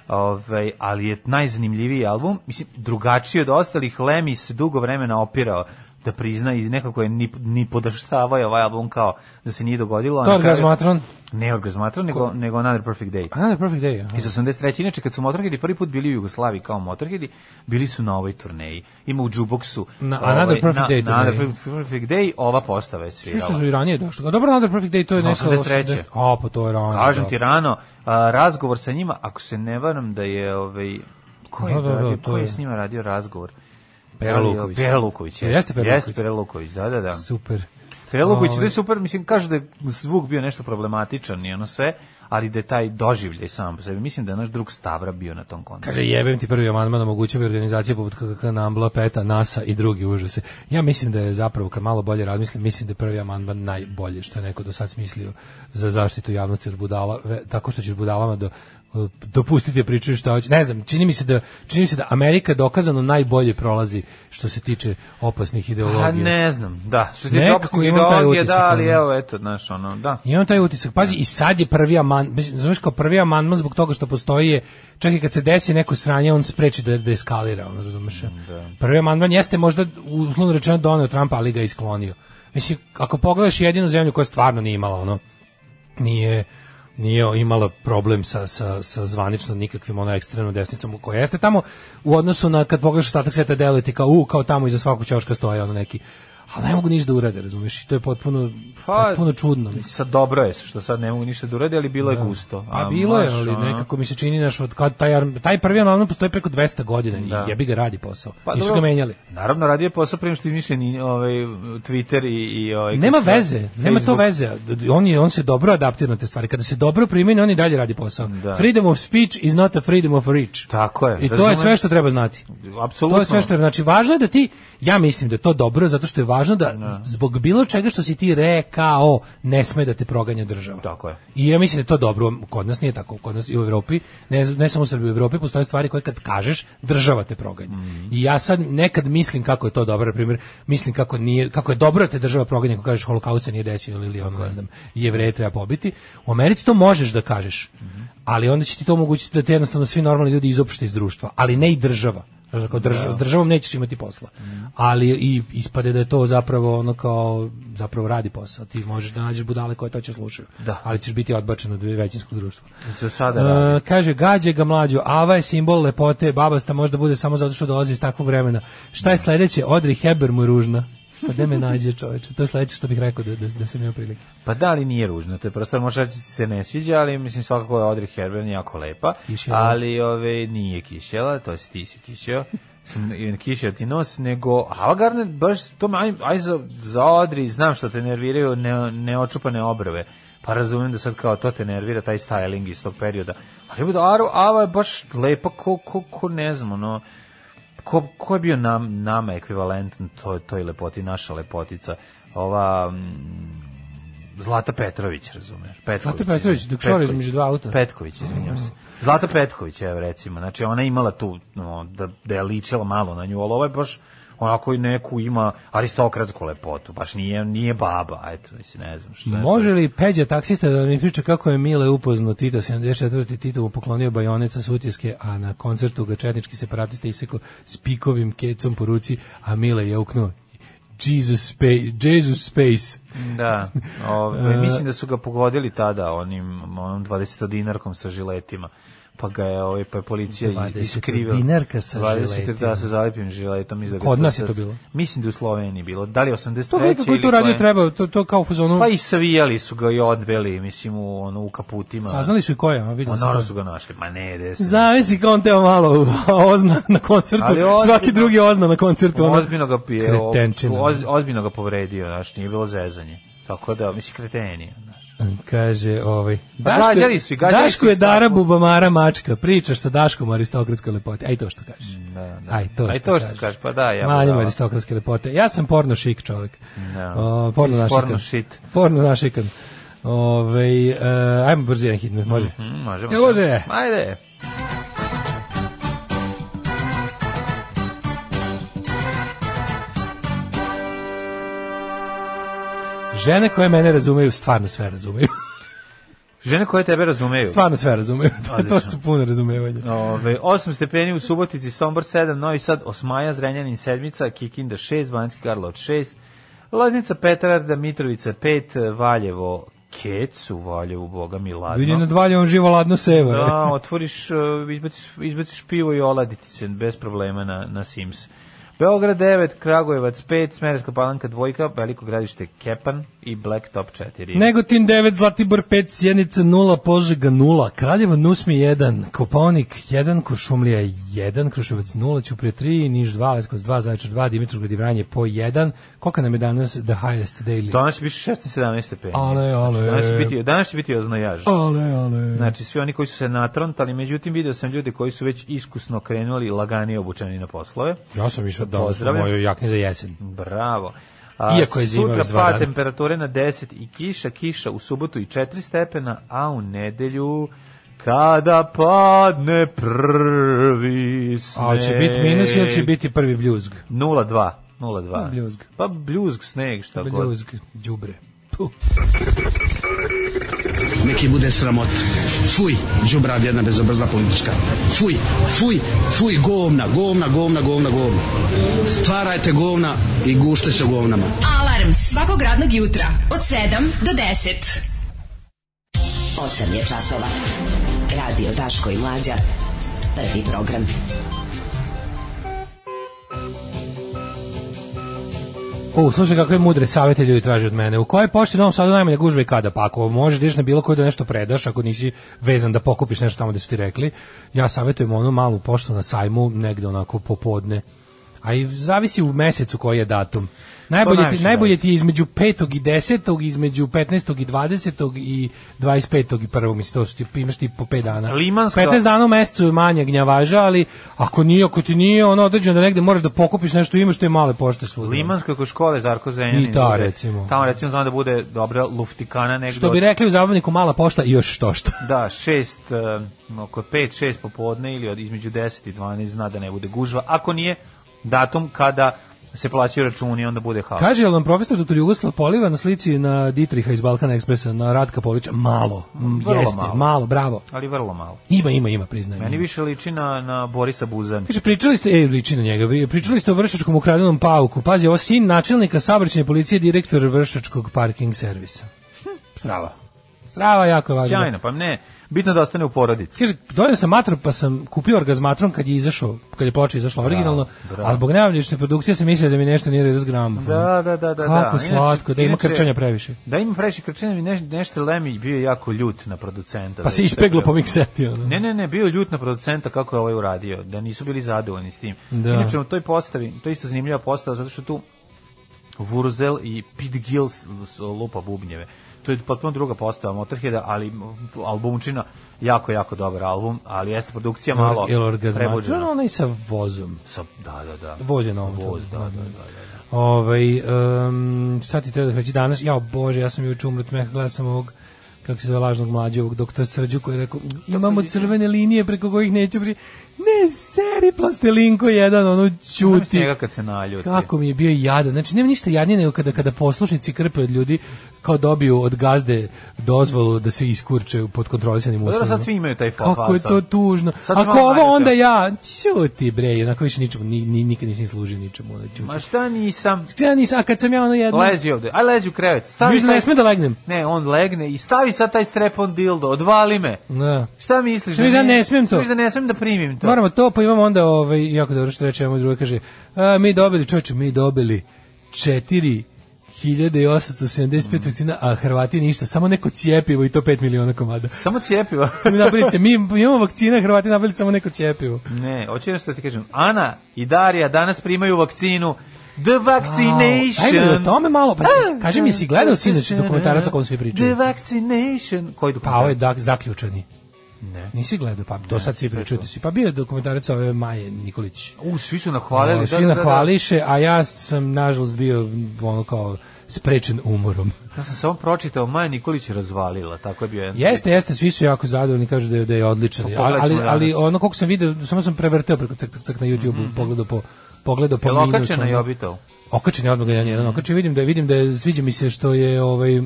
Speaker 5: ovaj, ali je najzanimljiviji album, mislim, drugačiji od ostalih, Lemmy se dugo vremena opirao da prizna i nekako je ni, ni podaštavao je ovaj album kao da se nije dogodilo. a
Speaker 6: To
Speaker 5: na
Speaker 6: je
Speaker 5: kraju-
Speaker 6: Orgazmatron.
Speaker 5: Ne Orgazmatron, nego, nego Another Perfect Day.
Speaker 6: A, da, perfect day. aha.
Speaker 5: Iz 83. Inače, kad su Motorheadi prvi put bili u Jugoslaviji kao Motorheadi, bili su na ovoj turneji. Ima u Jukeboxu. ovaj,
Speaker 6: Na Another Perfect
Speaker 5: na-
Speaker 6: Day
Speaker 5: na Another
Speaker 6: turneji.
Speaker 5: Perfect- Perfect Day ova postava je
Speaker 6: Svi
Speaker 5: svirala.
Speaker 6: su i ranije došli. A dobro, Another Perfect Day, to je
Speaker 5: Na
Speaker 6: nešto...
Speaker 5: 83..
Speaker 6: 80. A, pa to je ranije.
Speaker 5: Kažem
Speaker 6: da.
Speaker 5: ti rano, a, razgovor sa njima, ako se ne varam da je ovaj ko je,
Speaker 6: Da, da, da,
Speaker 5: radio,
Speaker 6: to
Speaker 5: ko je
Speaker 6: je.
Speaker 5: s njima radio razgovor? Da
Speaker 6: Pera Luković.
Speaker 5: Pera Luković.
Speaker 6: Jeste Pera
Speaker 5: Jeste
Speaker 6: Luković.
Speaker 5: Pera Luković, da, da, da.
Speaker 6: Super.
Speaker 5: Feluguć,
Speaker 6: Ovaj.
Speaker 5: to je super, mislim, kažu da je zvuk bio nešto problematičan i ono sve, ali da je taj doživljaj sam po sebi. Mislim da je naš drug Stavra bio na tom koncertu.
Speaker 6: Kaže, jebem ti prvi amandman omogućava organizacije poput KKK, Nambla, PETA, NASA i drugi užase. Ja mislim da je zapravo, kad malo bolje razmislim, mislim da je prvi amandman najbolje što je neko do sad smislio za zaštitu javnosti od budala, ve- tako što ćeš budalama do, dopustiti da pričaju šta hoće. Ne znam, čini mi se da čini mi se da Amerika dokazano najbolje prolazi što se tiče opasnih
Speaker 5: A
Speaker 6: ideologija.
Speaker 5: Pa ne znam, da. Što se tiče
Speaker 6: Nekako
Speaker 5: opasnih
Speaker 6: imam taj
Speaker 5: ideologija,
Speaker 6: utisak,
Speaker 5: da, ali
Speaker 6: ono.
Speaker 5: evo, eto, znaš, ono, da.
Speaker 6: I imam taj utisak. Pazi, i sad je prvi amandman, mislim, znaš kao prvi amandman zbog toga što postoji je, čak i kad se desi neko sranje, on spreči da, da eskalira, ono, razumeš? Prvi amandman jeste možda, uslovno rečeno, doneo Trumpa, ali ga je isklonio. Mislim, ako pogledaš jedinu zemlju koja stvarno nije imala, ono, nije nije imala problem sa, sa, sa zvanično nikakvim ono ekstremnom desnicom koja jeste tamo u odnosu na kad pogledaš ostatak sveta deluje ti kao u kao tamo iza svakog ćoška stoje ono neki ali ne mogu ništa da urade razumiješ i to je potpuno, potpuno čudno mislim.
Speaker 5: Sad dobro je, što sad ne mogu ništa da uradi, ali bilo je gusto.
Speaker 6: Pa
Speaker 5: A,
Speaker 6: bilo je,
Speaker 5: znaš,
Speaker 6: ali
Speaker 5: ono,
Speaker 6: nekako mi se čini naš od kad taj arm- taj prvi amandman postoji preko 200 godina i jebi ga radi posao.
Speaker 5: Da. Pa
Speaker 6: Nisu
Speaker 5: dobro,
Speaker 6: ga menjali.
Speaker 5: Naravno, radio je posao prema što je izmišljen i, ovaj, Twitter i... i ovaj,
Speaker 6: Nema
Speaker 5: kako se-
Speaker 6: veze, nema to
Speaker 5: Facebook.
Speaker 6: veze. D- d- On je on se dobro adaptira na te stvari. Kada se dobro primeni, on i dalje radi posao.
Speaker 5: Da.
Speaker 6: Freedom of speech is not a freedom of reach.
Speaker 5: Tako je.
Speaker 6: I to je
Speaker 5: razumem.
Speaker 6: sve što treba znati.
Speaker 5: Apsolutno.
Speaker 6: To je sve što treba. Znači, važno je da ti, ja mislim da je to dobro, zato što je važno da zbog bilo čega što si ti rekao, ne sme da te proganja država.
Speaker 5: Tako je.
Speaker 6: I ja mislim da je to dobro, kod nas nije tako, kod nas i u Evropi, ne, ne samo u Srbiji, u Evropi postoje stvari koje kad kažeš, država te proganja. I ja sad nekad mislim kako je to dobro, na primjer, mislim kako nije, kako je dobro da te država proganja ako kažeš holokaust se nije desio ili, ili ono, ne znam, jevreje treba pobiti. U Americi to možeš da kažeš, ali onda će ti to omogućiti da te jednostavno svi normalni ljudi izopšte iz društva, ali ne i država. Znaš, kao država, S državom nećeš imati posla. Ali i ispade da je to zapravo ono kao, zapravo radi posao. Ti možeš da nađeš budale koje to će slušaju
Speaker 5: Da.
Speaker 6: ali ćeš biti odbačen od većinskog društva.
Speaker 5: Za sada radi.
Speaker 6: E, kaže, gađe ga mlađo, Ava je simbol lepote, babasta možda bude samo zato što dolazi iz takvog vremena. Šta je sledeće? Odri Heber mu je ružna. Pa gde me nađe čoveče? To je sledeće što bih rekao da, da, da sam imao prilike.
Speaker 5: Pa da li nije ružno, to je prosto možda ti se ne sviđa, ali mislim svakako je Audrey Hepburn jako lepa,
Speaker 6: Kišela.
Speaker 5: ali ove, nije kišela, to si ti si kišeo, Mislim, i kišeo ti nos, nego Ava Gardner, baš to me, aj, aj za, za Audrey, znam što te nerviraju ne, neočupane obrve, pa razumijem da sad kao to te nervira, taj styling iz tog perioda, ali bude Aro, Ava je baš lepa, ko, ko, ko ne znam, ono, ko, ko je bio nam, nama ekvivalent toj, toj lepoti, naša lepotica, ova, mm, Zlata Petrović, razumeš? Petković,
Speaker 6: Zlata Petrović,
Speaker 5: izvinjam.
Speaker 6: dok šore između dva auta.
Speaker 5: Petković, izvinjam se. Zlata Petković, evo recimo, znači ona je imala tu, no, da, da je ličila malo na nju, ali ovo je baš onako i neku ima aristokratsku lepotu, baš nije, nije baba, eto, mislim, ne znam što je.
Speaker 6: Može li Peđa taksista da mi priča kako je Mile upoznao Tita 74. Tito mu poklonio bajonet sa sutjeske, a na koncertu ga četnički separatista isekao s pikovim kecom po ruci, a Mile je uknuo Jesus Space, Jesus Space.
Speaker 5: Da,
Speaker 6: E.
Speaker 5: ove, mislim da su ga pogodili tada onim, onom 20 dinarkom sa žiletima pa ga je, ovaj, pa je policija
Speaker 6: 20
Speaker 5: iskrivila.
Speaker 6: dinarka sa
Speaker 5: 20 Da,
Speaker 6: žiletima.
Speaker 5: sa zalepim žiletom. iz da ga
Speaker 6: Kod nas je
Speaker 5: sad-
Speaker 6: to bilo?
Speaker 5: Mislim da je u Sloveniji bilo. Da li je 83.
Speaker 6: To kako je
Speaker 5: ili
Speaker 6: to radio
Speaker 5: koje?
Speaker 6: treba, to, to kao u fazonu,
Speaker 5: Pa i savijali su ga i odveli, mislim, u, ono, u kaputima.
Speaker 6: saznali su i koje, a
Speaker 5: Pa
Speaker 6: vidim
Speaker 5: naravno su ga našli. Ma ne, gde se...
Speaker 6: Zavisi kao on teo malo ozna na koncertu,
Speaker 5: Ali ozbiljno-
Speaker 6: svaki drugi ozna na koncertu. ono-
Speaker 5: Pa Ozbiljno ga pije,
Speaker 6: Kretenčina.
Speaker 5: oz, ozbiljno ga povredio, znaš, nije bilo zezanje. Tako da, mislim, kreten je. Znaš.
Speaker 6: Kaže, ovaj,
Speaker 5: Pa gađali su i gađali
Speaker 6: Daško
Speaker 5: su i
Speaker 6: je
Speaker 5: staklo.
Speaker 6: Dara Bubamara mačka, pričaš sa Daškom o aristokratskoj lepoti, aj to što kažeš.
Speaker 5: Da, da.
Speaker 6: Aj to što,
Speaker 5: Aj to što kažeš, pa da, ja.
Speaker 6: Manjimo
Speaker 5: budala.
Speaker 6: aristokratske lepote. Ja sam porno šik čovjek.
Speaker 5: Da.
Speaker 6: O, porno
Speaker 5: Ti si
Speaker 6: našikan.
Speaker 5: porno shit.
Speaker 6: Porno našikan. Ovaj, e, ajmo brzo jedan hit, može.
Speaker 5: Mm, možemo.
Speaker 6: Jel može?
Speaker 5: Ajde.
Speaker 6: Žene koje mene razumeju, stvarno sve razumeju.
Speaker 5: Žene koje tebe razumeju.
Speaker 6: stvarno sve razumeju. To, to
Speaker 5: Odlično.
Speaker 6: su puno razumevanja.
Speaker 5: Ove, 8 stepeni u Subotici, Sombor 7, Novi Sad, Osmaja, Zrenjanin 7, Kikinda 6, Banjski Karlovac 6, Loznica, Petarda, Mitrovica 5, Valjevo, Kec u Valjevu, Boga mi ladno.
Speaker 6: Vidi na dvalje, da on živo ladno seva. e.
Speaker 5: Da, otvoriš, e, izbaciš, izbaciš pivo i oladi ti se bez problema na, na Sims. Beograd 9, Kragujevac 5, Smereska palanka 2, Veliko gradište Kepan i Blacktop 4.
Speaker 6: Negotin 9, Zlatibor 5, Sjenica 0, Požega 0, Kraljevo Nusmi 1, Koponik 1, Kuršumlija 1, Kruševac 0, Ćuprije 3, Niš 2, Leskovac 2, Zaječar 2, Dimitrovgrad i Vranje po 1. Kolika nam je danas the highest daily?
Speaker 5: Danas će biti 16-17 stepeni.
Speaker 6: Ale, ale.
Speaker 5: Znači, Danas će biti, danas će biti oznajaž.
Speaker 6: Ale, ale.
Speaker 5: Znači, svi oni koji su se natrontali, međutim, video sam ljude koji su već iskusno krenuli laganije obučeni na poslove.
Speaker 6: Ja sam išao da u
Speaker 5: Pozdravljam.
Speaker 6: mojoj jakni za jesen.
Speaker 5: Bravo.
Speaker 6: Iako je zima
Speaker 5: sutra
Speaker 6: već dva
Speaker 5: pa
Speaker 6: dana.
Speaker 5: temperature na 10 i kiša, kiša u subotu i 4 stepena, a u nedelju kada padne prvi sneg.
Speaker 6: A će biti minus ili će biti prvi bljuzg?
Speaker 5: 0,2. 0,2.
Speaker 6: Pa, bljuzg.
Speaker 5: Pa bljuzg, sneg, šta god.
Speaker 6: Bljuzg, đubre. Puh.
Speaker 3: Neki bude sramot. Fuj, džubrav jedna bezobrzna politička. Fuj, fuj, fuj, govna, govna, govna, govna, govna. Stvarajte govna i gušte se u govnama.
Speaker 4: Alarm svakog radnog jutra od 7 do 10.
Speaker 7: 8 je časova. Radio Daško i Mlađa. Prvi program.
Speaker 6: O, slušaj kakve mudre savete ljudi traže od mene. U kojoj pošti u Novom Sadu najmanje gužve i kada? Pa ako možeš da ideš na bilo koju da nešto predaš, ako nisi vezan da pokupiš nešto tamo da su ti rekli, ja savjetujem onu malu poštu na sajmu negde onako popodne. A i zavisi u mesecu koji je datum. Najbolje ti,
Speaker 5: najviše
Speaker 6: najbolje
Speaker 5: zavisi.
Speaker 6: ti je između 5. i 10. između 15. i 20. i 25. i 1. Mislim, to su ti, imaš ti po 5 dana.
Speaker 5: Limanska-
Speaker 6: 15 dana u mesecu je manje gnjavaža, ali ako nije, ako ti nije ono određeno da negde moraš da pokupiš nešto, imaš te male pošte svuda.
Speaker 5: Limanska kod škole Zarko Zrenjanin.
Speaker 6: I ta,
Speaker 5: bude.
Speaker 6: recimo.
Speaker 5: Tamo recimo znam da bude dobra luftikana negdje.
Speaker 6: Što bi rekli u zabavniku mala pošta i još što što.
Speaker 5: Da, šest, e, oko pet, šest popodne ili od između 10 i 12 zna da ne bude gužva. Ako nije, datum kada se plaćaju računi, onda bude haos.
Speaker 6: Kaže, jel vam profesor dr. Jugoslav Poliva na slici na Ditriha iz Balkan Ekspresa, na Ratka Polića? Malo. Mm,
Speaker 5: Vrlo
Speaker 6: Jeste,
Speaker 5: malo.
Speaker 6: malo. bravo.
Speaker 5: Ali vrlo malo.
Speaker 6: Ima, ima, ima, priznajem.
Speaker 5: Meni
Speaker 6: ima.
Speaker 5: više liči na, na Borisa Buzan.
Speaker 6: Kaže, pričali ste, e, liči na njega, pri- pričali ste o vršačkom ukradenom pauku. Pazi, ovo sin načelnika saobraćajne policije, direktor vršačkog parking servisa. Strava. Strava jako je važno.
Speaker 5: Hm. Sjajno, pa ne, bitno da ostane u porodici.
Speaker 6: Kaže, donio sam matru, pa sam kupio orgazmatron kad je izašao, kad je ploča izašla originalno,
Speaker 5: bravo.
Speaker 6: a zbog najavljične produkcije sam mislio da mi nešto nije redu s gramofon.
Speaker 5: Da, da, da, da.
Speaker 6: Kako
Speaker 5: da.
Speaker 6: slatko, da ima
Speaker 5: inače-
Speaker 6: krčanja previše.
Speaker 5: Da ima previše krčenja, mi neš, nešto Lemi bio je jako ljut na producenta.
Speaker 6: Pa
Speaker 5: Da
Speaker 6: se
Speaker 5: je
Speaker 6: ispeglo
Speaker 5: tako-
Speaker 6: po mikseti, ono.
Speaker 5: Ne, ne, ne, bio je ljut na producenta kako je ovaj uradio, da nisu bili zadovoljni s tim.
Speaker 6: Da.
Speaker 5: Inače, u toj postavi, to je isto zanimljiva postava, zato što tu Wurzel i Pete Gill s- s- lupa bubnjeve. To je potpuno druga postava Motorheada, ali m, albumčina, jako, jako dobar album, ali jeste produkcija malo
Speaker 6: Jel orgazmatron
Speaker 5: prebuđena.
Speaker 6: onaj sa vozom?
Speaker 5: Sa, da, da, da.
Speaker 6: Voz je na ovom.
Speaker 5: Voz, da, da, da. da.
Speaker 6: Ovaj, um, šta ti treba da reći danas? Jao bože, ja sam juče umret meha, gledao sam ovog kako se zove lažnog mlađe, ovog doktora Srđu koji je rekao, imamo crvene linije preko kojih neće prići. Ne, seri plastelinko jedan, ono,
Speaker 5: Zamisli
Speaker 6: čuti.
Speaker 5: njega kad se naljuti.
Speaker 6: Kako mi je bio jadan. Znači, nema ništa jadnije nego kada, kada poslušnici krpe od ljudi kao dobiju od gazde dozvolu da se iskurče pod kontrolisanim
Speaker 5: Pa
Speaker 6: uslovima.
Speaker 5: Dobro, sad svi imaju taj fa-
Speaker 6: Kako je
Speaker 5: fason.
Speaker 6: to tužno.
Speaker 5: Sad se
Speaker 6: Ako
Speaker 5: malo da. naljute.
Speaker 6: ovo onda ja, ćuti bre, onako više ničemu, ni, ni, nikad nisam služio ničemu. Onda ćuti.
Speaker 5: Ma šta nisam?
Speaker 6: Ja nisam, a kad sam ja ono jedno...
Speaker 5: Lezi ovde. Aj lezi u krevet. Stavi
Speaker 6: Viš da
Speaker 5: taj-
Speaker 6: ne sme da legnem.
Speaker 5: Ne, on legne i stavi sad taj strepon dildo. Odvali me.
Speaker 6: Da.
Speaker 5: Šta misliš?
Speaker 6: Šta misliš da ne smem to?
Speaker 5: Misliš da ne smem da primim to?
Speaker 6: Moramo to, pa imamo onda, ovaj, jako dobro što reče, imamo druga kaže, a, mi dobili, čovječe, mi dobili četiri 1875 vakcina, a Hrvati ništa, samo neko cijepivo i to 5 miliona komada.
Speaker 5: Samo cijepiva.
Speaker 6: Mi napravite, mi imamo vakcina, Hrvati nabili samo neko cijepivo.
Speaker 5: ne, hoću jednostavno da ti kažem. Ana i Darija danas primaju vakcinu. The vaccination. Ah,
Speaker 6: Ajde, o tome malo, pa kaži mi, si gledao sinoć dokumentarac o kom svi pričaju?
Speaker 5: The vaccination. Koji
Speaker 6: Pa ovo je
Speaker 5: dokumentarac?
Speaker 6: da, zaključani. Ne. Nisi gledao, pa to sad svi pričaju da si. Pa bio je dokumentarac ove Maje Nikolić.
Speaker 5: U, svi su nahvalili.
Speaker 6: O,
Speaker 5: da,
Speaker 6: Svi
Speaker 5: da, da, da.
Speaker 6: nahvališe, a ja sam nažalost bio ono kao sprečen umorom.
Speaker 5: Ja sam samo pročitao, Maja Nikolić je razvalila, tako je bio jedan.
Speaker 6: Jeste, jeste, svi su jako zadovoljni, kažu da je, da je odličan.
Speaker 5: Pa
Speaker 6: ali,
Speaker 5: pogledat ćemo
Speaker 6: ali, ali
Speaker 5: danas.
Speaker 6: ono koliko sam video, samo sam prevrteo preko cak, cak, cak na YouTube, pogledao po pogledao po
Speaker 5: Mhm,
Speaker 6: da.
Speaker 5: Jel
Speaker 6: minut,
Speaker 5: okačena Mhm.
Speaker 6: ono.
Speaker 5: i obitao?
Speaker 6: Okačen je odmah jedan jedan. Okačen vidim da je- vidim da je, sviđa mi se što je ovaj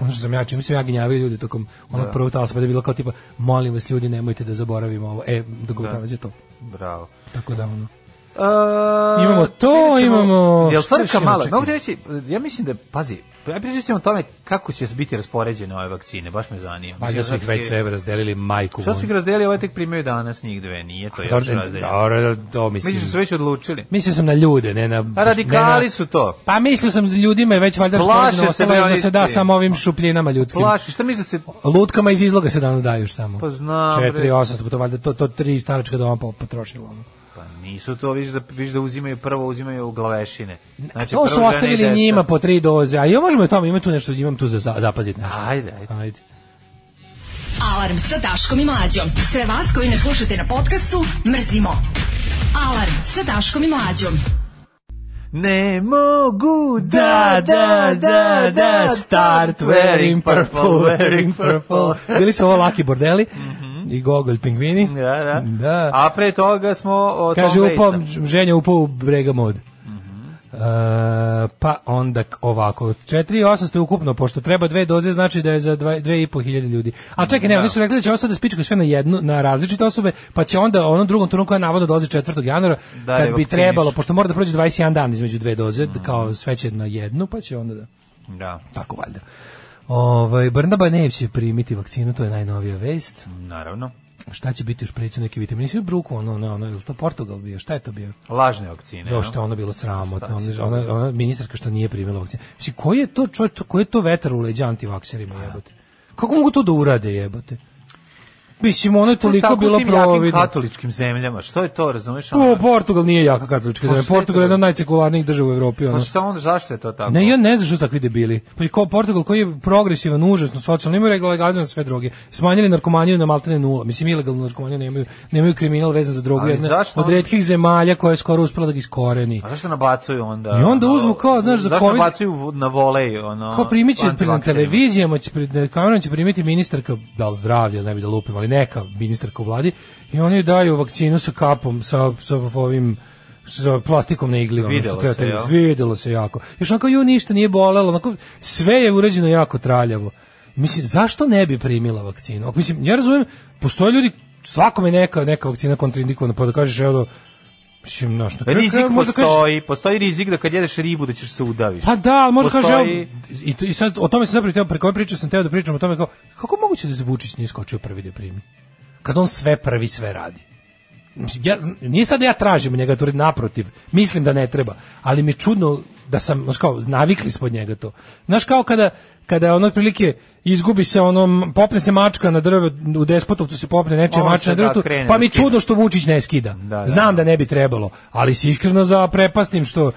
Speaker 6: ono što sam ja čim sam ja gnjavio ljude tokom onog prvog talasa, pa da je bilo kao tipa molim vas ljudi nemojte da zaboravimo ovo. E,
Speaker 5: Da.
Speaker 6: dokumentarac je to.
Speaker 5: Bravo.
Speaker 6: Tako da ono.
Speaker 5: Uh,
Speaker 6: Imamo to, imamo-
Speaker 5: Jel
Speaker 6: šta još
Speaker 5: frka
Speaker 6: imamo,
Speaker 5: mala?
Speaker 6: čekaj.
Speaker 5: Mogu ti reći, ja mislim da, pazi, Pa ja pričat ćemo o tome kako će biti raspoređene ove vakcine, baš me zanima.
Speaker 6: Valjda su Pa, ih već sve razdelili majku.
Speaker 5: Što su ih razdelili, ove tek primaju danas njih dve, nije to još razdeljeno.
Speaker 6: Dobro, to mislim.
Speaker 5: Misliš da su već odlučili?
Speaker 6: Mislio sam na ljude, ne na...
Speaker 5: Pa radikali su to.
Speaker 6: Pa mislio sam ljudima je već valjda što
Speaker 5: Plaše
Speaker 6: je
Speaker 5: se
Speaker 6: ostalo još da
Speaker 5: oni-
Speaker 6: se da samo ovim šupljinama ljudskim.
Speaker 5: Plaši, šta misliš da se...
Speaker 6: Lutkama iz izloga se danas daju još samo.
Speaker 5: Pa znam, bre.
Speaker 6: 4, 8, to valjda to, to tri staračka doma po- potrošilo. ono.
Speaker 5: Pa nisu to, viš da, viš da uzimaju prvo, uzimaju glavešine. Znači,
Speaker 6: to su
Speaker 5: prvo žene i
Speaker 6: ostavili
Speaker 5: deca.
Speaker 6: njima po tri doze, a ja možemo i o tome, ima tu nešto, imam tu za, za zapaziti nešto.
Speaker 5: Ajde, ajde.
Speaker 6: Ajde.
Speaker 4: Alarm sa Daškom i Mlađom. Sve vas koji ne slušate na podcastu, mrzimo. Alarm sa Daškom i Mlađom.
Speaker 5: Ne mogu
Speaker 6: Da, da, da, da, start wearing purple, wearing purple. Bili su ovo Lucky Bordeli i Gogol Pingvini.
Speaker 5: Mhm. Da, da.
Speaker 6: Da.
Speaker 5: A pre toga smo o
Speaker 6: Kaže,
Speaker 5: Pa Tom
Speaker 6: upao,
Speaker 5: Batesa. Mhm.
Speaker 6: ženja upao u brega mod. E, pa onda k- ovako 4800 je ukupno, pošto treba dve doze znači da je za dva- dve i po hiljade ljudi a čekaj, ne, oni su rekli da će ovo sada spičkaju sve na jednu na različite osobe, pa će onda onom drugom turnu koja navodno dolazi 4. januara
Speaker 5: Da, je
Speaker 6: kad bi
Speaker 5: vakciniš.
Speaker 6: trebalo, pošto mora da prođe 21 dan između dve doze,
Speaker 5: Mhm.
Speaker 6: kao sve će na jednu pa će onda da,
Speaker 5: Da,
Speaker 6: tako valjda Ovaj Brnaba Nejev će primiti vakcinu, to je najnovija vest.
Speaker 5: naravno.
Speaker 6: Šta će biti još preći neki vitamin? Nisi u Bruku, ono, ono, ono, je li to Portugal bio? Šta je to bio?
Speaker 5: Lažne vakcine.
Speaker 6: Jo,
Speaker 5: no?
Speaker 6: što je ono bilo sramotno. Ona, ona, ona ministarka što nije primila vakcinu. Mislim, koji je to čovjek, to- koji je to vetar u leđa antivakserima
Speaker 5: Da.
Speaker 6: jebote? Kako mogu to da urade jebote? Mislim, ono je
Speaker 5: To je
Speaker 6: toliko
Speaker 5: tako u
Speaker 6: bilo
Speaker 5: tim jakim
Speaker 6: providno. Pa,
Speaker 5: katoličkim zemljama, što je to, razumeš? ono?
Speaker 6: O, Portugal nije jaka katolička zemlja.
Speaker 5: Pa šta je to
Speaker 6: Portugal je jedna
Speaker 5: bilo?
Speaker 6: od najsekularnijih država u Evropi.
Speaker 5: Pa
Speaker 6: Ono.
Speaker 5: šta onda, zašto je to tako?
Speaker 6: Ne, ja ne znam što su takvi debili. Pa i kao Portugal koji je progresivan, užasno socijalno, imaju legalizovane sve droge. Smanjili narkomaniju na maltene nula. Mislim, ilegalnu narkomaniju nemaju, nemaju kriminal vezan za drogu.
Speaker 5: Ali
Speaker 6: Jedna
Speaker 5: zašto
Speaker 6: od
Speaker 5: onda-
Speaker 6: retkih zemalja koja je skoro uspela da ga iskoreni.
Speaker 5: A zašto nabacuju onda?
Speaker 6: I onda
Speaker 5: ono,
Speaker 6: uzmu kao, znaš, za
Speaker 5: Zašto
Speaker 6: COVID-
Speaker 5: nabacuju v- na volej, ono...
Speaker 6: Ko primit će pri- na
Speaker 5: antivakserima?
Speaker 6: televizijama, će, pri- na kamerama će primiti ministarka, da li zdravlja, ne bi da lupim, ali neka ministarka u vladi, i oni joj daju vakcinu sa kapom, sa, sa ovim sa plastikom na igli. ono što
Speaker 5: Videlo
Speaker 6: treba
Speaker 5: se,
Speaker 6: tebi-
Speaker 5: jel?
Speaker 6: Videlo se jako. Još onako, ju ništa nije bolelo, onako, sve je uređeno jako traljavo. Mislim, zašto ne bi primila vakcinu? Ako, Mislim, ja razumijem, postoje ljudi, svakome neka, neka vakcina kontraindikovana, pa da kažeš, evo, mislim, znaš, na kraju
Speaker 5: Pa Rizik
Speaker 6: krajeva možda kažeš-
Speaker 5: postoji, postoji rizik da kad jedeš ribu da ćeš se udaviti.
Speaker 6: pa da, ali možda kaže,
Speaker 5: Postoji-
Speaker 6: evo, i, to- i sad o tome sam zapravo teo, preko ove priče sam teo da pričam o tome kao, kako je moguće da se Vučić nije skočio prvi da primi? Kad on sve prvi sve radi. Mislim, Ja, nije sad da ja tražim od njega, to naprotiv, mislim da ne treba, ali mi je čudno da sam, znaš kao, navikli smo od njega to. Znaš kao kada, kada ono otprilike izgubi se onom, popne se mačka na drvo, u despotovcu se popne nečija
Speaker 5: On
Speaker 6: mačka
Speaker 5: se
Speaker 6: na drvo,
Speaker 5: da krene
Speaker 6: pa
Speaker 5: da
Speaker 6: mi je
Speaker 5: skida.
Speaker 6: čudno što Vučić ne skida.
Speaker 5: da.
Speaker 6: Znam da ne bi trebalo, ali se iskreno zaprepastim što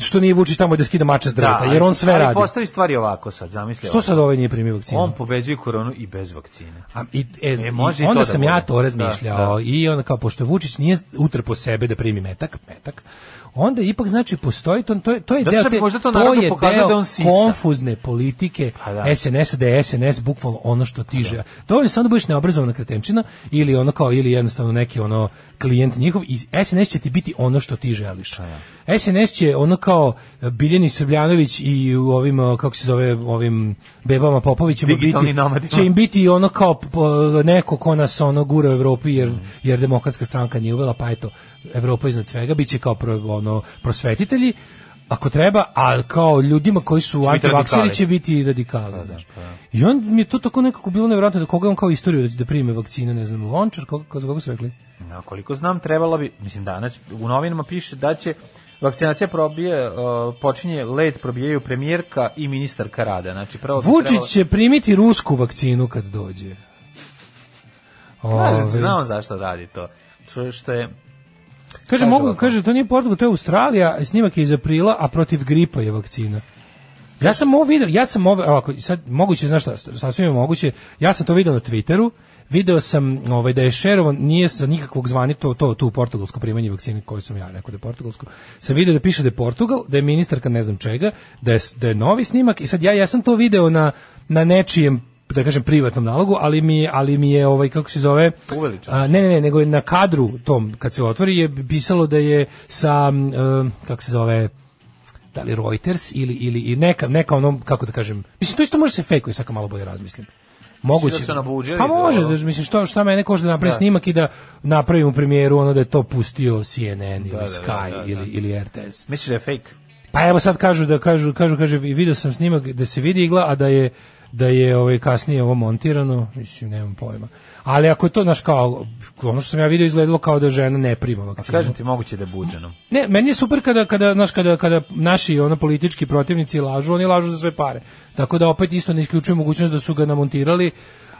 Speaker 6: što nije Vučić tamo da skida mače s drveta, jer on sve
Speaker 5: ali
Speaker 6: radi.
Speaker 5: postavi stvari ovako sad, zamisli.
Speaker 6: Što
Speaker 5: ovako.
Speaker 6: sad ovaj nije primio vakcinu?
Speaker 5: On pobeđuje koronu i bez vakcine.
Speaker 6: A, i, e,
Speaker 5: E, može
Speaker 6: i
Speaker 5: i
Speaker 6: onda
Speaker 5: to da
Speaker 6: sam
Speaker 5: bude.
Speaker 6: ja to razmišljao
Speaker 5: Da, da.
Speaker 6: i onda kao pošto Vučić nije utrpo sebe da primi metak, metak, onda ipak znači postoji to to je to je
Speaker 5: Zato
Speaker 6: deo
Speaker 5: što bi
Speaker 6: te-
Speaker 5: možda to
Speaker 6: to
Speaker 5: narodu
Speaker 6: je
Speaker 5: pokazao
Speaker 6: deo
Speaker 5: da on sisa.
Speaker 6: konfuzne politike
Speaker 5: Pa da. Pa
Speaker 6: SNS da je SNS bukvalno ono što ti želi. Dovoljno je samo da budeš neobrazovana kretenčina ili ono kao ili jednostavno neki ono klijent njihov i SNS će ti biti ono što ti želiš.
Speaker 5: Pa da.
Speaker 6: SNS će ono kao Biljani Srbljanović i u ovim o, kako se zove ovim bebama Popovićima
Speaker 5: Digitalni
Speaker 6: biti
Speaker 5: nomadi.
Speaker 6: će im biti ono kao p- p- neko ko nas ono gura u Evropi jer jer demokratska stranka nije uvela pa eto Evropa iznad svega biće kao pro, ono prosvetitelji ako treba, a kao ljudima koji su
Speaker 5: biti
Speaker 6: antivakseri
Speaker 5: radikali. Pa da,
Speaker 6: će biti radikali. znaš. I on mi je to tako nekako bilo nevjerojatno da koga je on kao istoriju da, će da prime vakcine, ne znam, lončar, koga, koga, koga su rekli?
Speaker 5: A koliko znam, trebalo bi, mislim danas u novinama piše da će vakcinacija probije, uh, počinje led probijaju premijerka i ministarka rada. Znači prvo bi
Speaker 6: Vučić
Speaker 5: trebalo-
Speaker 6: će primiti rusku vakcinu kad dođe.
Speaker 5: Kaže,
Speaker 6: Ove.
Speaker 5: znao zašto radi to. Što, što je
Speaker 6: Kaže,
Speaker 5: Kaže
Speaker 6: mogu,
Speaker 5: ovako.
Speaker 6: kaže, to nije Portugal, to je Australija, snimak je iz aprila, a protiv gripa je vakcina. Ja sam ovo video, ja sam ovo, ovako, sad, moguće, znaš šta, sasvim je moguće, ja sam to video na Twitteru, video sam ovaj, da je šerovan, nije za nikakvog zvani to, to, tu portugalsko primanje vakcine koje sam ja rekao da je portugalsko, sam video da piše da je Portugal, da je ministarka ne znam čega, da je, da je novi snimak i sad ja, ja sam to video na, na nečijem da kažem privatnom nalogu, ali mi ali mi je ovaj kako se zove
Speaker 5: Uveličan.
Speaker 6: a, ne, ne, ne, nego je na kadru tom, kad se otvori, je pisalo da je sa, um, kako se zove, da li Reuters ili, ili i neka, neka ono, kako da kažem, mislim, to isto može se fejkuje, sad kad malo bolje razmislim. Moguće.
Speaker 5: Mislim da su nabuđeni,
Speaker 6: pa može,
Speaker 5: da, ono.
Speaker 6: da, mislim, što, šta mene košta da napravim snimak i da napravim u premijeru ono da je to pustio CNN ili Sky
Speaker 5: da, da, da.
Speaker 6: Ili, ili RTS.
Speaker 5: misliš da je fake?
Speaker 6: Pa evo sad kažu da kažu kažu kaže i video sam snimak da se vidi igla, a da je da je ovaj kasnije ovo montirano, mislim nemam pojma. Ali ako je to naš kao ono što sam ja video izgledalo kao da žena ne prima vakcinu.
Speaker 5: Kažem ti, moguće da je buđeno.
Speaker 6: Ne, meni je super kada kada naš kada kada naši ono politički protivnici lažu, oni lažu za sve pare. Tako da opet isto ne isključujem mogućnost da su ga namontirali,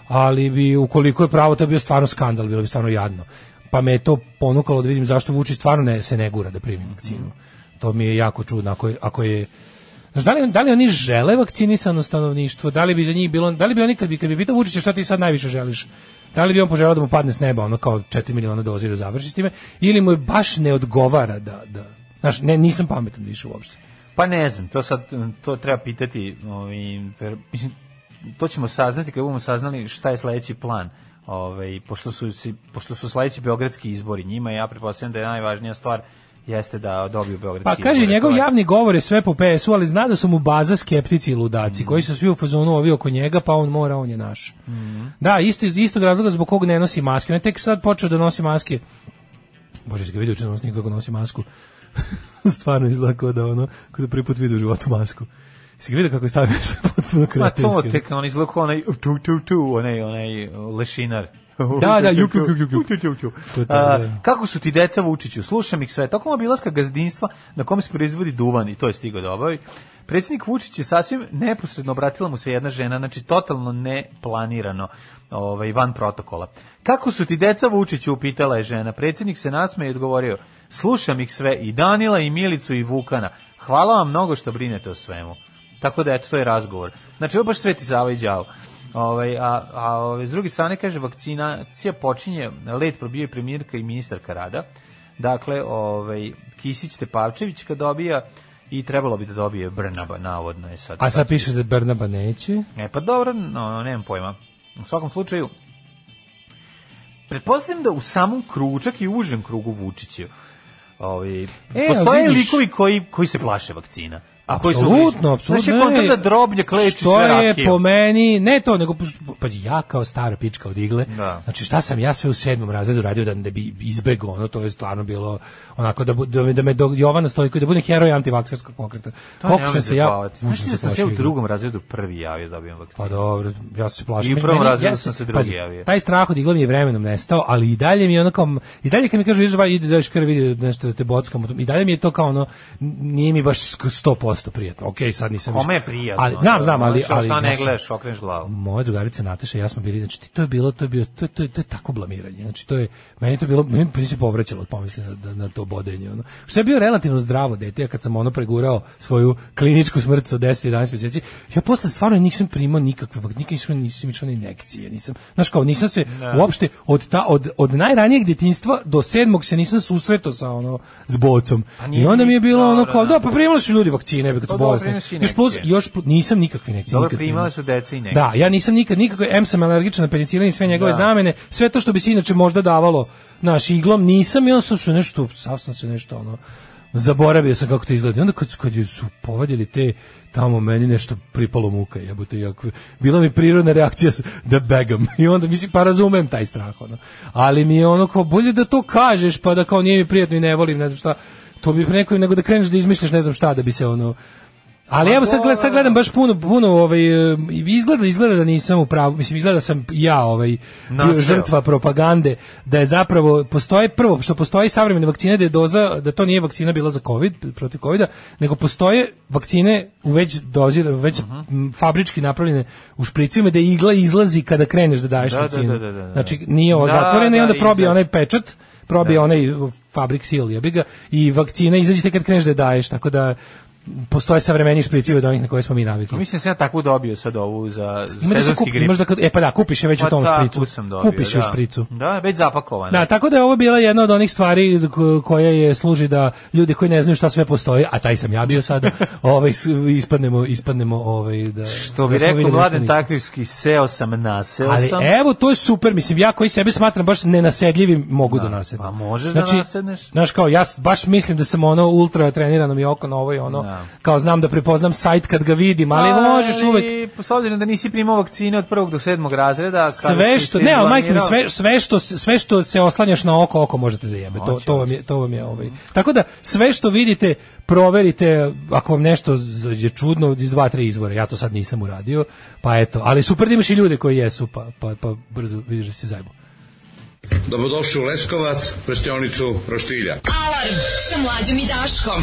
Speaker 6: ali bi ukoliko je pravo to bi bio stvarno skandal, bilo bi stvarno jadno. Pa me je to ponukalo da vidim zašto Vučić stvarno ne se ne gura da primi vakcinu. To mi je jako čudno ako je, ako je Znaš, da li, da li oni žele vakcinisano stanovništvo? Da li bi za njih bilo, da li bi oni kad bi, kad bi pitao Vučića šta ti sad najviše želiš? Da li bi on poželao da mu padne s neba ono kao 4 miliona dozi da završi s time? Ili mu je baš ne odgovara da, da Znaš, ne, nisam pametan više uopšte.
Speaker 5: Pa ne znam, to sad to treba pitati, ovaj ver- mislim to ćemo saznati kad budemo saznali šta je sledeći plan. Ovaj pošto su si- pošto su sledeći beogradski izbori, njima ja pretpostavljam da je najvažnija stvar jeste da dobiju beogradski
Speaker 6: Pa
Speaker 5: izbore.
Speaker 6: kaže, njegov
Speaker 5: To je-
Speaker 6: javni govor je sve po PS-u, ali zna da su mu baza skeptici i ludaci,
Speaker 5: Mm.
Speaker 6: koji su svi u fazonu ovi oko njega, pa on mora, on je naš.
Speaker 5: Mm.
Speaker 6: Da, isto, iz istog razloga zbog kog ne nosi maske. On je tek sad počeo da nosi maske. Bože, si ga vidio da čenos nikako nosi masku. Stvarno izgleda kao da ono, kao da prvi put vidio u životu masku. Si ga vidio kako je stavio se potpuno
Speaker 5: Ma to
Speaker 6: kretenski.
Speaker 5: tek on izlako onaj tu tu tu onaj onaj uh, lešinar.
Speaker 6: Da, da, juk, juk, juk, juk.
Speaker 5: Tu, tu, tu.
Speaker 6: To je to,
Speaker 5: A,
Speaker 6: da.
Speaker 5: kako su ti deca Vučiću? Slušam ih sve. Tokom obilaska gazdinstva na kom se proizvodi duvan i to je stigao da obavi. Predsjednik Vučić je sasvim neposredno obratila mu se jedna žena, znači totalno neplanirano, ovaj, van protokola. Kako su ti deca Vučiću, upitala je žena. Predsjednik se nasmeje i odgovorio, slušam ih sve, i Danila, i Milicu, i Vukana. Hvala vam mnogo što brinete o svemu. Tako da, eto, to je razgovor. Znači, ovo baš sveti Sava i đavo. Ovaj, a, a ovaj, s druge strane, kaže, vakcinacija počinje, let probije premijerka i ministarka rada. Dakle, ovaj, Kisić Tepavčević kad dobija i trebalo bi da dobije Brnaba, navodno je sad.
Speaker 6: A sad piše da Brnaba neće.
Speaker 5: E, pa dobro, no, nemam pojma. U svakom slučaju, pretpostavljam da u samom krugu, čak i u užem krugu Vučićev, ovaj,
Speaker 6: ali
Speaker 5: postoje
Speaker 6: E, vidiš-
Speaker 5: likovi koji, koji se plaše vakcina. A koji su-
Speaker 6: Apsolutno, apsolutno.
Speaker 5: Znaš, ja kontam
Speaker 6: ne.
Speaker 5: da drobnjak leči
Speaker 6: Što
Speaker 5: sve
Speaker 6: je
Speaker 5: rakijom.
Speaker 6: po meni, ne to, nego po- pa ja kao stara pička od igle,
Speaker 5: Da.
Speaker 6: znači šta sam ja sve u sedmom razredu radio da, da bi izbegao, ono, to je stvarno bilo onako da, bu- da, me- da me do, Jovana Stojković, da budem heroj antivakserskog pokreta.
Speaker 5: To
Speaker 6: Koliko
Speaker 5: nemoj
Speaker 6: sam se ja...
Speaker 5: zajebavati. Znaš
Speaker 6: užasno
Speaker 5: ti da sam se
Speaker 6: plašio
Speaker 5: u
Speaker 6: igle.
Speaker 5: drugom razredu prvi javio da dobijem vakcinu.
Speaker 6: Pa dobro, ja se plašim.
Speaker 5: I u prvom
Speaker 6: Meni-
Speaker 5: razredu
Speaker 6: ja
Speaker 5: sam se drugi
Speaker 6: pazi,
Speaker 5: javio.
Speaker 6: Taj strah od igle mi je vremenom nestao, ali i dalje mi je ono kao, i dalje kad mi kažu izva, ide daš krv, ide da nešto da te bockamo, i dalje mi je to kao ono, n- nije mi baš sk- 100% prijatno. Okej, sad nisam...
Speaker 5: Kome je
Speaker 6: više-
Speaker 5: prijatno?
Speaker 6: Pa, Ali, znam, znam, ali...
Speaker 5: Znaš,
Speaker 6: ali
Speaker 5: Šta ne
Speaker 6: ja sam-
Speaker 5: gledaš, okreneš glavu.
Speaker 6: moja drugarica Nataša i ja smo bili, znači ti- to je bilo, to je bio, to, je- to, je- to je tako blamiranje. Znači to je, meni je to bilo, meni je se povraćalo od pomisli na, na, na to bodenje. Ono. Što je bio relativno zdravo dete, ja kad sam ono pregurao svoju kliničku smrt sa 10 11 mjeseci, ja posle stvarno nisam primao nikakve, vak- nikad nisam, nisam išao na injekcije, nisam, znaš kao, nisam se uopšte od, ta, od, od najranijeg detinjstva do sedmog se nisam susretao sa ono, s bocom.
Speaker 5: Pa nije
Speaker 6: I onda mi je bilo ono
Speaker 5: ništa,
Speaker 6: kao,
Speaker 5: da,
Speaker 6: da, pa primali su ljudi vakcine, kad
Speaker 5: Pa
Speaker 6: su
Speaker 5: dobro,
Speaker 6: bolesni.
Speaker 5: primio si
Speaker 6: Još plus,
Speaker 5: injekcije.
Speaker 6: još, pl- nisam nikakve injekcije.
Speaker 5: Dobro,
Speaker 6: nikad
Speaker 5: primale
Speaker 6: primao.
Speaker 5: su deca i neki.
Speaker 6: Da, ja nisam nikad nikako, em sam alergičan na penicilin i sve njegove
Speaker 5: Da.
Speaker 6: zamene, sve to što bi se inače možda davalo naš iglom, nisam i onda sam se nešto, sav sam se nešto ono, zaboravio sam kako to izgleda. I onda kad, kad je su povadili te, tamo meni nešto pripalo muka, jebote, jako, bila mi prirodna reakcija s- da begam. I onda, mislim, pa razumem taj strah, ono. Ali mi je ono kao, bolje da to kažeš, pa da kao nije mi prijatno i ne volim, ne znam šta. To bi neko, nego da kreneš da izmišljaš ne znam šta, da bi se ono, ali evo sad, gled, sad gledam baš puno puno ovaj e, izgleda izgleda da nisam u pravu. Mislim izgleda da sam ja ovaj bio
Speaker 5: Naseo.
Speaker 6: žrtva propagande da je zapravo postoji prvo što postoji savremene vakcine da je doza da to nije vakcina bila za covid protiv covida, nego postoje vakcine u već dozi već
Speaker 5: Mhm.
Speaker 6: m, fabrički napravljene u špricima da igla izlazi kada kreneš da daješ
Speaker 5: Da, da,
Speaker 6: vakcinu.
Speaker 5: da, da, da, da.
Speaker 6: Znači nije ovo
Speaker 5: Da,
Speaker 6: zatvoreno i
Speaker 5: da,
Speaker 6: onda probije
Speaker 5: izađe.
Speaker 6: onaj pečat,
Speaker 5: Da.
Speaker 6: probije onaj fabrik sil jebi ga i vakcina izađe tek kad kreneš da je daješ, tako da postoje savremeni špricivi od onih na koje smo mi navikli.
Speaker 5: Mislim da sam ja takvu dobio sad ovu za, za
Speaker 6: Ima da se
Speaker 5: sezonski
Speaker 6: kupi,
Speaker 5: grip.
Speaker 6: imaš da kad, e pa da, kupiš je već u
Speaker 5: Pa
Speaker 6: tom
Speaker 5: takvu
Speaker 6: špricu.
Speaker 5: sam dobio,
Speaker 6: kupiš je
Speaker 5: da.
Speaker 6: u špricu.
Speaker 5: Da, već zapakovana.
Speaker 6: Da, tako da je ovo bila jedna od onih stvari ko- koja je služi da ljudi koji ne znaju šta sve postoji, a taj sam ja bio sada, ovaj s- ispadnemo ispadnemo ovaj da
Speaker 5: Što bi
Speaker 6: da smo
Speaker 5: rekao
Speaker 6: videli da
Speaker 5: Vladan
Speaker 6: nismo.
Speaker 5: Takvivski, seo sam, naseo
Speaker 6: Ali e,
Speaker 5: sam.
Speaker 6: evo, to je super, mislim, ja koji sebe smatram baš nenasedljivim mogu da, nasednem.
Speaker 5: pa možeš da
Speaker 6: znači,
Speaker 5: nasedneš.
Speaker 6: Znaš kao, ja s- baš mislim da sam ono ultra trenirano mi je oko na ovo i ono, kao znam da prepoznam sajt kad ga vidim, ali možeš uvek
Speaker 5: Pa S obzirom da nisi primao vakcine od prvog do sedmog razreda... kada
Speaker 6: sve
Speaker 5: si
Speaker 6: što
Speaker 5: se
Speaker 6: ne, al majke mi
Speaker 5: izblanirao-
Speaker 6: sve sve što sve što se oslanjaš na oko, oko možete zajebati. To
Speaker 5: Hoće,
Speaker 6: to vam je to vam je ovaj. Tako da sve što vidite proverite ako vam nešto z- je čudno iz dva tri izvora. Ja to sad nisam uradio, pa eto, ali super da imaš i ljude koji jesu, pa pa pa brzo vidiš da se zajebo.
Speaker 8: Dobrodošli u Leskovac, prštionicu Roštilja.
Speaker 4: Alarm sa mlađom i Daškom.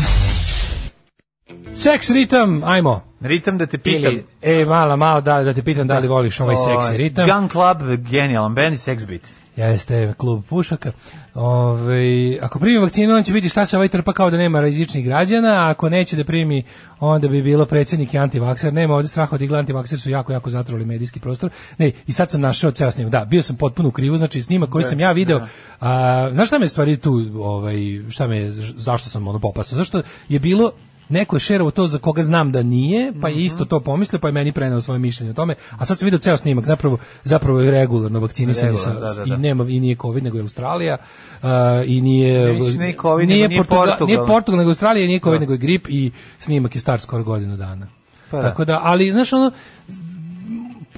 Speaker 6: Seks ritam, ajmo.
Speaker 5: Ritam da te pitam.
Speaker 6: Ili, e, mala, malo da, da te pitam da li voliš ovaj seksi ritam.
Speaker 5: Gun Club, genijalan band, sex beat.
Speaker 6: Jeste, klub pušaka. Ove, ako primi vakcinu, on će biti šta se ovaj trpa kao da nema rizičnih građana, a ako neće da primi, onda bi bilo predsjednik i antivakser. Nema ovde straha od igle, antivakser su jako, jako zatrovali medijski prostor. Ne, i sad sam našao ceo snimak. Da, bio sam potpuno u krivu, znači snimak
Speaker 5: Da,
Speaker 6: koji sam ja video. A, znaš šta me stvari tu, ovaj, šta me, zašto sam ono popasao? Zašto je bilo neko je šerovo to za koga znam da nije, pa je
Speaker 5: Mhm.
Speaker 6: isto to pomislio, pa je meni preneo svoje mišljenje o tome. A sad sam video ceo snimak, zapravo, zapravo je regularno vakcinisani sa,
Speaker 5: Regularno, da, da,
Speaker 6: i
Speaker 5: da.
Speaker 6: nema i nije covid nego je Australija uh, i nije
Speaker 5: Ne, mislim, nije covid, nego nije Portugal. Da.
Speaker 6: nije Portugal nego Australija nije covid nego je grip i snimak je star skoro godinu dana.
Speaker 5: Pa da.
Speaker 6: Tako da, ali znaš ono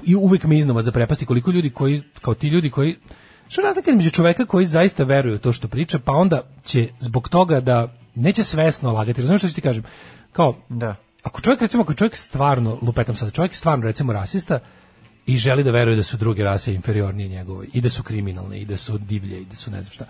Speaker 6: i uvek me iznova zaprepasti koliko ljudi koji kao ti ljudi koji što je razlika između čoveka koji zaista veruje u to što priča pa onda će zbog toga da neće svesno lagati. Razumeš što ću ti kažem? Kao
Speaker 5: Da.
Speaker 6: ako čovjek recimo ako je čovjek stvarno lupetam sad čovjek stvarno recimo rasista i želi da veruje da su druge rase inferiornije njegovoj i da su kriminalne i da su divlje i da su ne znam šta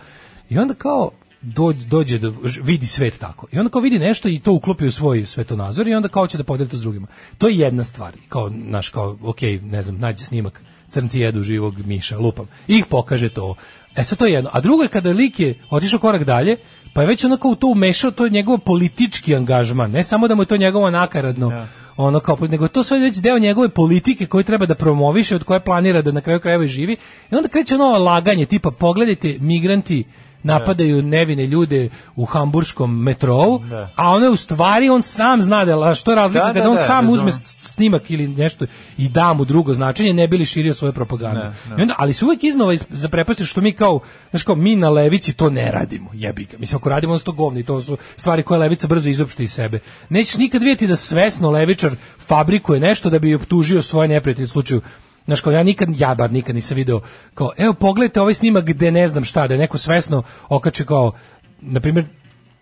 Speaker 6: i onda kao dođe, dođe do, ž- vidi svet tako i onda kao vidi nešto i to uklopi u svoj svetonazor i onda kao će da podeli to s drugima to je jedna stvar kao naš kao ok ne znam nađe snimak crnci jedu živog miša lupam i ih pokaže to E sad to je jedno. A drugo je kada je lik je otišao korak dalje, pa je već onako u to umešao, to je njegov politički angažman. Ne samo da mu je to njegovo nakaradno,
Speaker 5: Da.
Speaker 6: ono kao, nego je to sve već deo njegove politike koju treba da promoviše, od koje planira da na kraju krajeva i živi. I onda kreće ono laganje, tipa pogledajte migranti napadaju nevine ljude u hamburškom metrou,
Speaker 5: Da.
Speaker 6: a ono je u stvari, on sam zna da je la- što je razlika
Speaker 5: Da,
Speaker 6: kada
Speaker 5: da,
Speaker 6: on
Speaker 5: da,
Speaker 6: sam
Speaker 5: razumem.
Speaker 6: uzme s- snimak ili nešto i da mu drugo značenje, ne bi li širio svoju propagandu. I onda, ali se uvijek iznova iz- zaprepastiš što mi kao, znaš kao, mi na levici to ne radimo, jebi ga. Mislim, ako radimo, onda su to govni, to su stvari koje levica brzo izopšti iz sebe. Nećeš nikad vidjeti da svesno levičar fabrikuje nešto da bi optužio svoje neprijatelje u slučaju Znaš, kao ja nikad, ja bar nikad nisam video, kao, evo, pogledajte ovaj snimak gde ne znam šta, da je neko svesno okače kao, na primjer,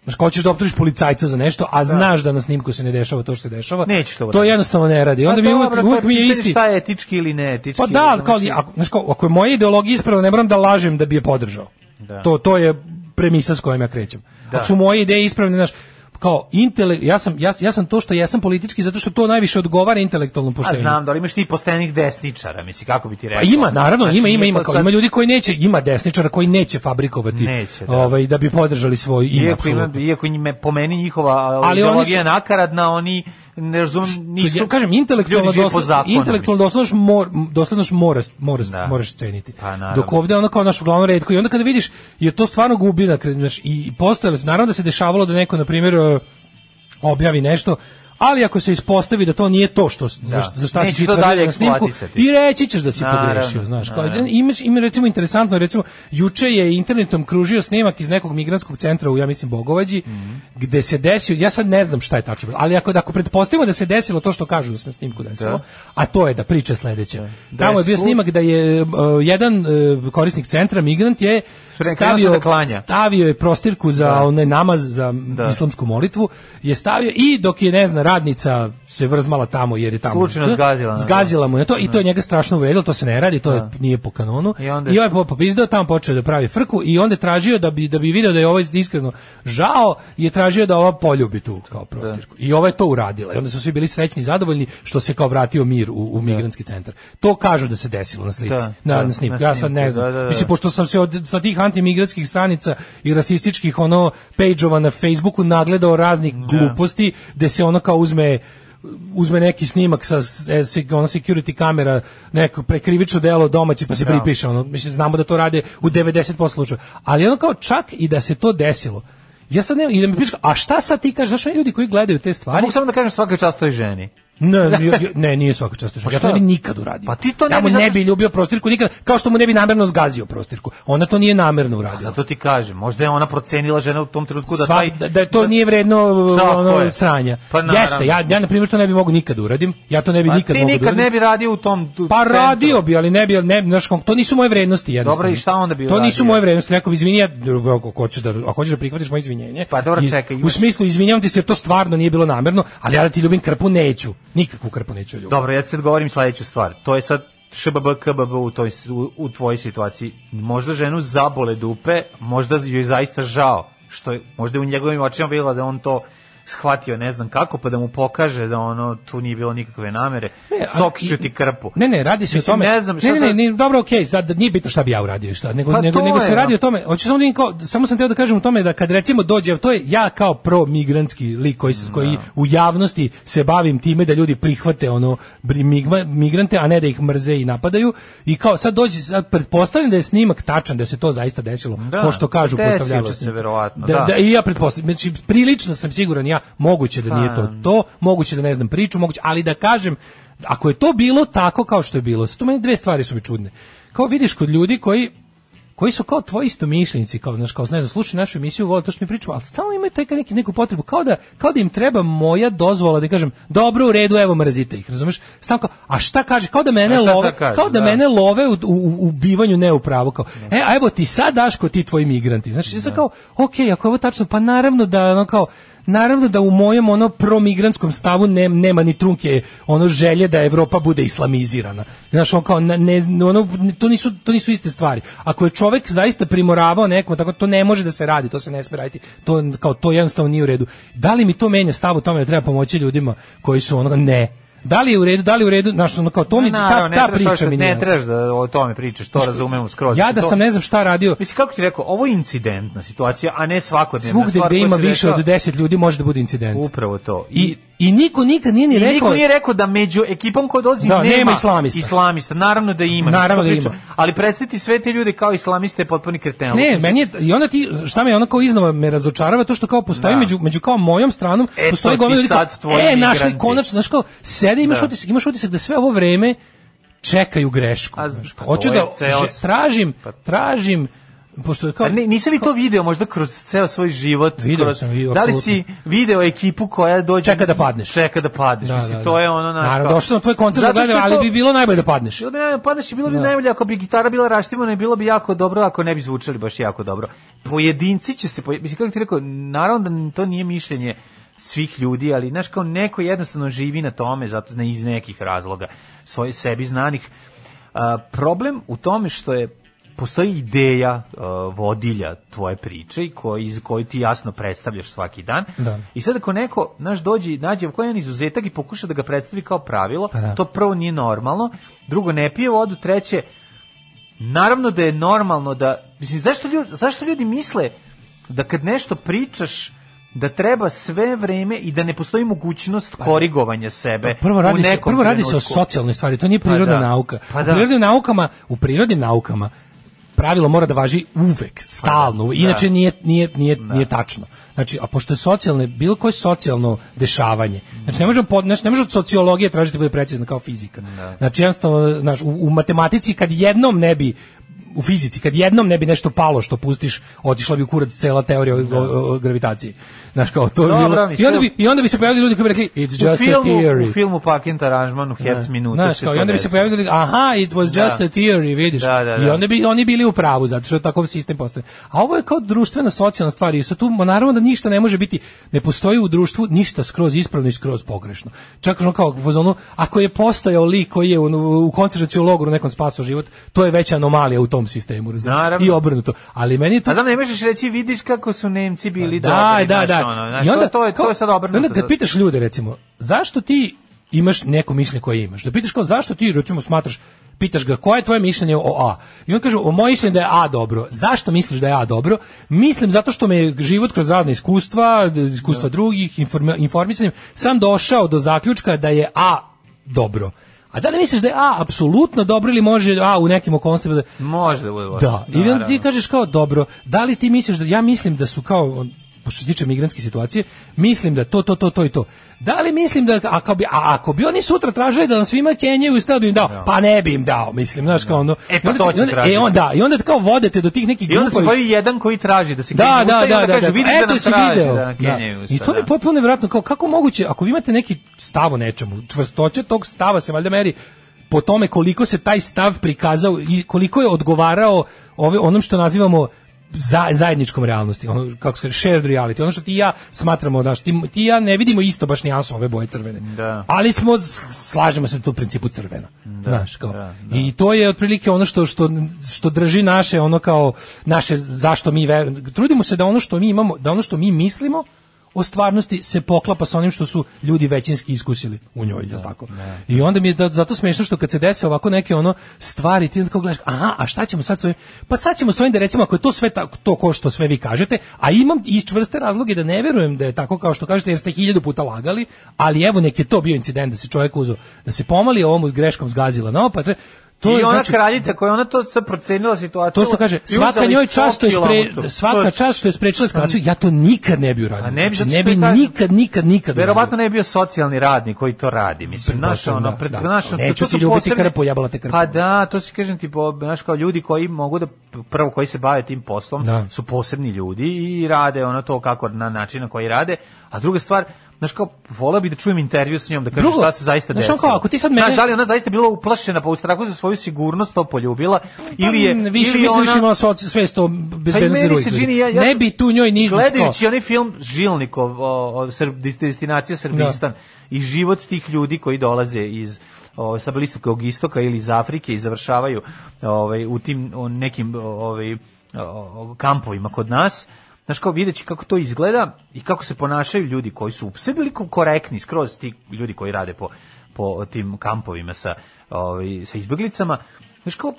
Speaker 6: Znaš, kao hoćeš da optužiš policajca za nešto, a znaš da na snimku se ne dešava to što se dešava.
Speaker 5: Nećeš to
Speaker 6: To
Speaker 5: uraditi.
Speaker 6: jednostavno ne radi. I Onda
Speaker 5: Pa
Speaker 6: mi je
Speaker 5: dobro,
Speaker 6: uvek,
Speaker 5: to
Speaker 6: uvek mi je
Speaker 5: pitanje
Speaker 6: isti.
Speaker 5: Šta je etički ili ne etički?
Speaker 6: Pa da, ali kao,
Speaker 5: znaš,
Speaker 6: ako, znaš, kao, ako je moja ideologija ispravna, ne moram da lažem da bi je podržao.
Speaker 5: Da.
Speaker 6: To, to je premisa s kojom ja krećem.
Speaker 5: Da.
Speaker 6: Ako su moje ideje ispravne, znaš, kao intele, ja sam ja, ja sam to što jesam politički zato što to najviše odgovara intelektualnom
Speaker 5: A
Speaker 6: poštenju.
Speaker 5: znam, da li imaš ti postenih desničara, misli, kako bi ti
Speaker 6: Pa
Speaker 5: rekao?
Speaker 6: ima naravno,
Speaker 5: Znaš,
Speaker 6: ima
Speaker 5: nije
Speaker 6: ima
Speaker 5: to
Speaker 6: ima kao,
Speaker 5: sad-
Speaker 6: ima ljudi koji neće, ima desničara koji neće fabrikovati
Speaker 5: Neće, da.
Speaker 6: ovaj da bi podržali svoj ime.
Speaker 5: Iako, ima,
Speaker 6: apsolutno.
Speaker 5: iako njime, po meni njihova ali
Speaker 6: oni
Speaker 5: ideologija
Speaker 6: su-
Speaker 5: nakaradna, oni ne razum, nisu...
Speaker 6: ja kažem intelektualno
Speaker 5: ljudi žive po
Speaker 6: dosledno
Speaker 5: zakonu,
Speaker 6: intelektualno dosledno mor, dosledno mora mora
Speaker 5: Da.
Speaker 6: moraš ceniti.
Speaker 5: Pa, naravno.
Speaker 6: Dok ovde ono kao naš uglavnom retko i onda kada vidiš je to stvarno gubina znaš, i postojalo se naravno da se dešavalo da neko na primjer e, objavi nešto ali ako se ispostavi da to nije to što za, šta- za šta si
Speaker 5: Nećeš Da.
Speaker 6: ti
Speaker 5: to
Speaker 6: tvrdio
Speaker 5: dalje
Speaker 6: na snimku
Speaker 5: eksploatisati.
Speaker 6: i reći ćeš da si
Speaker 5: Naravno,
Speaker 6: pogrešio, znaš. Kao,
Speaker 5: naravno.
Speaker 6: imaš, ima recimo interesantno, recimo, juče je internetom kružio snimak iz nekog migranskog centra u, ja mislim, Bogovađi,
Speaker 5: Mhm.
Speaker 6: gde se desio, ja sad ne znam šta je tačno bilo, ali ako, ako pretpostavimo da se desilo to što kažu da se na snimku desilo, a to je da priča sledeća. Tamo je bio
Speaker 5: Desu.
Speaker 6: snimak da je uh, jedan uh, korisnik centra, migrant je
Speaker 5: Krenuo sam
Speaker 6: stavio,
Speaker 5: da klanja. Da.
Speaker 6: stavio je prostirku za onaj namaz, za islamsku molitvu, je stavio i dok je, ne znam, radnica se vrzmala tamo jer je tamo
Speaker 5: Slučajno zgazila da. na-
Speaker 6: zgazila mu je to i to je njega strašno uvredilo, to se ne radi, to je, nije po kanonu. I,
Speaker 5: Da. I onda-
Speaker 6: ovaj po- popizdao, tamo počeo da pravi frku i onda je tražio da bi da bi video da je ovaj iskreno žao, je tražio da ova poljubi tu kao prostirku. I ova je to uradila. I onda su svi bili srećni i zadovoljni što se kao vratio mir u, u migrantski centar. To kažu da se desilo na slici,
Speaker 5: Da,
Speaker 6: na,
Speaker 5: da,
Speaker 6: na snimku.
Speaker 5: na
Speaker 6: ja sad ne
Speaker 5: snimku,
Speaker 6: znam.
Speaker 5: da, da, da.
Speaker 6: Mislim, Znači, pošto sam se od sa tih antimigratskih stranica i rasističkih ono pejđova na Facebooku nagledao raznih gluposti gde se ono kao uzme uzme neki snimak sa s- e, se- ono security kamera neko prekrivično delo domaći pa se pripiše ono mislim znamo da to rade u 90% slučajeva ali ono kao čak i da se to desilo ja sad ne i da mi piše a šta sad ti kažeš zašto ljudi koji gledaju te stvari
Speaker 5: Mogu samo da kažem svaka čast toj ženi.
Speaker 6: Ne, ne, ne, nije svaka čast Tušak.
Speaker 5: Pa
Speaker 6: ja to
Speaker 5: šta?
Speaker 6: ne bi nikad uradio.
Speaker 5: Pa ti to ne
Speaker 6: ja mu
Speaker 5: bi zato
Speaker 6: ne
Speaker 5: što-
Speaker 6: bi ljubio prostirku nikad, kao što mu ne bi namerno zgazio prostirku. Ona to nije namerno uradila.
Speaker 5: Zato ti kažem, možda je ona procenila žena u tom trenutku da
Speaker 6: Sva-
Speaker 5: taj...
Speaker 6: da, da to nije vredno
Speaker 5: Tako je.
Speaker 6: ono sranja.
Speaker 5: Pa naravno.
Speaker 6: Jeste, ja ja na primjer to ne bi mogao nikad da uradim. Ja to ne bi
Speaker 5: Pa
Speaker 6: nikad
Speaker 5: ti
Speaker 6: mogao. da
Speaker 5: nikad
Speaker 6: uradim.
Speaker 5: ne bi radio u tom tu
Speaker 6: Pa
Speaker 5: centru.
Speaker 6: radio bi, ali ne bi, ne, znaš, kako, to nisu moje vrednosti jednostavno.
Speaker 5: Dobro, i šta onda bi
Speaker 6: To nisu
Speaker 5: uradio?
Speaker 6: moje vrednosti, rekao bi izvini, ja, ako hoćeš da, ako hoćeš da prihvatiš moje izvinjenje.
Speaker 5: Pa dobro,
Speaker 6: i-
Speaker 5: čekaj,
Speaker 6: U
Speaker 5: imaš-
Speaker 6: smislu, izvinjavam ti se, jer to stvarno nije bilo namerno, ali ja da ti ljubim krpu neću. Nikakvu krpu neću ljubiti.
Speaker 5: Dobro, ja ti sad govorim sledeću stvar. To je sad šbb, kbb u, toj, s- u, u tvojoj situaciji. Možda ženu zabole dupe, možda joj zaista žao. Što je, možda je u njegovim očima bila da on to shvatio ne znam kako, pa da mu pokaže da ono tu nije bilo nikakve namere.
Speaker 6: Ne, ali-
Speaker 5: Cokiću ti krpu.
Speaker 6: Ne, ne, radi se
Speaker 5: Mislim,
Speaker 6: o tome.
Speaker 5: Ne znam šta
Speaker 6: ne, ne, ne,
Speaker 5: sad-
Speaker 6: ne, dobro, okej, sad nije bitno šta bi ja uradio i šta, nego
Speaker 5: Pa
Speaker 6: nego
Speaker 5: to
Speaker 6: nego
Speaker 5: je,
Speaker 6: se radi
Speaker 5: no.
Speaker 6: o tome. Hoćeš samo da vidim kao samo sam teo da kažem o tome da kad recimo dođe, to je ja kao pro migrantski lik koji s- koji
Speaker 5: Da.
Speaker 6: u javnosti se bavim time da ljudi prihvate ono bri- migma- migrante, a ne da ih mrze i napadaju i kao sad dođe sad pretpostavljam da je snimak tačan da se to zaista desilo,
Speaker 5: Da,
Speaker 6: ko što kažu
Speaker 5: desilo
Speaker 6: postavljači.
Speaker 5: se verovatno,
Speaker 6: da,
Speaker 5: da.
Speaker 6: da, i ja pretpostavljam, znači prilično sam siguran ja, moguće da nije
Speaker 5: Pa.
Speaker 6: to to, moguće da ne znam priču, moguće, ali da kažem, ako je to bilo tako kao što je bilo, sad tu meni dve stvari su mi čudne. Kao vidiš kod ljudi koji koji su kao tvoji istomišljenici, kao znaš, kao ne znam, slušaju našu emisiju, vole to što mi pričamo, ali stalno imaju taj neki neku potrebu, kao da, kao da im treba moja dozvola da kažem, dobro, u redu, evo mrzite ih, razumeš? Stalno kao, a šta kaže, kao da mene
Speaker 5: A šta
Speaker 6: love,
Speaker 5: sad kaže,
Speaker 6: kao da,
Speaker 5: da.
Speaker 6: mene love u, u, u bivanju ne u pravu, kao, e, a evo ti sad daško ti tvoji migranti, znači,
Speaker 5: Da.
Speaker 6: ja sam kao, ok, ako je ovo tačno, pa naravno da, ono kao, Naravno da u mojem ono promigrantskom stavu ne, nema ni trunke ono želje da Evropa bude islamizirana. Znaš, on kao, ne, ne- ono, to, nisu, to nisu iste stvari. Ako je čovek zaista primoravao nekom, tako to ne može da se radi, to se ne sme raditi. To, kao, to jednostavno nije u redu. Da li mi to menja stav u tome da treba pomoći ljudima koji su ono, ne. Da li je u redu, da li je u redu, znaš, ono kao, to mi, ta,
Speaker 5: Naravno, ne
Speaker 6: ta
Speaker 5: trebaš
Speaker 6: priča
Speaker 5: sad-
Speaker 6: mi nije
Speaker 5: Ne
Speaker 6: jasna.
Speaker 5: trebaš da o tome pričaš, to razumem skroz.
Speaker 6: Ja da
Speaker 5: Pa To-
Speaker 6: sam ne znam šta radio,
Speaker 5: Mislim, kako ti rekao, ovo je incidentna situacija, a ne svakodnevna
Speaker 6: svugde
Speaker 5: stvar
Speaker 6: gde
Speaker 5: koja
Speaker 6: ima
Speaker 5: se
Speaker 6: više
Speaker 5: dešava.
Speaker 6: od 10 ljudi može da bude incident.
Speaker 5: Upravo to.
Speaker 6: I, i niko nikad nije ni
Speaker 5: I
Speaker 6: rekao...
Speaker 5: niko nije rekao da među ekipom koja dolazi
Speaker 6: Da,
Speaker 5: nema,
Speaker 6: nema islamista.
Speaker 5: Islamista, naravno da ima.
Speaker 6: Naravno
Speaker 5: mislim,
Speaker 6: da
Speaker 5: pričam. Ali predstaviti sve te ljude kao islamiste je potpuni kreten.
Speaker 6: Ne, meni je, i onda ti, šta me ono kao iznova me razočarava, to što kao postoji
Speaker 5: Da.
Speaker 6: među, među kao mojom stranom,
Speaker 5: E, to ti
Speaker 6: postoji gomila ljudi kao,
Speaker 5: sad tvoji
Speaker 6: e, našli
Speaker 5: migranti."
Speaker 6: konačno, znaš kao, sede, imaš utisak, imaš utisak da sve ovo vreme čekaju grešku.
Speaker 5: A,
Speaker 6: znaš,
Speaker 5: pa
Speaker 6: Hoću
Speaker 5: to je
Speaker 6: da,
Speaker 5: ceo- pa-
Speaker 6: že- tražim, tražim, pošto je kao,
Speaker 5: Ne, nisi li to video možda kroz ceo svoj život?
Speaker 6: Video
Speaker 5: kroz,
Speaker 6: sam, video,
Speaker 5: Da li
Speaker 6: apsolutno.
Speaker 5: si video ekipu koja dođe...
Speaker 6: Čeka da padneš.
Speaker 5: Čeka da padneš.
Speaker 6: Da,
Speaker 5: Mislim,
Speaker 6: da,
Speaker 5: to
Speaker 6: da.
Speaker 5: je ono... naš
Speaker 6: Naravno,
Speaker 5: kao-
Speaker 6: došao sam na tvoj koncert da
Speaker 5: Zato što
Speaker 6: gledam,
Speaker 5: je
Speaker 6: ali
Speaker 5: to-
Speaker 6: bi bilo najbolje da padneš. Da.
Speaker 5: Bilo bi najbolje, padaš i bilo bi najbolje ako bi gitara bila raštimana i bilo bi jako dobro ako ne bi zvučali baš jako dobro. Pojedinci će se, poje- mislim kako ti rekao, naravno da to nije mišljenje svih ljudi, ali znaš kao neko jednostavno živi na tome zato ne iz nekih razloga svoj sebi znanih. A, problem u tome što je postoji ideja a, vodilja tvoje priče i koji iz koju ti jasno predstavljaš svaki dan.
Speaker 6: Da.
Speaker 5: I sad ako neko naš dođe i nađe koji jedan izuzetak i pokuša da ga predstavi kao pravilo,
Speaker 6: Pa da.
Speaker 5: to prvo nije normalno, drugo ne pije vodu, treće naravno da je normalno da mislim zašto ljudi zašto ljudi misle da kad nešto pričaš da treba sve vreme i da ne postoji mogućnost korigovanja sebe.
Speaker 6: Pa da. Prvo radi
Speaker 5: Dakle, u
Speaker 6: se
Speaker 5: nekom
Speaker 6: prvo radi se o
Speaker 5: trenutku.
Speaker 6: socijalnoj stvari, to nije
Speaker 5: Pa
Speaker 6: prirodna
Speaker 5: da.
Speaker 6: nauka.
Speaker 5: Pa
Speaker 6: u
Speaker 5: da.
Speaker 6: prirodnim naukama, u prirodnim naukama pravilo mora da važi
Speaker 5: Pa
Speaker 6: uvek, stalno.
Speaker 5: Da.
Speaker 6: Inače nije nije nije nije tačno. Znači, a pošto je socijalne, bilo koje socijalno dešavanje. Znači ne možemo pod, znači, ne možemo od sociologije tražiti da bude precizna kao fizika.
Speaker 5: Da.
Speaker 6: Znači jednostavno, znaš, u, u matematici kad jednom ne bi u fizici, kad jednom ne bi nešto palo što pustiš, otišla bi u kurac cela teorija o, o- o gravitaciji. Znaš, kao to bi
Speaker 5: Da. Dobro,
Speaker 6: bilo... I
Speaker 5: mislim-
Speaker 6: onda bi, i onda bi se pojavili ljudi koji bi rekli, it's
Speaker 5: u
Speaker 6: just a
Speaker 5: filmu,
Speaker 6: theory.
Speaker 5: u filmu Paket Aranžman u Hertz minutu.
Speaker 6: Da. Znaš,
Speaker 5: se
Speaker 6: kao,
Speaker 5: to
Speaker 6: i onda bi se
Speaker 5: desi.
Speaker 6: pojavili, aha, it was just
Speaker 5: Da.
Speaker 6: a theory, vidiš.
Speaker 5: Da, da, da.
Speaker 6: I onda bi oni bili u pravu, zato što je takav sistem postoji. A ovo je kao društvena socijalna stvar i sad tu ma, naravno da ništa ne može biti, ne postoji u društvu ništa skroz ispravno i skroz pogrešno. Čak ono kao, u fazonu, ako je postojao lik koji je u, u koncentraciju logoru nekom spasao život, to je veća anomalija u tom sistemu, razumiješ?
Speaker 5: Naravno.
Speaker 6: I obrnuto. Ali meni je to
Speaker 5: A znam, ne možeš reći, vidiš kako su Nemci bili
Speaker 6: da,
Speaker 5: dobri.
Speaker 6: Da,
Speaker 5: znaš,
Speaker 6: da,
Speaker 5: ono,
Speaker 6: da.
Speaker 5: znaš, to, to, je, to je sad obrnuto.
Speaker 6: Onda kad pitaš ljude, recimo, zašto ti imaš neko mišljenje koje imaš? Da pitaš kao zašto ti, recimo, smatraš, pitaš ga koje je tvoje mišljenje o A. I on kaže, o moje mišljenje da je A dobro. Zašto misliš da je A dobro? Mislim zato što me je život kroz razne iskustva, d- iskustva
Speaker 5: Da.
Speaker 6: drugih, informa- informisanjem, sam došao do zaključka da je A dobro. A da li misliš da je A apsolutno dobro ili može A u nekim okolnostima da,
Speaker 5: Može da bude loše.
Speaker 6: da, i onda ti
Speaker 5: naravno.
Speaker 6: kažeš kao dobro, da li ti misliš da ja mislim da su kao on- što se tiče migrantske situacije, mislim da to, to, to, to i to. Da li mislim da, ako bi, a ako bi oni sutra tražili da nam svima Kenjaju i stadu im dao, pa ne bi im dao, mislim, znaš, kao ono...
Speaker 5: Da. E, pa
Speaker 6: i onda-
Speaker 5: to će
Speaker 6: i onda-
Speaker 5: tražiti.
Speaker 6: E, on, da, i onda kao vodete do tih nekih
Speaker 5: I onda se
Speaker 6: glupovih-
Speaker 5: pojavi jedan koji traži da se
Speaker 6: da,
Speaker 5: Kenji
Speaker 6: da,
Speaker 5: usta i
Speaker 6: da,
Speaker 5: onda
Speaker 6: da,
Speaker 5: kaže,
Speaker 6: da,
Speaker 5: vidite da
Speaker 6: eto
Speaker 5: nam
Speaker 6: si
Speaker 5: traži
Speaker 6: video.
Speaker 5: da nam Kenjaju
Speaker 6: Da.
Speaker 5: usta.
Speaker 6: I to mi je
Speaker 5: da.
Speaker 6: potpuno nevjerojatno, kao kako moguće, ako vi imate neki stav o nečemu, čvrstoća tog stava se valjda meri po tome koliko se taj stav prikazao i koliko je odgovarao ove, onom što nazivamo za, zajedničkom realnosti, ono, kako se kaže, shared reality, ono što ti i ja smatramo, znaš, ti, ti i ja ne vidimo isto baš nijansu ove boje crvene,
Speaker 5: Da.
Speaker 6: ali smo, s- slažemo se tu u principu crveno, znaš, kao, i to je otprilike ono što, što, što drži naše, ono kao, naše, zašto mi, ver, trudimo se da ono što mi imamo, da ono što mi mislimo, o stvarnosti se poklapa sa onim što su ljudi većinski iskusili u njoj,
Speaker 5: Da,
Speaker 6: jel tako? I onda mi je da, zato smešno što kad se dese ovako neke ono stvari, ti onda kao gledaš, aha, a šta ćemo sad s ovim? Pa sad ćemo s ovim da recimo ako je to sve tako, to ko što sve vi kažete, a imam i čvrste razloge da ne verujem da je tako kao što kažete jer ste hiljadu puta lagali, ali evo nek je to bio incident da se čovjek uzeo, da se pomali ovom s greškom zgazila na opatre, to
Speaker 5: I
Speaker 6: je
Speaker 5: ona
Speaker 6: znači,
Speaker 5: kraljica koja je ona to sad procenila situaciju.
Speaker 6: to što kaže,
Speaker 5: i
Speaker 6: svaka
Speaker 5: uzela
Speaker 6: njoj
Speaker 5: ih
Speaker 6: čast što je
Speaker 5: 100
Speaker 6: spre,
Speaker 5: kilometara.
Speaker 6: svaka
Speaker 5: To-
Speaker 6: čast što je sprečila eskalaciju, ja to nikad ne bi uradio.
Speaker 5: A ne bi, zato
Speaker 6: znači, ne
Speaker 5: što
Speaker 6: bi
Speaker 5: je kažem-
Speaker 6: nikad, nikad, nikad.
Speaker 5: Verovatno ne bi bio socijalni radnik koji to radi, mislim, znaš,
Speaker 6: Pretpostavljam,
Speaker 5: ono,
Speaker 6: da,
Speaker 5: pred,
Speaker 6: da.
Speaker 5: znaš, ono,
Speaker 6: Neću
Speaker 5: to
Speaker 6: ti
Speaker 5: su
Speaker 6: ljubiti
Speaker 5: posebni-
Speaker 6: krpu, jebala te krpu.
Speaker 5: Pa da, to se kažem, tipo, znaš, kao ljudi koji mogu da, prvo koji se bave tim poslom,
Speaker 6: Da.
Speaker 5: su posebni ljudi i rade ono to kako, na način na koji rade, a druga stvar, Znaš kao, vola bi da čujem intervju s njom, da kažem
Speaker 6: Drugo,
Speaker 5: šta se zaista
Speaker 6: znaš,
Speaker 5: desilo.
Speaker 6: ono kao, ako ti sad mene-
Speaker 5: Znaš, da li je ona zaista bila uplašena, pa u strahu za svoju sigurnost to poljubila, ili je...
Speaker 6: Mm, više
Speaker 5: ili je
Speaker 6: mislim
Speaker 5: ona-
Speaker 6: više imala soci svest o
Speaker 5: Pa i
Speaker 6: bezbednosti
Speaker 5: meni se
Speaker 6: drugih.
Speaker 5: čini,
Speaker 6: ljudi.
Speaker 5: ja, ja
Speaker 6: ne
Speaker 5: sam-
Speaker 6: bi tu njoj ništa
Speaker 5: Gledajući onaj film Žilnikov, o, o, Srb, dis- destinacija Srbistan i život tih ljudi koji dolaze iz ovaj sa Bliskog istoka ili iz Afrike i završavaju ovaj u tim o, nekim o, ovaj o, o, kampovima kod nas. Znaš kao videći kako to izgleda i kako se ponašaju ljudi koji su u sebi bili korektni, skroz ti ljudi koji rade po, po tim kampovima sa, ovaj, sa izbeglicama. Znaš kao,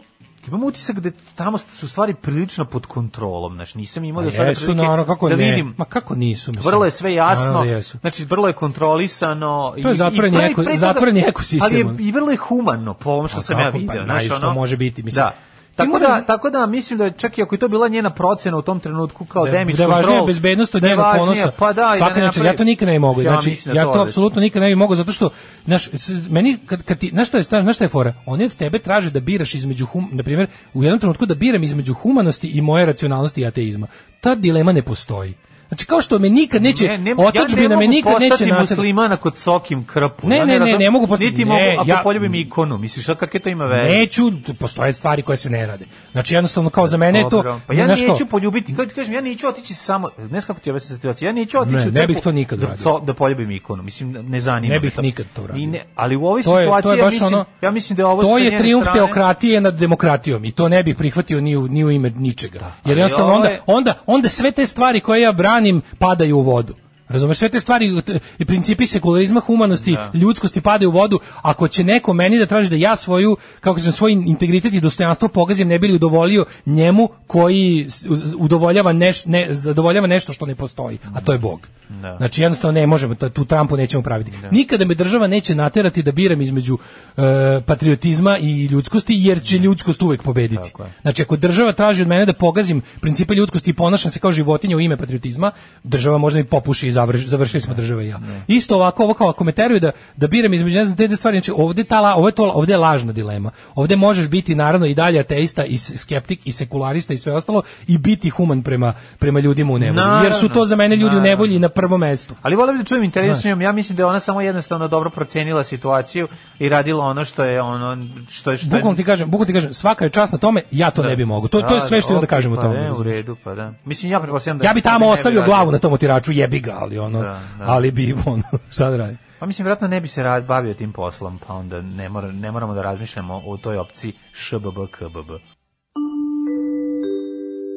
Speaker 5: imam utisak da tamo su stvari prilično pod kontrolom, znaš, nisam imao do
Speaker 6: Pa
Speaker 5: sada
Speaker 6: jesu,
Speaker 5: prilike
Speaker 6: naravno, kako
Speaker 5: da
Speaker 6: ne?
Speaker 5: vidim.
Speaker 6: Ma kako nisu? Mislim.
Speaker 5: Vrlo je sve
Speaker 6: Naravno
Speaker 5: jasno,
Speaker 6: da jesu.
Speaker 5: znači vrlo je kontrolisano. i-
Speaker 6: To je
Speaker 5: i
Speaker 6: zatvoreni
Speaker 5: pre-
Speaker 6: eko-
Speaker 5: pre toga-
Speaker 6: zatvoreni ekosistem,
Speaker 5: Ali
Speaker 6: ono.
Speaker 5: je i vrlo je humano, po ovom što
Speaker 6: A
Speaker 5: sam ja
Speaker 6: kako, pa
Speaker 5: video.
Speaker 6: naj-
Speaker 5: znaš,
Speaker 6: što
Speaker 5: ono.
Speaker 6: može biti, mislim.
Speaker 5: Da.
Speaker 6: Ti
Speaker 5: Tako
Speaker 6: moraš-
Speaker 5: da, tako da mislim da je čak i ako je to bila njena procena u tom trenutku kao
Speaker 6: Da-
Speaker 5: damage
Speaker 6: da je važnija
Speaker 5: control,
Speaker 6: bezbednost od
Speaker 5: Pa da je
Speaker 6: njenog
Speaker 5: važnija,
Speaker 6: ponosa.
Speaker 5: Pa da, i
Speaker 6: Svaka
Speaker 5: da ne
Speaker 6: nečeg, ja
Speaker 5: napravi-
Speaker 6: to nikad ne bi mogao. Znači,
Speaker 5: mislim da
Speaker 6: ja to
Speaker 5: da-
Speaker 6: apsolutno nikad ne bi mogao zato što znaš, s- meni kad kad ti, znaš šta je, znaš šta je fora? Oni od tebe traže da biraš između hum, na primjer, u jednom trenutku da biram između humanosti i moje racionalnosti i ateizma. Ta dilema ne postoji. Znači kao što me nikad neće
Speaker 5: Ne, ne, ja
Speaker 6: otadžbina
Speaker 5: ne
Speaker 6: me
Speaker 5: mogu
Speaker 6: nikad neće
Speaker 5: postati
Speaker 6: natrati.
Speaker 5: muslimana kod sokim krpu.
Speaker 6: Ne,
Speaker 5: ja
Speaker 6: ne, ne,
Speaker 5: razumem.
Speaker 6: ne mogu postati-
Speaker 5: Niti
Speaker 6: ne,
Speaker 5: mogu, ako
Speaker 6: ja-
Speaker 5: poljubim ikonu, misliš, a kakve to ima veze?
Speaker 6: Neću, tu postoje stvari koje se ne rade. Znači jednostavno kao za mene je
Speaker 5: Dobro,
Speaker 6: to,
Speaker 5: Pa ja
Speaker 6: znaš kao-
Speaker 5: neću poljubiti, kako ti kažem, ja neću otići samo, ne znam kako ti je ova situacija, ja neću otići
Speaker 6: Ne,
Speaker 5: u
Speaker 6: ne
Speaker 5: crkvu
Speaker 6: bih to nikad
Speaker 5: da,
Speaker 6: uradio.
Speaker 5: co- da poljubim ikonu, mislim, ne zanima me
Speaker 6: Ne bih
Speaker 5: to.
Speaker 6: nikad to uradio.
Speaker 5: I ne, ali u ovoj
Speaker 6: to je,
Speaker 5: situaciji,
Speaker 6: to je
Speaker 5: ja,
Speaker 6: baš
Speaker 5: mislim,
Speaker 6: ono,
Speaker 5: ja mislim da je ovo
Speaker 6: to
Speaker 5: sa
Speaker 6: je
Speaker 5: njene
Speaker 6: trijumf
Speaker 5: strane-
Speaker 6: teokratije nad demokratijom i to ne bih prihvatio ni u, ni u ime ničega. Jer
Speaker 5: ali
Speaker 6: jednostavno
Speaker 5: ovo
Speaker 6: onda,
Speaker 5: je-
Speaker 6: onda, onda sve te stvari koje ja branim padaju u vodu. Razumeš, sve te stvari t- i principi sekularizma, humanosti, ljudskosti padaju u vodu. Ako će neko meni da traži da ja svoju, kako sam svoj integritet i dostojanstvo pogazim, ne bi li udovolio njemu koji s- uz- udovoljava neš, ne, zadovoljava nešto što ne postoji, a to je Bog. Znači jednostavno ne možemo, to- tu trampu nećemo praviti. Nikada me država neće naterati da biram između e, patriotizma i ljudskosti, jer
Speaker 5: Mhm.
Speaker 6: će ljudskost uvek pobediti. Znači ako država traži od mene da pogazim principe ljudskosti i ponašam se kao životinja u ime patriotizma, država možda i popuši i završi, završili smo država i ja. Isto ovako, ovo kao ako me teruju da, da biram između ne znam te dve stvari, znači ovde, ta, la- ovo je to, ovde je lažna dilema. Ovde možeš biti naravno i dalje ateista i s- skeptik i sekularista i sve ostalo i biti human prema, prema ljudima u nevolji. jer su
Speaker 5: Naravno,
Speaker 6: to za mene ljudi u
Speaker 5: naravno.
Speaker 6: nevolji na prvom mestu.
Speaker 5: Ali volim da čujem intervju s
Speaker 6: Znaš.
Speaker 5: njom, ja mislim da je ona samo jednostavno dobro procenila situaciju i radila ono što je ono, što je... Što je
Speaker 6: Bukvalno ti kažem, bukvalno ti kažem, svaka je čast na tome, ja to ne bi mogao. To, to je sve što imam da
Speaker 5: ok,
Speaker 6: kažem o
Speaker 5: Da. pa
Speaker 6: tome.
Speaker 5: ne, u
Speaker 6: razumeš?
Speaker 5: redu, pa da. Mislim, ja pretpostavljam da...
Speaker 6: Ja bi tamo
Speaker 5: da ne
Speaker 6: ostavio
Speaker 5: radio.
Speaker 6: glavu na tom otiraču, jebi ga, ali ono,
Speaker 5: Da, da.
Speaker 6: ali bi, ono, šta da radim?
Speaker 5: Pa mislim, vjerojatno ne bi se rad, bavio tim poslom, pa onda ne, mora, ne moramo da razmišljamo o toj opciji šbb, kbb.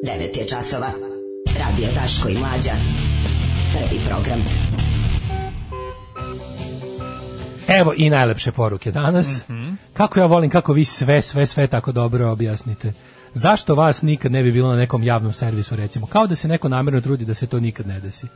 Speaker 7: 9 je časova. Radio Daško i Mlađa. Prvi program.
Speaker 6: Evo i najlepše poruke danas.
Speaker 5: Mhm.
Speaker 6: Kako ja volim kako vi sve, sve, sve tako dobro objasnite. Zašto vas nikad ne bi bilo na nekom javnom servisu, recimo? Kao da se neko namjerno trudi da se to nikad ne desi.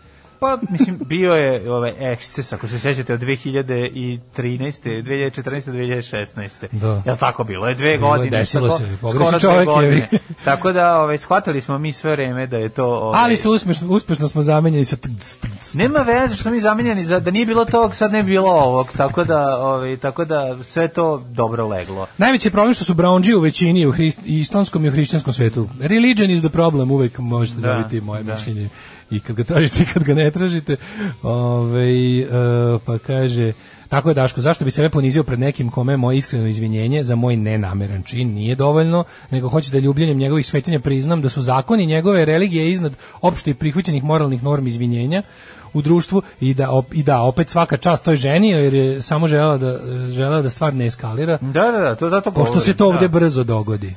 Speaker 5: Pa, mislim, bio je ovaj eksces, ako se sjećate, od 2013. 2014. 2016.
Speaker 6: Da.
Speaker 5: Jel tako bilo? Je dve
Speaker 6: Bilo je,
Speaker 5: godine.
Speaker 6: desilo
Speaker 5: tako-
Speaker 6: se, pogreši
Speaker 5: Skoro dve
Speaker 6: čovek,
Speaker 5: godine.
Speaker 6: jevi.
Speaker 5: tako da, ovaj, shvatili smo mi sve vreme da je to... Ovaj,
Speaker 6: Ali su uspešno, uspešno smo zamenjeni sa... tgc, tgc.
Speaker 5: Nema veze što mi zamenjeni za da nije bilo tog sad ne bi bilo ovog tako da ovaj tako da sve to dobro leglo.
Speaker 6: Najveći je problem što su brownđi u većini u hrist, i islamskom i u hrišćanskom svetu. Religion is the problem, uvek možete
Speaker 5: Da,
Speaker 6: dobiti moje
Speaker 5: da.
Speaker 6: mišljenje. I kad ga tražite i kad ga ne tražite. Ovaj, e, pa kaže, tako je Daško, zašto bi sebe ponizio pred nekim kome je moje iskreno izvinjenje za moj nenameran čin nije dovoljno, nego hoće da ljubljenjem njegovih svetinja priznam da su zakoni njegove religije iznad opšte i prihvaćenih moralnih normi izvinjenja u društvu i da, op- i da opet svaka čast toj ženi jer je samo želela da, želela da stvar ne eskalira
Speaker 5: Da, da, da, to zato
Speaker 6: Pošto se
Speaker 5: govorim,
Speaker 6: to
Speaker 5: da. Mm.
Speaker 6: ovde brzo dogodi.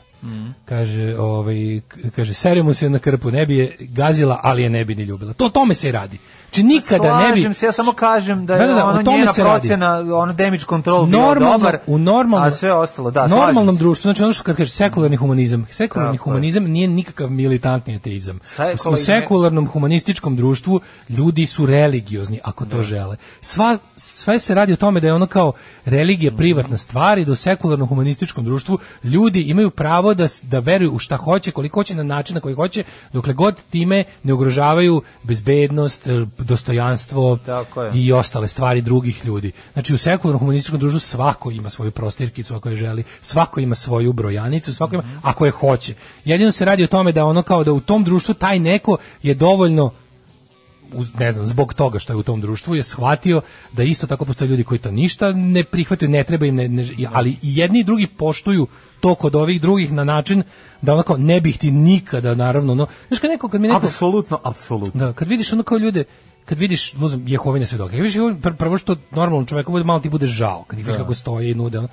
Speaker 6: Kaže, ovaj, k- kaže, sere mu se na krpu, ne bi je gazila, ali je ne bi ni ljubila. To o tome se radi. Znači, nikada ne
Speaker 5: Slažem
Speaker 6: bi...
Speaker 5: se, ja samo kažem da je
Speaker 6: Da, da, da, o
Speaker 5: ono
Speaker 6: tome
Speaker 5: njena
Speaker 6: se radi.
Speaker 5: procena, ono damage control bio
Speaker 6: normalno,
Speaker 5: dobar,
Speaker 6: u normalnom,
Speaker 5: a sve ostalo, da, slažem
Speaker 6: normalnom
Speaker 5: se.
Speaker 6: društvu, znači ono što kad kaže sekularni humanizam, sekularni
Speaker 5: Tako je.
Speaker 6: humanizam nije nikakav militantni ateizam. U
Speaker 5: Sekularni-
Speaker 6: sekularnom humanističkom društvu ljudi su religiozni ako
Speaker 5: Da.
Speaker 6: to žele. Sva, sve se radi o tome da je ono kao
Speaker 5: Mhm.
Speaker 6: religija privatna stvar i da u sekularnom humanističkom društvu ljudi imaju pravo da, s- da veruju u šta hoće, koliko hoće, na način na koji hoće, dokle god time ne ugrožavaju bezbednost, e, dostojanstvo
Speaker 5: Tako je.
Speaker 6: i i ostale stvari drugih ljudi. Znači u sekularnom humanističkom društvu svako ima svoju prostirkicu ako je želi, svako ima svoju brojanicu, svako ima ako je hoće. Jedino se radi o tome da ono kao da u tom društvu taj neko je dovoljno uz- ne znam, zbog toga što je u tom društvu je shvatio da isto tako postoje ljudi koji to ništa ne prihvataju, ne treba im, ne, ne, ali i jedni i drugi poštuju to kod ovih drugih na način da onako ne bih ti nikada naravno no znaš kad neko kad mi neko
Speaker 5: Apsolutno, apsolutno.
Speaker 6: da, kad vidiš ono kao ljude, kad vidiš luzom Jehovine svedoke, kad vidiš Jehovine, pr- prvo što normalnom čoveku bude malo ti bude žao, kad ih
Speaker 5: Da.
Speaker 6: vidiš kako stoje i nude, ono.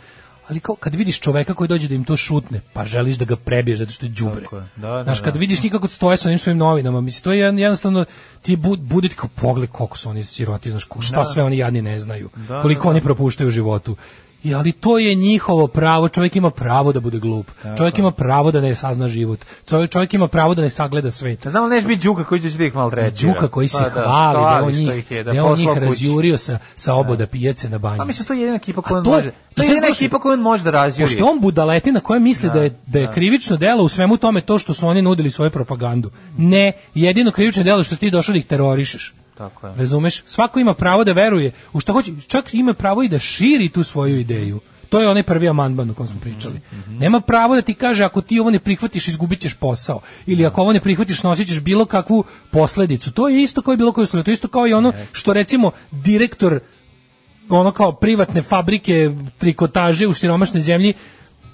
Speaker 6: ali kao kad vidiš čoveka koji dođe da im to šutne, pa želiš da ga prebiješ zato što je đubre.
Speaker 5: Tako je, da, da,
Speaker 6: Znaš, kad
Speaker 5: da.
Speaker 6: vidiš nikako stoje sa onim svojim novinama, mislim to je jedan- jednostavno ti bud, bude ti kao pogled koliko su oni siroti, znaš, ko- šta sve oni jadni ne znaju,
Speaker 5: Da,
Speaker 6: koliko
Speaker 5: da, da.
Speaker 6: oni propuštaju u životu. I, ali to je njihovo pravo, čovjek ima pravo da bude glup, čovjek ima pravo da ne sazna život, čovjek, čovjek ima pravo da ne sagleda svet.
Speaker 5: Znam li neš biti Đuka koji će da ih Pa malo treći?
Speaker 6: Đuka koji se hvali da, je on njih, da, je on njih razjurio sa, sa oboda pijace na banji.
Speaker 5: Pa mislim, to je jedina ekipa
Speaker 6: A
Speaker 5: koja on
Speaker 6: to je-
Speaker 5: može.
Speaker 6: i
Speaker 5: To je
Speaker 6: sad
Speaker 5: jedina
Speaker 6: slušaj,
Speaker 5: ekipa koju on može da razjuri.
Speaker 6: Pošto je on budaletina koja misli da, je, da je krivično delo u svemu tome to što su oni nudili svoju propagandu. Ne, jedino krivično delo je što si ti došao da ih terorišeš.
Speaker 5: Tako je.
Speaker 6: Razumeš? Svako ima pravo da veruje u šta hoće, čak ima pravo i da širi tu svoju ideju. To je onaj prvi amandman o kom smo pričali.
Speaker 5: Mhm,
Speaker 6: Nema pravo da ti kaže ako ti ovo ne prihvatiš izgubit ćeš posao
Speaker 5: Da.
Speaker 6: ili ako ovo ne prihvatiš nosit ćeš bilo kakvu posledicu. To je isto kao i bilo koje uslovio. To je isto kao i ono što recimo direktor ono kao privatne fabrike trikotaže u siromašnoj zemlji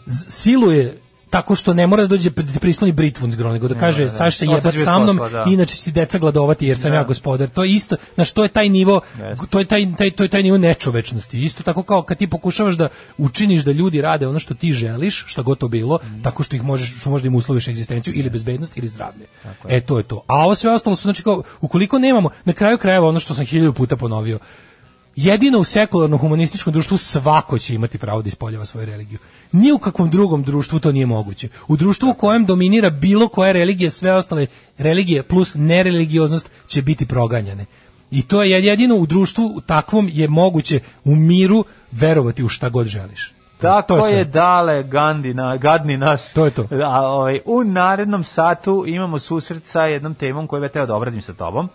Speaker 6: z- siluje tako što ne mora da dođe pred- prisloni britvu zgro, nego da kaže Saš se
Speaker 5: Ostaće
Speaker 6: jebat
Speaker 5: bez
Speaker 6: sa mnom,
Speaker 5: posla, da.
Speaker 6: inače će ti deca gladovati jer sam ja gospodar. To je isto, znaš, to je taj nivo,
Speaker 5: Jeste.
Speaker 6: to je taj, taj, to je taj nivo nečovečnosti. Isto tako kao kad ti pokušavaš da učiniš da ljudi rade ono što ti želiš, šta god to bilo, tako što ih možeš, što možeš da im usloviš egzistenciju ili bezbednost ili zdravlje. E, to je to. A ovo sve ostalo su, znači, kao, ukoliko nemamo, na kraju krajeva ono što sam hiljadu puta ponovio, Jedino u sekularnom humanističkom društvu svako će imati pravo da ispoljava svoju religiju. Ni u kakvom drugom društvu to nije moguće. U društvu u kojem dominira bilo koja religija, sve ostale religije plus nereligioznost će biti proganjane. I to je jedino u društvu u takvom je moguće u miru verovati u šta god želiš.
Speaker 5: Tako
Speaker 6: sve.
Speaker 5: je, dale Gandhi, na, gadni naš.
Speaker 6: To je to.
Speaker 5: A, ovaj, u narednom satu imamo susret sa jednom temom koju bih ja teo da obradim sa tobom.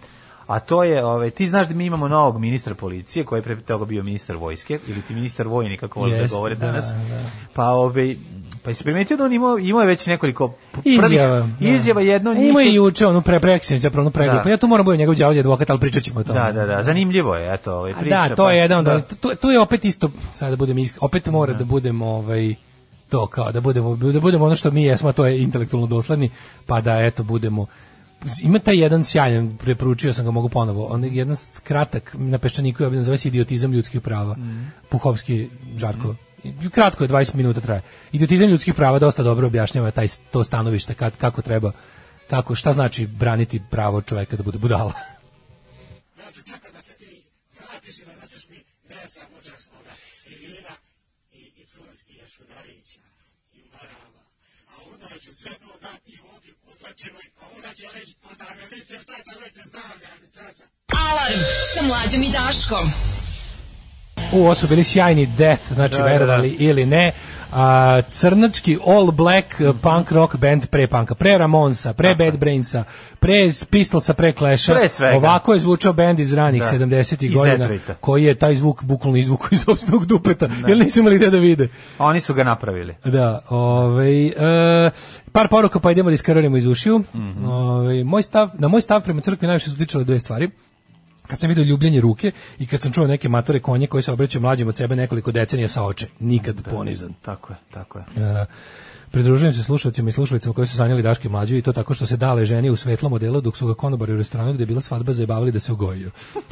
Speaker 5: A to je, ovaj, ti znaš da mi imamo novog ministra policije, koji je pre toga bio ministar vojske, ili ti ministar vojni, kako volim da
Speaker 6: Jeste,
Speaker 5: govore
Speaker 6: da,
Speaker 5: danas.
Speaker 6: da.
Speaker 5: Pa, ovaj, pa si primetio da on imao, imao je već nekoliko prvih
Speaker 6: Izjava. da.
Speaker 5: izjava jedno od njih.
Speaker 6: Ima i juče, ono pre, preksinić, zapravo ono preglupo.
Speaker 5: Da.
Speaker 6: Ja tu moram budem njegov đavolji advokat, ali pričat ćemo o tome.
Speaker 5: Da, da, da, zanimljivo je, eto, ovaj,
Speaker 6: A
Speaker 5: priča.
Speaker 6: da, to
Speaker 5: pa-
Speaker 6: je jedan, da. tu, tu je opet isto, sad da budem iskren, opet mora da budem ovaj, to kao, da budemo, da budemo ono što mi jesmo, a to je intelektualno dosledni, pa da eto budemo, ima taj jedan sjajan, preporučio sam ga, mogu ponovo, on je jedan kratak, na peščaniku je obiljen, zove se idiotizam ljudskih prava, Puhovski, Žarko, I kratko je, 20 minuta traje. Idiotizam ljudskih prava dosta dobro objašnjava taj, to stanovište, kad, kako treba, kako, šta znači braniti pravo čoveka da bude budala.
Speaker 4: Alarm Alarm sa mlađom i Daškom.
Speaker 6: U, ovo su bili sjajni Death, znači da,
Speaker 5: da, da.
Speaker 6: verovali ili ne. A, crnački all black
Speaker 5: Mhm.
Speaker 6: eh, punk rock band pre punka, pre Ramonsa, pre Bad Brainsa, pre Pistolsa, pre Clasha.
Speaker 5: Pre svega.
Speaker 6: Ovako je zvučao band iz ranih
Speaker 5: Da.
Speaker 6: 70-ih
Speaker 5: Iz
Speaker 6: godina,
Speaker 5: Detroita.
Speaker 6: koji je taj zvuk bukvalno izvuku iz opstvenog dupeta, jer nisu imali gde da vide.
Speaker 5: A Oni su ga napravili.
Speaker 6: Da, ovaj e, par poruka pa idemo da iskarorimo iz ušiju. Ovaj, moj stav, na moj stav prema crkvi najviše su utičale dve stvari. Kad sam video ljubljenje ruke i kad sam čuo neke matore konje koji se obraćaju mlađim od sebe nekoliko decenija sa oče, nikad ponizan.
Speaker 5: Tako je, tako je.
Speaker 6: E, pridružujem se slušalcima i slušalicama koji su sanjali Daške mlađu i to tako što se dale ženi u svetlom odelu dok su ga konobari u restoranu gde je bila svadba zajebavali da se ugojio.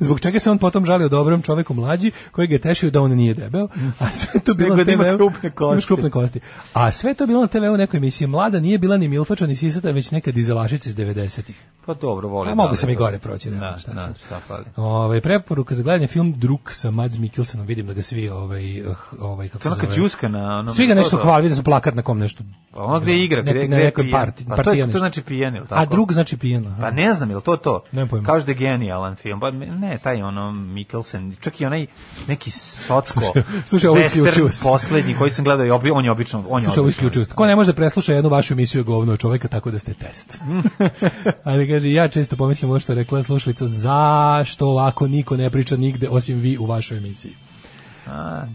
Speaker 6: Zbog čega se on potom žalio dobrom čoveku mlađi koji ga je tešio da on nije debeo, a sve to
Speaker 5: Nego
Speaker 6: bilo na
Speaker 5: da
Speaker 6: TV
Speaker 5: ima krupne kosti.
Speaker 6: imaš krupne kosti. A sve to bilo na TV u nekoj emisiji. Mlada nije bila ni milfača ni sisata, već neka dizelašica iz 90-ih.
Speaker 5: Pa dobro, volim.
Speaker 6: A mogu
Speaker 5: da,
Speaker 6: sam i
Speaker 5: ali to-
Speaker 6: gore proći. ne,
Speaker 5: Da,
Speaker 6: šta
Speaker 5: da,
Speaker 6: sad.
Speaker 5: šta fali.
Speaker 6: Ovaj preporuka za gledanje film Druk sa Mads Mikkelsenom, vidim da ga svi ovaj eh, ovaj kako
Speaker 5: To je
Speaker 6: se
Speaker 5: onaka
Speaker 6: zove.
Speaker 5: džuska na onom...
Speaker 6: Svi ga nešto
Speaker 5: to-
Speaker 6: hvali, vidio sam plakat na kom nešto.
Speaker 5: Pa Ono gde igra, gde,
Speaker 6: Neki-
Speaker 5: gde
Speaker 6: na
Speaker 5: je
Speaker 6: nekoj
Speaker 5: pijen.
Speaker 6: parti-
Speaker 5: Pa to,
Speaker 6: partija
Speaker 5: je, to
Speaker 6: nešto.
Speaker 5: znači pijen, ili tako?
Speaker 6: A drug znači pijen. aha.
Speaker 5: Pa ne znam, je li to to?
Speaker 6: Nemam pojma.
Speaker 5: Kažu da je genijalan film. Pa ne, taj ono Mikkelsen, čak i onaj neki socko.
Speaker 6: slušaj, ovo je
Speaker 5: western
Speaker 6: isključivost.
Speaker 5: Poslednji koji sam gledao, i obi, on je obično... On je
Speaker 6: Slušaj, ovo
Speaker 5: odličan.
Speaker 6: isključivost. Ko ne može da presluša jednu vašu emisiju je govno od čoveka, tako da ste test. Ali kaže, ja često pomislim ovo što je rekla slušalica, zašto ovako niko ne priča nigde osim vi u vašoj emisiji?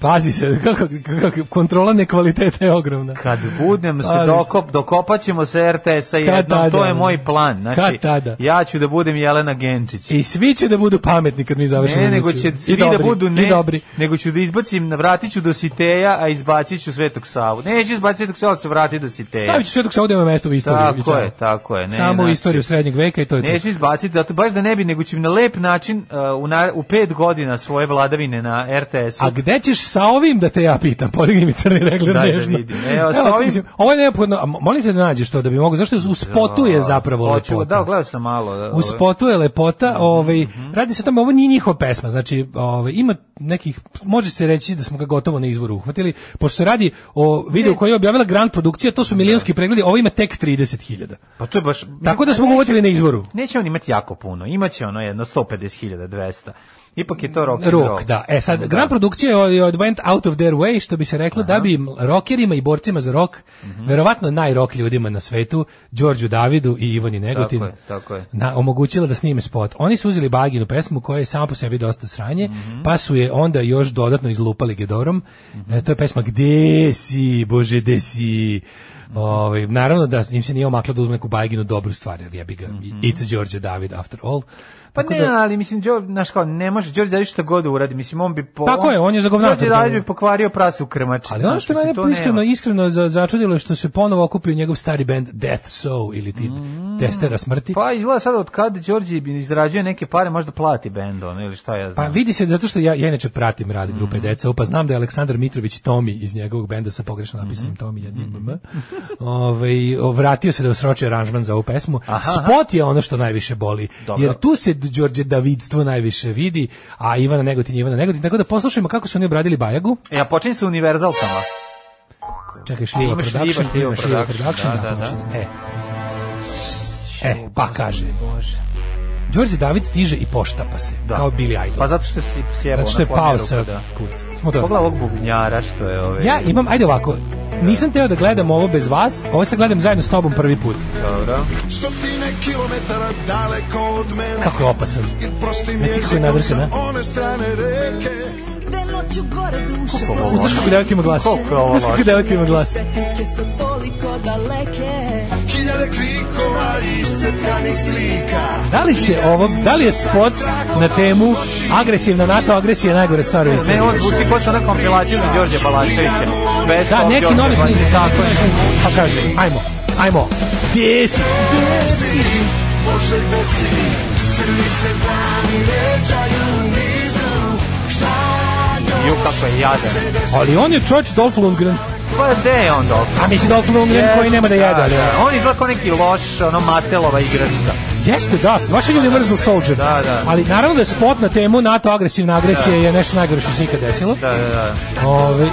Speaker 6: Pazi se, kako, kako, kontrola nekvaliteta je ogromna.
Speaker 5: Kad budem se
Speaker 6: Ali se-
Speaker 5: dokop, dokopat ćemo se RTS-a jednom,
Speaker 6: tada,
Speaker 5: to je
Speaker 6: ono.
Speaker 5: moj plan. Znači,
Speaker 6: Kad tada.
Speaker 5: ja ću da budem Jelena Genčić.
Speaker 6: I svi će da budu pametni kad mi završimo
Speaker 5: Ne,
Speaker 6: emisiju.
Speaker 5: nego će
Speaker 6: I
Speaker 5: svi da
Speaker 6: dobri,
Speaker 5: budu ne,
Speaker 6: I dobri.
Speaker 5: nego ću da izbacim, vratit ću do Siteja, a izbacit ću Svetog Savu. Neću izbaciti Svetog Savu, ali ću vratiti do Siteja.
Speaker 6: Stavit ću sve dok se ovdje ima mesto u istoriju. i
Speaker 5: Tako
Speaker 6: čao.
Speaker 5: je, tako je. Ne,
Speaker 6: Samo u
Speaker 5: znači,
Speaker 6: istoriju srednjeg veka i to je to.
Speaker 5: Neću izbaciti, zato baš da ne bi, nego ću im na lep način uh, u, na, u pet godina svoje vladavine na RTS-u.
Speaker 6: A gde ćeš sa ovim da te ja pitam? Podigni mi crni regler
Speaker 5: Daj da
Speaker 6: nežno.
Speaker 5: vidim. Evo, sa ovim-
Speaker 6: mislim, ovo je neophodno, a molim te da nađeš to da bi mogu, zašto u spotu je zapravo
Speaker 5: Hoću-
Speaker 6: lepota.
Speaker 5: Da, Mhm, gledao sam malo. da,
Speaker 6: U spotu je lepota, ovaj, radi se o tome, ovo nije njihova pesma, znači ovaj, ima nekih, može se reći da smo ga gotovo na izvoru uhvatili, pošto se radi o videu koji je objavila Grand produkcija,
Speaker 5: Da.
Speaker 6: to su milijonski pregledi, ovo ima tek 30.000.
Speaker 5: Pa to je baš...
Speaker 6: Tako da smo ga uvatili na izvoru.
Speaker 5: Neće on imati jako puno, imaće ono jedno 150.000, 200. Ipak je to rock and roll.
Speaker 6: Rok, da. E sad, Grand produkcija je od- od went out of their way, što bi se reklo, da bi rokerima i borcima za rok,
Speaker 5: Mhm.
Speaker 6: verovatno najrok ljudima na svetu, Đorđu Davidu i Ivani Negotinu,
Speaker 5: je, tako je.
Speaker 6: na, omogućila da snime spot. Oni su uzeli Baginu pesmu koja je sama po sebi dosta sranje,
Speaker 5: Mhm.
Speaker 6: pa su je onda još dodatno izlupali Gedorom. E, to je pesma Gde si, Bože, gde si?
Speaker 5: Mhm.
Speaker 6: Ovaj, naravno da im se nije omakla da uzme neku Baginu dobru stvar, jer jebi ga, it's Đorđe David after all.
Speaker 5: Mhm. Pa
Speaker 6: Tako
Speaker 5: ne,
Speaker 6: da-
Speaker 5: ali mislim, Đor, znaš kao, ne može Đorđe Davić šta god da uradi, mislim, on bi... Po,
Speaker 6: Tako je, on je za govnator.
Speaker 5: Đorđe Davić bi pokvario prase u krmači.
Speaker 6: Ali ono
Speaker 5: znaš,
Speaker 6: što je
Speaker 5: mislim,
Speaker 6: mene
Speaker 5: to nema.
Speaker 6: iskreno, iskreno za- začudilo je što se ponovo okupio njegov stari band Death Sow ili ti Testera smrti.
Speaker 5: Mm. Pa izgleda sad od kada Đorđe bi izrađuje neke pare, možda plati bend ono, ili šta ja
Speaker 6: Pa
Speaker 5: znam.
Speaker 6: vidi se, zato što ja, ja inače pratim rad grupe mm pa znam da je Aleksandar Mitrović Tomi iz njegovog benda sa pogrešno
Speaker 5: Mhm.
Speaker 6: napisanim Tomi, jednim mm ovaj, o, vratio se da osroči aranžman za ovu pesmu. Spot je ono što najviše boli,
Speaker 5: Dobro.
Speaker 6: jer tu se Đorđe Davidstvo najviše vidi, a Ivana Negotin je Ivana Negotin, tako da poslušajmo kako su oni obradili Bajagu.
Speaker 5: E, a počinje sa univerzalkama.
Speaker 6: Čekaj, Šljiva
Speaker 5: Imaš Šljiva,
Speaker 6: Production,
Speaker 5: Šljiva
Speaker 6: ima Šljiva
Speaker 5: Production,
Speaker 6: Production,
Speaker 5: da,
Speaker 6: da,
Speaker 5: da, da.
Speaker 6: počinje. E. E, pa kaže. Đorđe David stiže i poštapa se,
Speaker 5: Da.
Speaker 6: kao Billy Idol.
Speaker 5: Pa zato što si sjebao
Speaker 6: Zato što je
Speaker 5: na
Speaker 6: pao
Speaker 5: planiru,
Speaker 6: sa
Speaker 5: da.
Speaker 6: kurca. Smo to.
Speaker 5: Pogledaj ovog bubnjara što je ovaj- ove.
Speaker 6: Ja imam, ajde ovako, nisam teo da gledam ovo bez vas, ovo sad gledam zajedno s tobom prvi put.
Speaker 5: Dobro.
Speaker 1: Stotine kilometara daleko od mene
Speaker 6: Kako je opasan.
Speaker 1: I prostim
Speaker 6: Reci kako je
Speaker 1: jezikom
Speaker 6: nadrkana.
Speaker 1: sa one strane reke
Speaker 9: Gde noću gore duše
Speaker 5: Koliko ovo
Speaker 9: boli.
Speaker 6: Znaš kako devojka ima glas?
Speaker 5: Koliko je ovo
Speaker 6: Znaš kako
Speaker 5: loše?
Speaker 6: devojka ima glas?
Speaker 9: Sve teke su toliko daleke
Speaker 1: Hiljade krikova i iscepkanih slika
Speaker 6: Da li će ovo, da li je spot na temu agresivna NATO agresija je najgore stvar u istoriji?
Speaker 5: Ne, on zvuči kao sa na kompilaciju za Đorđe Balaševića. Best
Speaker 6: Da,
Speaker 5: of
Speaker 6: neki
Speaker 5: Đorđe
Speaker 6: novi knjiz,
Speaker 5: Balaševića.
Speaker 6: tako je. Pa kaže, ajmo, ajmo. Gdje si?
Speaker 1: Bože gde si Crni se dani ređaju nizom Šta
Speaker 5: Ju, kako je jadan.
Speaker 6: Ali on je čovječ Dolph Lundgren.
Speaker 5: Pa gde je on dobro?
Speaker 6: A mislim Dolph Lundgren koji nema da jede. ali-
Speaker 5: On izgleda kao neki loš, ono, Matelova igračka.
Speaker 6: Jeste, da, vaš je Universal Soldier.
Speaker 5: Da, da.
Speaker 6: Ali naravno da je spot na temu NATO agresivna agresija je nešto najgore što se ikad desilo.
Speaker 5: Da, da, da.
Speaker 6: Ove,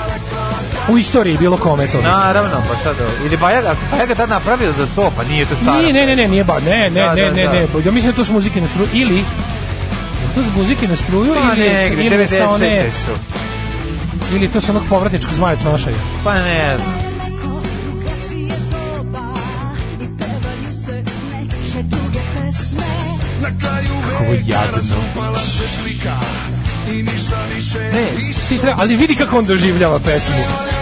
Speaker 6: u istoriji bilo kome to.
Speaker 5: Naravno, pa šta da... Ili Bajaga, ako Bajaga tad
Speaker 6: da,
Speaker 5: napravio za to, pa nije to staro.
Speaker 6: Nije, ne, ne, ne, nije ba, ne, ne,
Speaker 5: Da,
Speaker 6: ne,
Speaker 5: da,
Speaker 6: ne,
Speaker 5: da.
Speaker 6: pa ne, ja mislim da to su muzike na stru, ili To su muzike na struju
Speaker 5: Pa
Speaker 6: ili, s-
Speaker 5: negde,
Speaker 6: ili sa one,
Speaker 5: 90-te su.
Speaker 6: ili to su onog povratničkog zmajac nošaja.
Speaker 5: Pa ne znam.
Speaker 9: Neko drugačije doba i pevaju se neke druge pesme.
Speaker 6: Kako je jadno. Ne, ti treba, ali vidi kako on doživljava pesmu.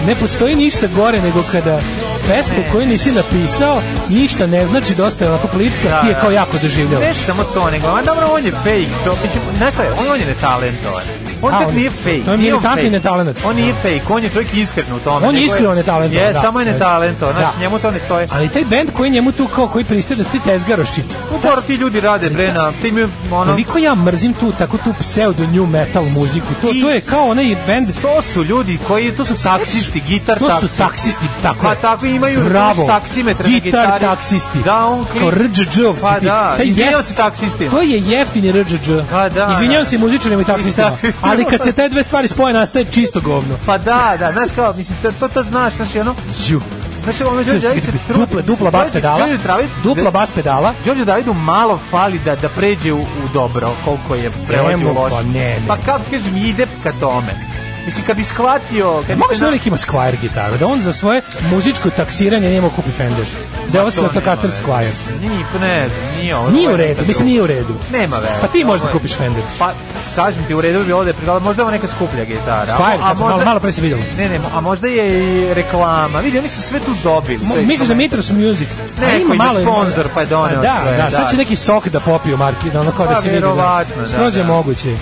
Speaker 6: Ne postoji ništa gore nego kada pesmu koju nisi napisao, ništa ne znači, dosta je onako plitka, ti je kao jako
Speaker 5: Ne
Speaker 6: doživljavaš.
Speaker 5: samo to, nego, a dobro, on je fake, čo, mislim, znaš šta je, on, on je netalentovan. On
Speaker 6: A,
Speaker 5: čak
Speaker 6: on-
Speaker 5: nije fake.
Speaker 6: to je
Speaker 5: nije on
Speaker 6: militantni
Speaker 5: fake.
Speaker 6: netalent.
Speaker 5: On nije fake, on je čovjek iskren u tome.
Speaker 6: On je
Speaker 5: nego
Speaker 6: iskreno netalentovan,
Speaker 5: Je,
Speaker 6: da.
Speaker 5: samo je netalentovan, znači
Speaker 6: Da.
Speaker 5: njemu to ne stoje.
Speaker 6: Ali taj bend koji njemu tu kao koji pristaje da ti tezgaroši.
Speaker 5: Upravo ti ljudi rade, bre, na, ti mi, ono,
Speaker 6: da. Koliko ja mrzim tu tako tu pseudo new metal muziku. To, to je kao onaj bend
Speaker 5: to su ljudi koji, to su taksisti, gitar
Speaker 6: To su
Speaker 5: taksisti.
Speaker 6: taksisti, tako
Speaker 5: Pa
Speaker 6: je.
Speaker 5: tako imaju
Speaker 6: Bravo.
Speaker 5: taksimetre na
Speaker 6: Gitar
Speaker 5: gitari.
Speaker 6: taksisti.
Speaker 5: Da, on
Speaker 6: Kao Rđđovci
Speaker 5: Pa
Speaker 6: ti.
Speaker 5: da,
Speaker 6: Taj
Speaker 5: izvinjao
Speaker 6: jef-
Speaker 5: se taksistima.
Speaker 6: To je jeftini Rđđ.
Speaker 5: Pa da,
Speaker 6: Izvinjavam
Speaker 5: da.
Speaker 6: se muzičarima i
Speaker 5: I
Speaker 6: taksistima.
Speaker 5: taksistima.
Speaker 6: Ali kad se te dve stvari spoje, nastaje čisto govno.
Speaker 5: Pa da, da, znaš kao, mislim, to, to, to znaš, znaš, i ono,
Speaker 6: Ju.
Speaker 5: znaš, ono, Đorđe David se trudi.
Speaker 6: Dupla, dupla bas
Speaker 5: Đorđe-
Speaker 6: pedala.
Speaker 5: Đorđe David-
Speaker 6: Dupla bas pedala.
Speaker 5: Đorđe Davidu malo fali da da pređe u, u dobro, koliko je prelazio
Speaker 6: Nemo,
Speaker 5: loše.
Speaker 6: pa ne, ne.
Speaker 5: Pa kako ti kažem, ide ka tome. Mislim, kad bi shvatio... Kad bi
Speaker 6: Mogu
Speaker 5: se
Speaker 6: se da
Speaker 5: na-
Speaker 6: lik ima Squire gitaru, da on za svoje muzičko taksiranje nije imao kupi Fender. Da je ovo
Speaker 5: To nema
Speaker 6: Stratocaster
Speaker 5: veze.
Speaker 6: Squire.
Speaker 5: Nije, pa ne znam, nije ovo.
Speaker 6: Nije u
Speaker 5: ovo je
Speaker 6: redu,
Speaker 5: neka
Speaker 6: mislim
Speaker 5: druga.
Speaker 6: nije u redu.
Speaker 5: Nema veze.
Speaker 6: Pa ti
Speaker 5: ovo
Speaker 6: možda
Speaker 5: je-
Speaker 6: kupiš Fender.
Speaker 5: Pa, kažem ti, u redu bi bilo da je pridala, možda je ovo neka skuplja gitara.
Speaker 6: Squire, sad sam malo, malo pre si vidjela.
Speaker 5: Ne, ne, a možda je i reklama. Vidi, oni su sve tu dobili. sve
Speaker 6: Misliš da
Speaker 5: instrumente.
Speaker 6: Mitros Music?
Speaker 5: Neko
Speaker 6: A ima
Speaker 5: ide
Speaker 6: malo-
Speaker 5: sponzor, pa je doneo
Speaker 6: A da,
Speaker 5: sve,
Speaker 6: Da,
Speaker 5: da.
Speaker 6: sad će neki sok da popiju marki, da ono kao
Speaker 5: Pa,
Speaker 6: da se vidi. Da,
Speaker 5: verovatno, da,
Speaker 6: Skroz je
Speaker 5: da.
Speaker 6: moguće.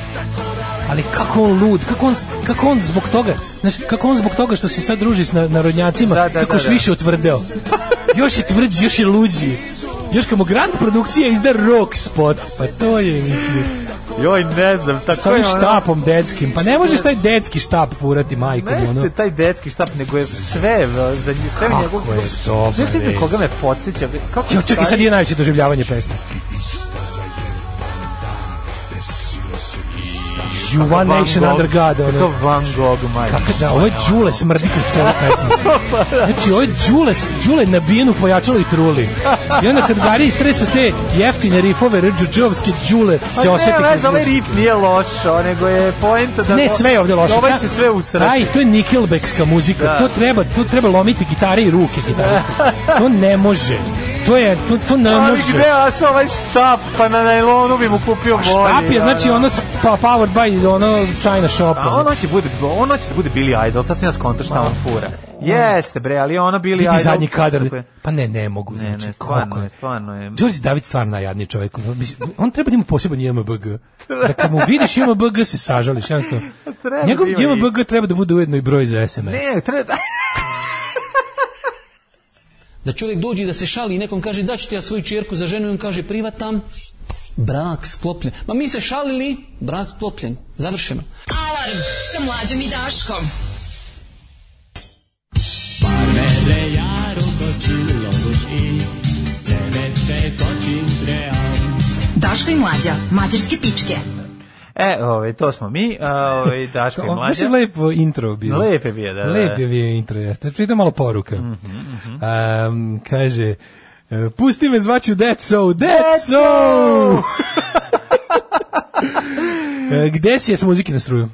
Speaker 6: Ali kako on lud, kako on, kako on zbog toga, znaš, kako on zbog toga što se sad druži s na- narodnjacima,
Speaker 5: Da, da,
Speaker 6: kako
Speaker 5: da,
Speaker 6: još
Speaker 5: da.
Speaker 6: više otvrdeo. još je tvrđi, još je luđi. Još kad mu Grand produkcija izda rock spot, pa to je, mislim,
Speaker 5: Joj, ne znam,
Speaker 6: sa
Speaker 5: tako
Speaker 6: ovim
Speaker 5: je ono...
Speaker 6: štapom deckim, pa ne možeš taj decki štap furati majkom,
Speaker 5: Znaš
Speaker 6: ono.
Speaker 5: te, taj detski štap, nego je sve, v- za nje- sve
Speaker 6: Kako
Speaker 5: njegov...
Speaker 6: je dobar,
Speaker 5: Znaš ti
Speaker 6: ej.
Speaker 5: na koga me podsjeća? bre? Kako
Speaker 6: Jo, čekaj, sad
Speaker 5: stavi-
Speaker 6: je najveće doživljavanje pesme. You One
Speaker 5: Van
Speaker 6: Nation
Speaker 5: Gogh,
Speaker 6: Under God, ono.
Speaker 5: Kako Van Gogh, majko.
Speaker 6: Kako da, ovo je Đule smrdi kroz celu pesmu. Znači, ovo je Đule, Đule nabijenu pojačalo i truli. I onda kad gari istresu te jeftine rifove, rđuđovske Đule se
Speaker 5: Pa
Speaker 6: osjeti
Speaker 5: Ne,
Speaker 6: kroz
Speaker 5: vez, ovaj
Speaker 6: muziku.
Speaker 5: rip nije loš, o, nego je poenta da...
Speaker 6: Ne, sve je ovde loše.
Speaker 5: Ovaj će sve usrati.
Speaker 6: Aj, to je Nickelbackska muzika.
Speaker 5: Da.
Speaker 6: To treba, to treba lomiti gitare i ruke gitarista. to ne može. To je, to, to ne
Speaker 5: Ali
Speaker 6: može.
Speaker 5: gde aš ovaj štap, pa na najlonu bi mu kupio bolji.
Speaker 6: Štap je,
Speaker 5: da,
Speaker 6: znači,
Speaker 5: da.
Speaker 6: ono s- pa, powered by ono China shop.
Speaker 5: A on hoće bude, on hoće da bude Billy Idol, sad sam ja skontra šta on fura. Jeste bre, ali ono Billy
Speaker 6: Vidi
Speaker 5: Idol.
Speaker 6: zadnji
Speaker 5: super.
Speaker 6: kadar. Pa ne, ne mogu.
Speaker 5: Ne,
Speaker 6: Znači,
Speaker 5: ne,
Speaker 6: koliko
Speaker 5: stvarno
Speaker 6: je.
Speaker 5: je, stvarno je.
Speaker 6: Đorđe David stvarno najjadniji čovjek. Mislim, On treba da ima poseban JMBG. Da kad mu vidiš JMBG se sažališ, jednostavno.
Speaker 5: Treba da
Speaker 6: Njegov
Speaker 5: ima
Speaker 6: JMBG treba da bude ujedno i broj za SMS.
Speaker 5: Ne, treba,
Speaker 10: Da čovjek dođe i da se šali i nekom kaže da ću ti ja svoju čerku za ženu i on kaže privatam. Brak sklopljen. Ma mi se šalili, brak sklopljen. Završeno.
Speaker 4: Alarm sa mlađom i Daškom. Daško i mlađa, mađarske pičke.
Speaker 5: E, ovaj, to smo mi, a, ovaj, Daško i
Speaker 6: On baš je
Speaker 5: Mlađa.
Speaker 6: lepo intro bio.
Speaker 5: Lep je bio, da, Mhm, da.
Speaker 6: Lep je bio intro, jeste. Čitam malo poruka. Am, kaže, e, pusti me zvaću Deco, Deco! E, Gde si je s muzike na struju?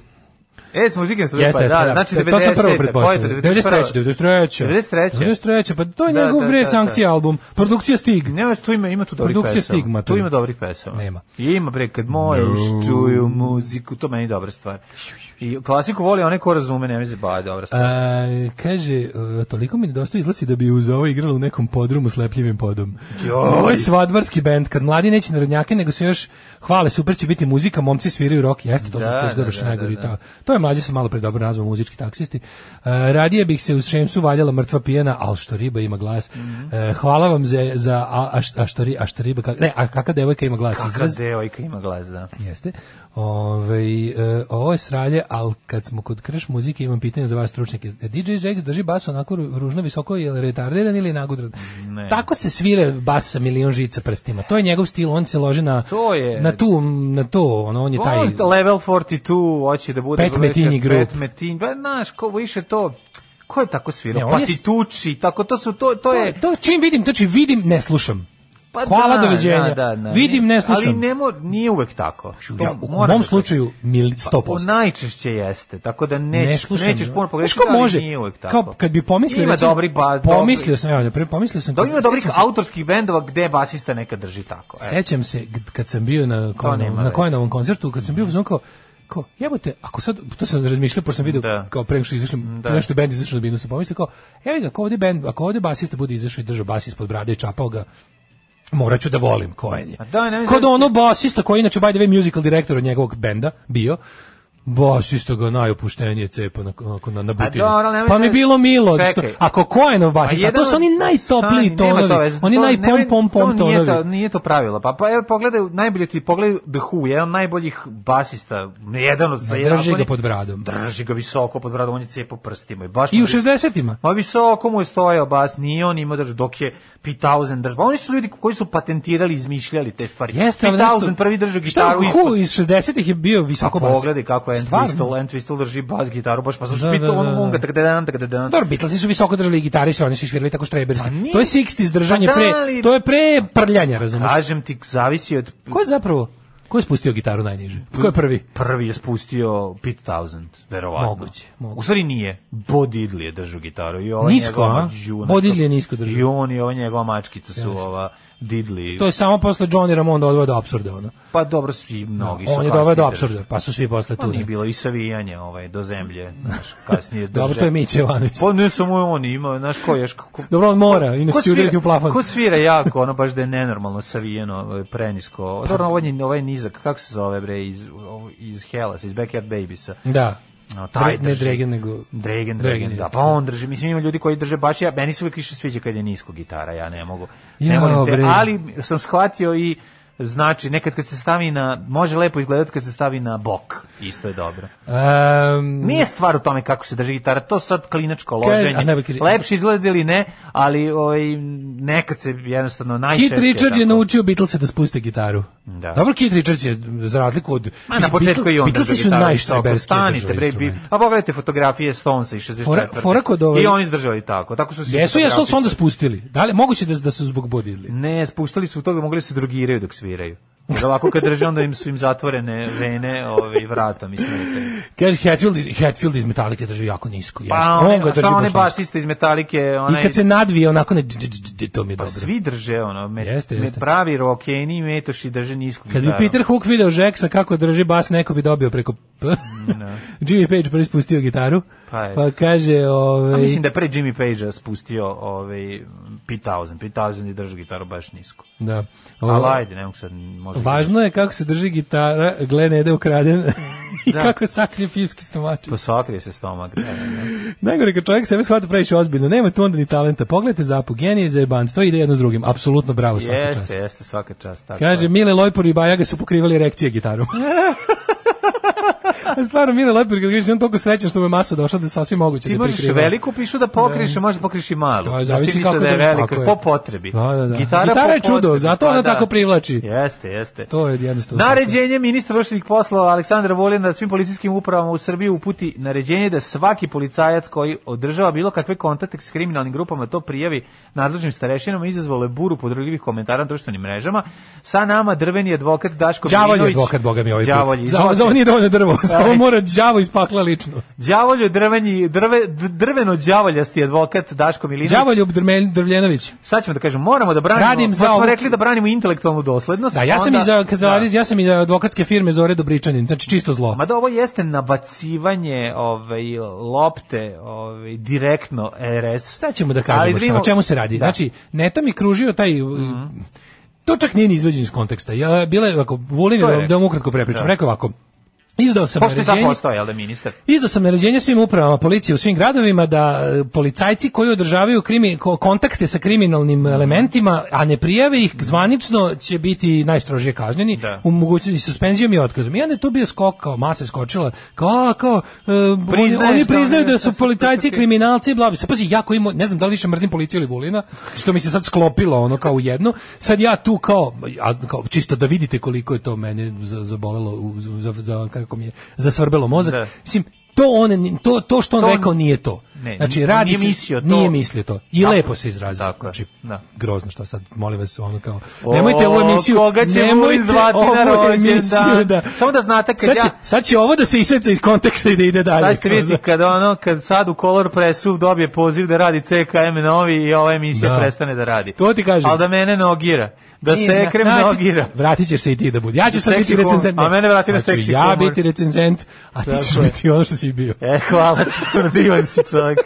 Speaker 5: E, s muzike strupa,
Speaker 6: Jeste,
Speaker 5: da,
Speaker 6: jeste,
Speaker 5: znači
Speaker 6: To- To sam prvo da,
Speaker 5: 90. Koje je to,
Speaker 6: pretpostavio. 93. 93.
Speaker 5: 93.
Speaker 6: 93. Pa to je
Speaker 5: Da,
Speaker 6: njegov
Speaker 5: da,
Speaker 6: bre
Speaker 5: da, da.
Speaker 6: sankcija album. Produkcija Stig.
Speaker 5: Nema što ima, ima tu dobrih pesama.
Speaker 6: da. Produkcija Stigma,
Speaker 5: Tu
Speaker 6: tu.
Speaker 5: ima dobrih pesama.
Speaker 6: Nema.
Speaker 5: I ima bre kad moje uši čuju muziku, to meni je dobra stvar. I klasiku voli one ko razume, ne mi se ba, dobra stvar.
Speaker 6: A, kaže, e, toliko mi nedostaje izlazi da bi uz ovo igrala u nekom podrumu s lepljivim podom.
Speaker 5: Joj.
Speaker 6: Ovo je svadbarski bend, kad mladi neće narodnjake, nego se još hvale, super će biti muzika, momci sviraju rock, jeste, to,
Speaker 5: Da,
Speaker 6: da, to,
Speaker 5: da,
Speaker 6: da, baš
Speaker 5: da,
Speaker 6: najgori.
Speaker 5: da, da.
Speaker 6: ta- To je mlađe se malo pre dobro nazvao muzički taksisti. E, radije bih se uz šemsu valjala mrtva pijena, al što riba ima glas.
Speaker 5: Mhm.
Speaker 6: E, hvala vam za, za a, a, šta- a što, ri- a što riba, kak- ne, a kaka devojka ima glas.
Speaker 5: Kakva
Speaker 6: izraz.
Speaker 5: devojka ima glas, da.
Speaker 6: Jeste. Ove, e, ovo je sralje, ali kad smo kod krš muzike, imam pitanje za vas stručnjake. E, DJ Jax drži bas onako ru- ružno visoko, je li retardiran ili je nagudran?
Speaker 5: Ne.
Speaker 6: Tako se svira bas sa milion žica prstima. To je njegov stil, on se loži na,
Speaker 5: To je-
Speaker 6: na, tu, na to, ono, on je taj...
Speaker 5: On level 42 hoće da bude
Speaker 6: Pet metinji grup.
Speaker 5: Pet metinji, pa znaš, ko više to Ko je tako svirao?
Speaker 6: Ne, on
Speaker 5: pa
Speaker 6: je
Speaker 5: ti
Speaker 6: s- Pa,
Speaker 5: tuči, tako to su to to je
Speaker 6: To čim vidim, znači vidim, ne slušam.
Speaker 5: Pa
Speaker 6: Hvala,
Speaker 5: Da,
Speaker 6: doviđenja.
Speaker 5: da, da.
Speaker 6: Vidim, ne slušam.
Speaker 5: Ali nemo, nije uvek tako. To
Speaker 6: Ja, u
Speaker 5: mora
Speaker 6: mom
Speaker 5: da-
Speaker 6: slučaju mil,
Speaker 5: Pa,
Speaker 6: 100%.
Speaker 5: najčešće jeste, tako da
Speaker 6: ne
Speaker 5: nećeš,
Speaker 6: slušam.
Speaker 5: nećeš puno pogrešiti,
Speaker 6: Znaš ko
Speaker 5: ali
Speaker 6: može?
Speaker 5: nije uvek tako.
Speaker 6: Kao kad bi pomislio,
Speaker 5: ima
Speaker 6: recimo,
Speaker 5: dobri ba, dobri-
Speaker 6: pomislio sam, evo, naprimjer, pomislio sam,
Speaker 5: Dobro, ima
Speaker 6: kad-
Speaker 5: dobrih
Speaker 6: sjećam se-
Speaker 5: autorskih bendova gde basista neka drži tako. E.
Speaker 6: Sećam se g- kad sam bio na
Speaker 5: nema
Speaker 6: Kojnovom, na
Speaker 5: veze.
Speaker 6: Kojnovom koncertu, kad sam bio u fazonu kao kao jebote, ako sad to sam razmišljao pošto sam video
Speaker 5: Da.
Speaker 6: kao pre nego što izašlim,
Speaker 5: Da.
Speaker 6: pre nego što je bend izašao na binu sam pomislio kao evo ga, ako ovde bend, ako ovde basista bude izašao i držao bas ispod brade i čapao ga, morat ću da volim Koen je.
Speaker 5: A da, ne mislim-
Speaker 6: Kod ono basista koji je inače by the way musical direktor od njegovog benda bio, basista ga najopuštenije cepa na, na, na, na butinu.
Speaker 5: dobro, ali nemoj
Speaker 6: pa mi
Speaker 5: da-
Speaker 6: bilo milo,
Speaker 5: Čekaj.
Speaker 6: što, ako Kojenov
Speaker 5: A
Speaker 6: basista, a to
Speaker 5: jedan
Speaker 6: su oni
Speaker 5: od-
Speaker 6: najtopliji
Speaker 5: Stani, nema to
Speaker 6: tonovi,
Speaker 5: veze,
Speaker 6: oni
Speaker 5: to
Speaker 6: najpom
Speaker 5: nemoj-
Speaker 6: pom pom
Speaker 5: to nije,
Speaker 6: tonovi.
Speaker 5: to, nije to pravilo. Pa, pa evo pogledaj, najbolje ti pogledaj The Who, jedan od najboljih basista, jedan od... jedan-
Speaker 6: drži
Speaker 5: ako ne-
Speaker 6: ga pod bradom.
Speaker 5: Drži ga visoko pod bradom, on je cepao prstima. I, baš
Speaker 6: I
Speaker 5: mu
Speaker 6: u
Speaker 5: je-
Speaker 6: 60-ima.
Speaker 5: Ma visoko mu je stojao bas, nije on imao drž, dok je P-1000 držba. Oni su ljudi koji su patentirali, izmišljali te stvari.
Speaker 6: Jeste, ali
Speaker 5: P-1000
Speaker 6: nešto-
Speaker 5: prvi držao
Speaker 6: Šta,
Speaker 5: gitaru
Speaker 6: Who
Speaker 5: ispod.
Speaker 6: iz 60-ih je bio
Speaker 5: Kako
Speaker 6: visoko bas.
Speaker 5: pogledaj kako je
Speaker 6: Stvarno?
Speaker 5: Entwistle, Entwistle drži bas gitaru, baš pa
Speaker 6: Da, da,
Speaker 5: zašto Beatle, on
Speaker 6: da, da.
Speaker 5: on ga tak da dan, tak da dan.
Speaker 6: Dobro, Beatlesi su visoko držali i gitare i sve, oni su svirali tako štreberski.
Speaker 5: Pa nije-
Speaker 6: to je 60s držanje
Speaker 5: Pa da,
Speaker 6: pre,
Speaker 5: ali-
Speaker 6: to je pre prljanja, razumiješ?
Speaker 5: Kažem ti, zavisi od...
Speaker 6: Ko je zapravo, ko je spustio gitaru najniže? Ko je prvi?
Speaker 5: Prvi je spustio Pete Townsend, verovatno.
Speaker 6: Moguće, moguće.
Speaker 5: U stvari nije. Bo Diddley je držao gitaru. I ovaj
Speaker 6: Nisko,
Speaker 5: njegova
Speaker 6: a?
Speaker 5: mađuna.
Speaker 6: Bo Diddley je nisko držao.
Speaker 5: I on i ova njegova mačkica su ova Diddley.
Speaker 6: To je samo posle Johnny Ramon doveo do absurda, ono.
Speaker 5: Pa dobro, svi mnogi su
Speaker 6: On je
Speaker 5: kasnije
Speaker 6: doveo do
Speaker 5: držali.
Speaker 6: absurda, pa su svi posle
Speaker 5: Pa
Speaker 6: tu.
Speaker 5: nije
Speaker 6: ne.
Speaker 5: bilo i savijanje ovaj, do zemlje, znaš, kasnije drže.
Speaker 6: Dobro, to je Miće Jovanović.
Speaker 5: Pa ne samo on ima, znaš, ko je, ko, ko,
Speaker 6: Dobro, on mora, inače
Speaker 5: ko
Speaker 6: će udariti u plafon.
Speaker 5: ko svira jako, ono baš da je nenormalno savijeno, ovaj, prenisko. Dobro, ovaj, je- ovaj je nizak, kako se zove, bre, iz, ovo- iz Hellas, iz Backyard Babiesa.
Speaker 6: Da.
Speaker 5: No, taj
Speaker 6: Dra- ne
Speaker 5: drži.
Speaker 6: Dragan, nego...
Speaker 5: Dragon,
Speaker 6: Dragan,
Speaker 5: Dragon, da,
Speaker 6: jeste.
Speaker 5: pa on drži, mislim ima ljudi koji drže baš, ja, meni se uvijek više sviđa kad je nisko gitara, ja ne mogu, ne
Speaker 6: Jao,
Speaker 5: volim te,
Speaker 6: bre.
Speaker 5: ali sam shvatio i Znači, nekad kad se stavi na, može lepo izgledati kad se stavi na bok, isto je dobro.
Speaker 6: Ehm,
Speaker 5: Nije stvar u tome kako se drži gitara, to sad klinačko
Speaker 6: Kaže,
Speaker 5: loženje.
Speaker 6: a ne, kaže-
Speaker 5: Lepše izgleda ili ne, ali ovaj, nekad se jednostavno najčešće...
Speaker 6: Kit Richards je
Speaker 5: tako.
Speaker 6: naučio Beatlese da spuste gitaru.
Speaker 5: Da.
Speaker 6: Dobro, Kit Richards je za razliku od...
Speaker 5: Ma, na početku i onda
Speaker 6: Beatlesi su najštreberski
Speaker 5: Stanite, bre, bi, a pogledajte fotografije Stonesa i 64.
Speaker 6: Fora- fora kod ove-
Speaker 5: I oni izdržali tako, tako su se...
Speaker 6: Jesu, jesu, ali su onda
Speaker 5: fotografi-
Speaker 6: spustili. Da li, moguće da, da su zbog bodidli?
Speaker 5: Ne, spuštali su toga, mogli da se drogiraju dok sviraju. Jer ovako kad drže, onda im su im zatvorene vene ovaj, vratom i smete.
Speaker 6: Kaže, Hatfield iz, Hatfield iz Metallica drži jako nisko. Pa,
Speaker 5: Pa,
Speaker 6: on ga
Speaker 5: one,
Speaker 6: drži
Speaker 5: šta
Speaker 6: baš
Speaker 5: one
Speaker 6: nisko.
Speaker 5: basiste iz Metalike, onaj...
Speaker 6: I kad se nadvije, onako ne... dž- dž- dž- dž- to mi je
Speaker 5: Pa
Speaker 6: dobro.
Speaker 5: svi drže ono, me,
Speaker 6: Jeste,
Speaker 5: me
Speaker 6: jeste.
Speaker 5: pravi rokeni i metoši drže nisku
Speaker 6: Kad bi
Speaker 5: gitaru.
Speaker 6: Peter Hook video Jacksa kako drži bas, neko bi dobio preko... P. Jimmy Page prvi spustio gitaru,
Speaker 5: Da. Pa, eto.
Speaker 6: pa kaže...
Speaker 5: A
Speaker 6: Ovaj,
Speaker 5: mislim da je pre Jimmy Page-a spustio ovaj, P-1000. P-1000 je držao gitaru baš nisko.
Speaker 6: da.
Speaker 5: Ali
Speaker 6: Ovaj,
Speaker 5: ajde, ne mogu sad možda...
Speaker 6: Važno je kako se drži gitara, gle ne ide ukraden i
Speaker 5: Da.
Speaker 6: kako sakrije pivski stomačić.
Speaker 5: Posakrije Pa se stomak. Da, da, da.
Speaker 6: Najgore kad čovjek sebe shvata previše ozbiljno, nema tu onda ni talenta. Pogledajte zapu, genije za jebant, to ide jedno s drugim. Apsolutno bravo svaka čast.
Speaker 5: Jeste, jeste, svaka čast. Tako
Speaker 6: Kaže,
Speaker 5: je.
Speaker 6: Mile Lojpor i Bajaga su pokrivali erekcije gitarom. A Stvarno, Mile Lojpor, kad vidiš, on toliko srećan što mu je masa došla da je sasvim moguće
Speaker 5: Ti
Speaker 6: da
Speaker 5: možeš
Speaker 6: prikriva.
Speaker 5: veliku pišu da pokriješ, a možeš da pokriješ i malu.
Speaker 6: To je,
Speaker 5: Da
Speaker 6: zavisi
Speaker 5: si mislio
Speaker 6: kako
Speaker 5: da je
Speaker 6: držiš,
Speaker 5: veliko,
Speaker 6: tako je.
Speaker 5: po potrebi.
Speaker 6: Da, da, da.
Speaker 5: Gitara,
Speaker 6: Gitara
Speaker 5: po
Speaker 6: je čudo,
Speaker 5: potrebi,
Speaker 6: zato ona
Speaker 5: pa da.
Speaker 6: tako privlači.
Speaker 5: Jeste, jeste.
Speaker 6: To je jednostavno.
Speaker 5: Naređenje ministra unutrašnjih poslova Aleksandra Vulina da svim policijskim upravama u Srbiji uputi naređenje da svaki policajac koji održava bilo kakve kontakte s kriminalnim grupama to prijavi nadležnim starešinama izazvalo je buru podrugljivih komentara na društvenim mrežama. Sa nama drveni advokat Daško
Speaker 6: Đavolj je
Speaker 5: Milinović.
Speaker 6: advokat, boga mi ovaj
Speaker 5: Đavolj,
Speaker 6: put. Za, ovo- za ovo nije dovoljno drvo, za ovo mora đavo iz pakla lično.
Speaker 5: Đavolj je drvenji, drve, d- drveno đavoljasti advokat Daško Milinović.
Speaker 6: Đavoljub Drmen- Drvljenović.
Speaker 5: Sad ćemo da kažemo, moramo da branimo,
Speaker 6: Radim
Speaker 5: pa
Speaker 6: za
Speaker 5: smo
Speaker 6: ovu-
Speaker 5: rekli da branimo intelektualnu doslednost.
Speaker 6: Da, ja sam
Speaker 5: onda-
Speaker 6: iz za, za-
Speaker 5: Da.
Speaker 6: ja sam iz eh, advokatske firme Zore Dobričanin, znači čisto zlo.
Speaker 5: Mada ovo jeste nabacivanje ovaj, lopte ovaj, direktno RS.
Speaker 6: Sad ćemo da
Speaker 5: Ali
Speaker 6: kažemo šta,
Speaker 5: vidimo-
Speaker 6: o čemu se radi.
Speaker 5: Da. Mhm.
Speaker 6: Znači, neta mi kružio taj... eh, To čak nije ni izveđen iz konteksta. Ja, bila je ovako, volim
Speaker 5: To je
Speaker 6: da, vam-
Speaker 5: rekao.
Speaker 6: da vam ukratko prepričam.
Speaker 5: Da.
Speaker 6: Rekao je ovako, izdao sam
Speaker 5: Pošto je sad
Speaker 6: naređenje,
Speaker 5: postao, jel da, ministar?
Speaker 6: Izdao sam naređenje svim upravama policije u svim gradovima da e, policajci koji održavaju krimi, ko- kontakte sa kriminalnim
Speaker 5: Mhm.
Speaker 6: elementima, a ne prijave ih zvanično će biti najstrožije kažnjeni,
Speaker 5: Da.
Speaker 6: u mogućnosti suspenzijom i otkazom. I onda je tu bio skok, kao masa je skočila, kao, a, kao, e, oni,
Speaker 5: Priznaješ
Speaker 6: oni
Speaker 5: da
Speaker 6: priznaju
Speaker 5: oni
Speaker 6: da su
Speaker 5: nešto su
Speaker 6: policajci
Speaker 5: krivi.
Speaker 6: kriminalci, bla, bla. Sad, Pazi, ja koji mo- ne znam da li više mrzim policiju ili Vulina, što mi se sad sklopilo ono kao u jedno, sad ja tu kao, a, kao čisto da vidite koliko je to mene za- zabolelo, u- za, za, kako mi je, zasvrbelo mozak.
Speaker 5: Da.
Speaker 6: Mislim, to on to to što on
Speaker 5: To on-
Speaker 6: rekao nije to.
Speaker 5: Ne,
Speaker 6: znači
Speaker 5: nije-
Speaker 6: radi
Speaker 5: nije
Speaker 6: se-
Speaker 5: mislio to.
Speaker 6: nije mislio to. I
Speaker 5: Tako
Speaker 6: lepo
Speaker 5: je,
Speaker 6: se izrazio.
Speaker 5: tako je,
Speaker 6: znači,
Speaker 5: da.
Speaker 6: grozno šta sad, molim vas, ono kao
Speaker 5: O,
Speaker 6: nemojte ovu emisiju,
Speaker 5: koga ćemo
Speaker 6: nemojte
Speaker 5: zvati na
Speaker 6: ovu
Speaker 5: rođendan?
Speaker 6: emisiju da.
Speaker 5: Samo da znate kad
Speaker 6: sad će,
Speaker 5: ja-
Speaker 6: sad će ovo da se iseca iz konteksta i da ide dalje.
Speaker 5: Sad ćete vidjeti kad, ono, kad sad u Color Pressu dobije poziv da radi CKM novi i ova emisija
Speaker 6: Da.
Speaker 5: prestane da radi.
Speaker 6: To ti kažem.
Speaker 5: Ali da mene nogira. Da
Speaker 6: Nije,
Speaker 5: se ekrem
Speaker 6: znači,
Speaker 5: nogira.
Speaker 6: Vratit ćeš se i ti da budi. Ja ću sad
Speaker 5: Seksi
Speaker 6: biti
Speaker 5: humor.
Speaker 6: recenzent. ne.
Speaker 5: A mene vrati na
Speaker 6: Sad ću
Speaker 5: seksi
Speaker 6: Ja
Speaker 5: humor.
Speaker 6: biti recenzent, a ti ćeš biti ono što si bio.
Speaker 5: E, hvala ti, divan si čovjek.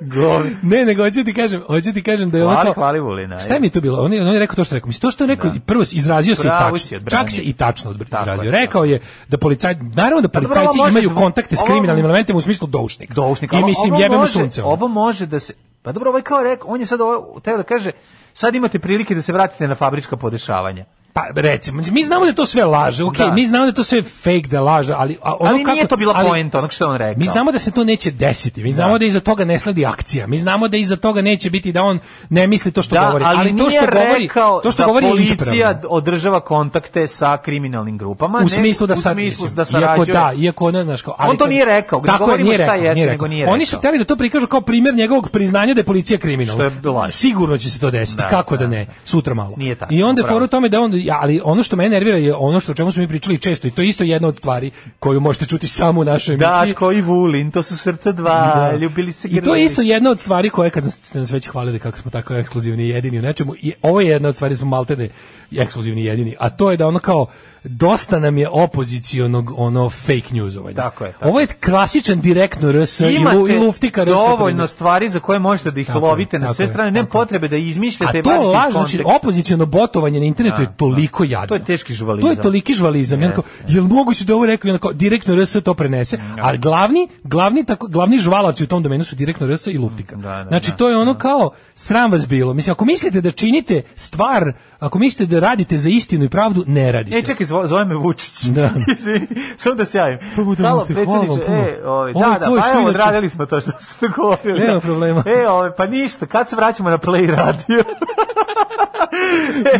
Speaker 5: Govi.
Speaker 6: Ne, nego hoću ti kažem, hoću ti kažem da je
Speaker 5: Hvali,
Speaker 6: onako...
Speaker 5: hvali Vulina.
Speaker 6: Šta mi je to bilo? On je, on je rekao to što je rekao. Mislim, to što je rekao,
Speaker 5: Da.
Speaker 6: i prvo si izrazio se i
Speaker 5: Pravo si,
Speaker 6: tačno.
Speaker 5: odbranio.
Speaker 6: Čak se i tačno odbr-
Speaker 5: Tako je,
Speaker 6: izrazio.
Speaker 5: tako.
Speaker 6: Rekao je da policaj, naravno da
Speaker 5: dobro,
Speaker 6: policajci
Speaker 5: ovo može
Speaker 6: imaju
Speaker 5: dvo-
Speaker 6: kontakte s
Speaker 5: ovo-
Speaker 6: kriminalnim elementima u smislu doušnika.
Speaker 5: doušnik.
Speaker 6: I
Speaker 5: Ovo-
Speaker 6: mislim,
Speaker 5: ovo
Speaker 6: jebemo
Speaker 5: može-
Speaker 6: sunce. ono.
Speaker 5: Ovo može da se... Pa dobro, ovaj kao rekao, on je sad ovo, teo da kaže, sad imate prilike da se vratite na fabrička podešavanja.
Speaker 6: Pa recimo, mi znamo da je to sve laže, okej,
Speaker 5: Da.
Speaker 6: mi znamo da je to sve fake da laže, ali a ono
Speaker 5: ali
Speaker 6: kako,
Speaker 5: nije to bila
Speaker 6: ali-
Speaker 5: poenta, onog što je on rekao.
Speaker 6: Mi znamo da se to neće desiti. Mi znamo da, iza toga ne sledi akcija. Mi znamo da iza toga neće biti da on ne misli to što
Speaker 5: da,
Speaker 6: govori, ali,
Speaker 5: ali,
Speaker 6: to što
Speaker 5: nije
Speaker 6: govori,
Speaker 5: rekao
Speaker 6: to što
Speaker 5: da
Speaker 6: govori je
Speaker 5: policija
Speaker 6: ispravno.
Speaker 5: održava kontakte sa kriminalnim grupama,
Speaker 6: U
Speaker 5: ne-
Speaker 6: smislu da sad
Speaker 5: u smislu
Speaker 6: mislim,
Speaker 5: da
Speaker 6: iako
Speaker 5: sarađuje.
Speaker 6: da, iako ono, znaš, kao, ali
Speaker 5: On to
Speaker 6: kad-
Speaker 5: nije rekao,
Speaker 6: Tako je,
Speaker 5: govorimo
Speaker 6: nije
Speaker 5: šta
Speaker 6: rekao,
Speaker 5: jeste,
Speaker 6: nije
Speaker 5: nego
Speaker 6: rekao.
Speaker 5: nije
Speaker 6: Oni
Speaker 5: rekao.
Speaker 6: su hteli da to prikažu kao primjer njegovog priznanja da je policija
Speaker 5: Što
Speaker 6: kriminalna.
Speaker 5: je bila laž.
Speaker 6: Sigurno će se to desiti,
Speaker 5: Da,
Speaker 6: kako da,
Speaker 5: da,
Speaker 6: ne,
Speaker 5: da.
Speaker 6: sutra malo.
Speaker 5: Nije tako,
Speaker 6: I onda je
Speaker 5: upravo
Speaker 6: fora u
Speaker 5: si.
Speaker 6: tome da on ja, ali ono što mene nervira je ono što o čemu smo mi pričali često i to je isto jedna od stvari koju možete čuti samo u našoj emisiji.
Speaker 5: Daško i Vulin, to su srca dva,
Speaker 6: Da.
Speaker 5: ljubili se
Speaker 6: I to je
Speaker 5: grliš.
Speaker 6: isto jedna od stvari koje kad ste nas već hvalili kako smo tako ekskluzivni i jedini u nečemu i ovo je jedna od stvari da smo maltene ekskluzivni i jedini, a to je da ono kao dosta nam je opozicionog ono fake newsovanja.
Speaker 5: Tako je, tako.
Speaker 6: Ovo je klasičan direktno RS i, lu,
Speaker 5: Imate
Speaker 6: i luftika RS.
Speaker 5: dovoljno stvari za koje možete da ih
Speaker 6: Tako je,
Speaker 5: lovite na
Speaker 6: tako
Speaker 5: sve
Speaker 6: je,
Speaker 5: strane, nema
Speaker 6: tako je.
Speaker 5: potrebe da izmišljate
Speaker 6: A
Speaker 5: i
Speaker 6: to
Speaker 5: vadite iz
Speaker 6: laž, znači
Speaker 5: konteksta.
Speaker 6: opoziciono botovanje na internetu je
Speaker 5: Da,
Speaker 6: toliko jadno.
Speaker 5: To je teški žvalizam.
Speaker 6: To je toliki žvalizam. Yes,
Speaker 5: Jeste. Da.
Speaker 6: jel moguće da ovo rekao i onako direktno RS to prenese? Ali glavni, glavni, tako, glavni žvalaci u tom domenu su direktno RS i luftika.
Speaker 5: da,
Speaker 6: znači
Speaker 5: da,
Speaker 6: to je ono kao sram vas bilo. Mislim, ako mislite da činite stvar, ako mislite da radite za istinu i pravdu, ne radite.
Speaker 5: E, čekaj, zvo- zove me Vučić.
Speaker 6: Da.
Speaker 5: Izvini, Samo da se javim.
Speaker 6: Samo da
Speaker 5: Halo,
Speaker 6: vam se hvala vam
Speaker 5: predsjedniče,
Speaker 6: puno.
Speaker 5: e, ovaj,
Speaker 6: Ovo je
Speaker 5: da, da,
Speaker 6: tvoj
Speaker 5: pa evo,
Speaker 6: svirač.
Speaker 5: odradili smo to što ste govorili.
Speaker 6: Nema
Speaker 5: da.
Speaker 6: problema.
Speaker 5: E, ovaj, pa ništa, kad se vraćamo na Play radio?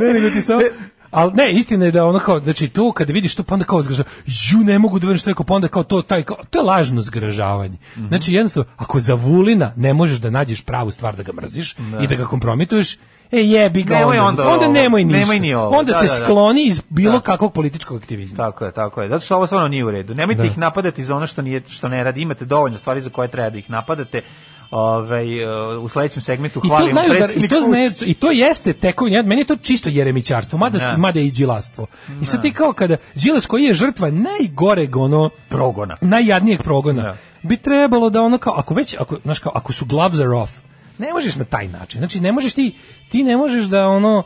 Speaker 6: ne, nego ti samo...
Speaker 5: E,
Speaker 6: Ali ne, istina je da ono kao, znači tu kada vidiš to, pa onda kao zgraža, ju ne mogu da verujem što je rekao, pa onda kao to, taj, kao, to je lažno zgražavanje.
Speaker 5: Mhm.
Speaker 6: Znači jednostavno, ako za Vulina ne možeš da nađeš pravu stvar da ga mrziš i da ga kompromituješ, e jebi ga
Speaker 5: Nemoj
Speaker 6: onda,
Speaker 5: onda ovo.
Speaker 6: nemoj ništa.
Speaker 5: Nemoj ni ovo.
Speaker 6: Onda
Speaker 5: Da,
Speaker 6: se
Speaker 5: da, da.
Speaker 6: skloni iz bilo
Speaker 5: Da.
Speaker 6: kakvog političkog aktivizma.
Speaker 5: tako je, tako je. Zato što ovo stvarno nije u redu. Nemojte
Speaker 6: Da.
Speaker 5: ih napadati za ono što, nije, što ne radi. Imate dovoljno stvari za koje treba da ih napadate. Ovaj, e, u sledećem segmentu
Speaker 6: I to
Speaker 5: hvalimo
Speaker 6: znaju da, i
Speaker 5: predsjednika
Speaker 6: to znaju,
Speaker 5: Vučića.
Speaker 6: i to jeste tekovina, meni je to čisto jeremićarstvo, mada
Speaker 5: Da.
Speaker 6: mada i đilastvo. I sad ti kao kada đilas koji je žrtva najgoreg ono
Speaker 5: Progona.
Speaker 6: najjadnijeg progona.
Speaker 5: Da.
Speaker 6: Bi trebalo da ono kao ako već ako znaš kao ako su gloves are off. Ne možeš na taj način. Znači ne možeš ti ti ne možeš da ono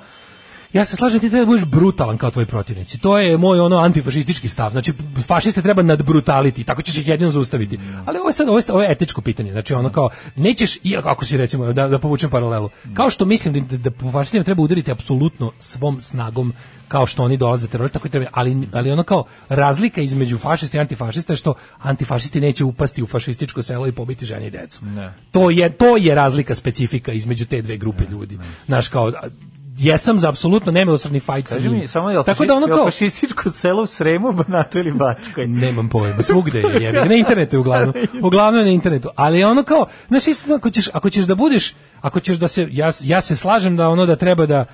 Speaker 6: Ja se slažem, ti treba da budeš brutalan kao tvoji protivnici. To je moj ono antifašistički stav. Znači, fašiste treba nadbrutaliti, tako ćeš ih jedino zaustaviti.
Speaker 5: Da.
Speaker 6: Ali ovo je sad, ovo je, ovo je etičko pitanje. Znači, ono kao, nećeš, i ako si recimo, da, da povučem paralelu, kao što mislim da, da, da po fašistima treba udariti apsolutno svom snagom kao što oni dolaze terorista koji treba ali ali ono kao razlika između fašista i antifašista je što antifašisti neće upasti u fašističko selo i pobiti žene i decu. To je to je razlika specifika između te dve grupe ljudi. Naš kao a, jesam za apsolutno nemilosrdni fight sa
Speaker 5: Kaži
Speaker 6: njim.
Speaker 5: mi, samo je li
Speaker 6: Tako da ono
Speaker 5: fašističko- je li
Speaker 6: kao
Speaker 5: fašističko selo u Sremu, Banatu ili Bačkoj?
Speaker 6: Nemam pojma, svugde je jebi ga. Na internetu je uglavnom. Uglavnom je na internetu. Ali je ono kao, znaš isto ako ćeš, ako ćeš da budeš, ako ćeš da se, ja, ja se slažem da ono da treba da,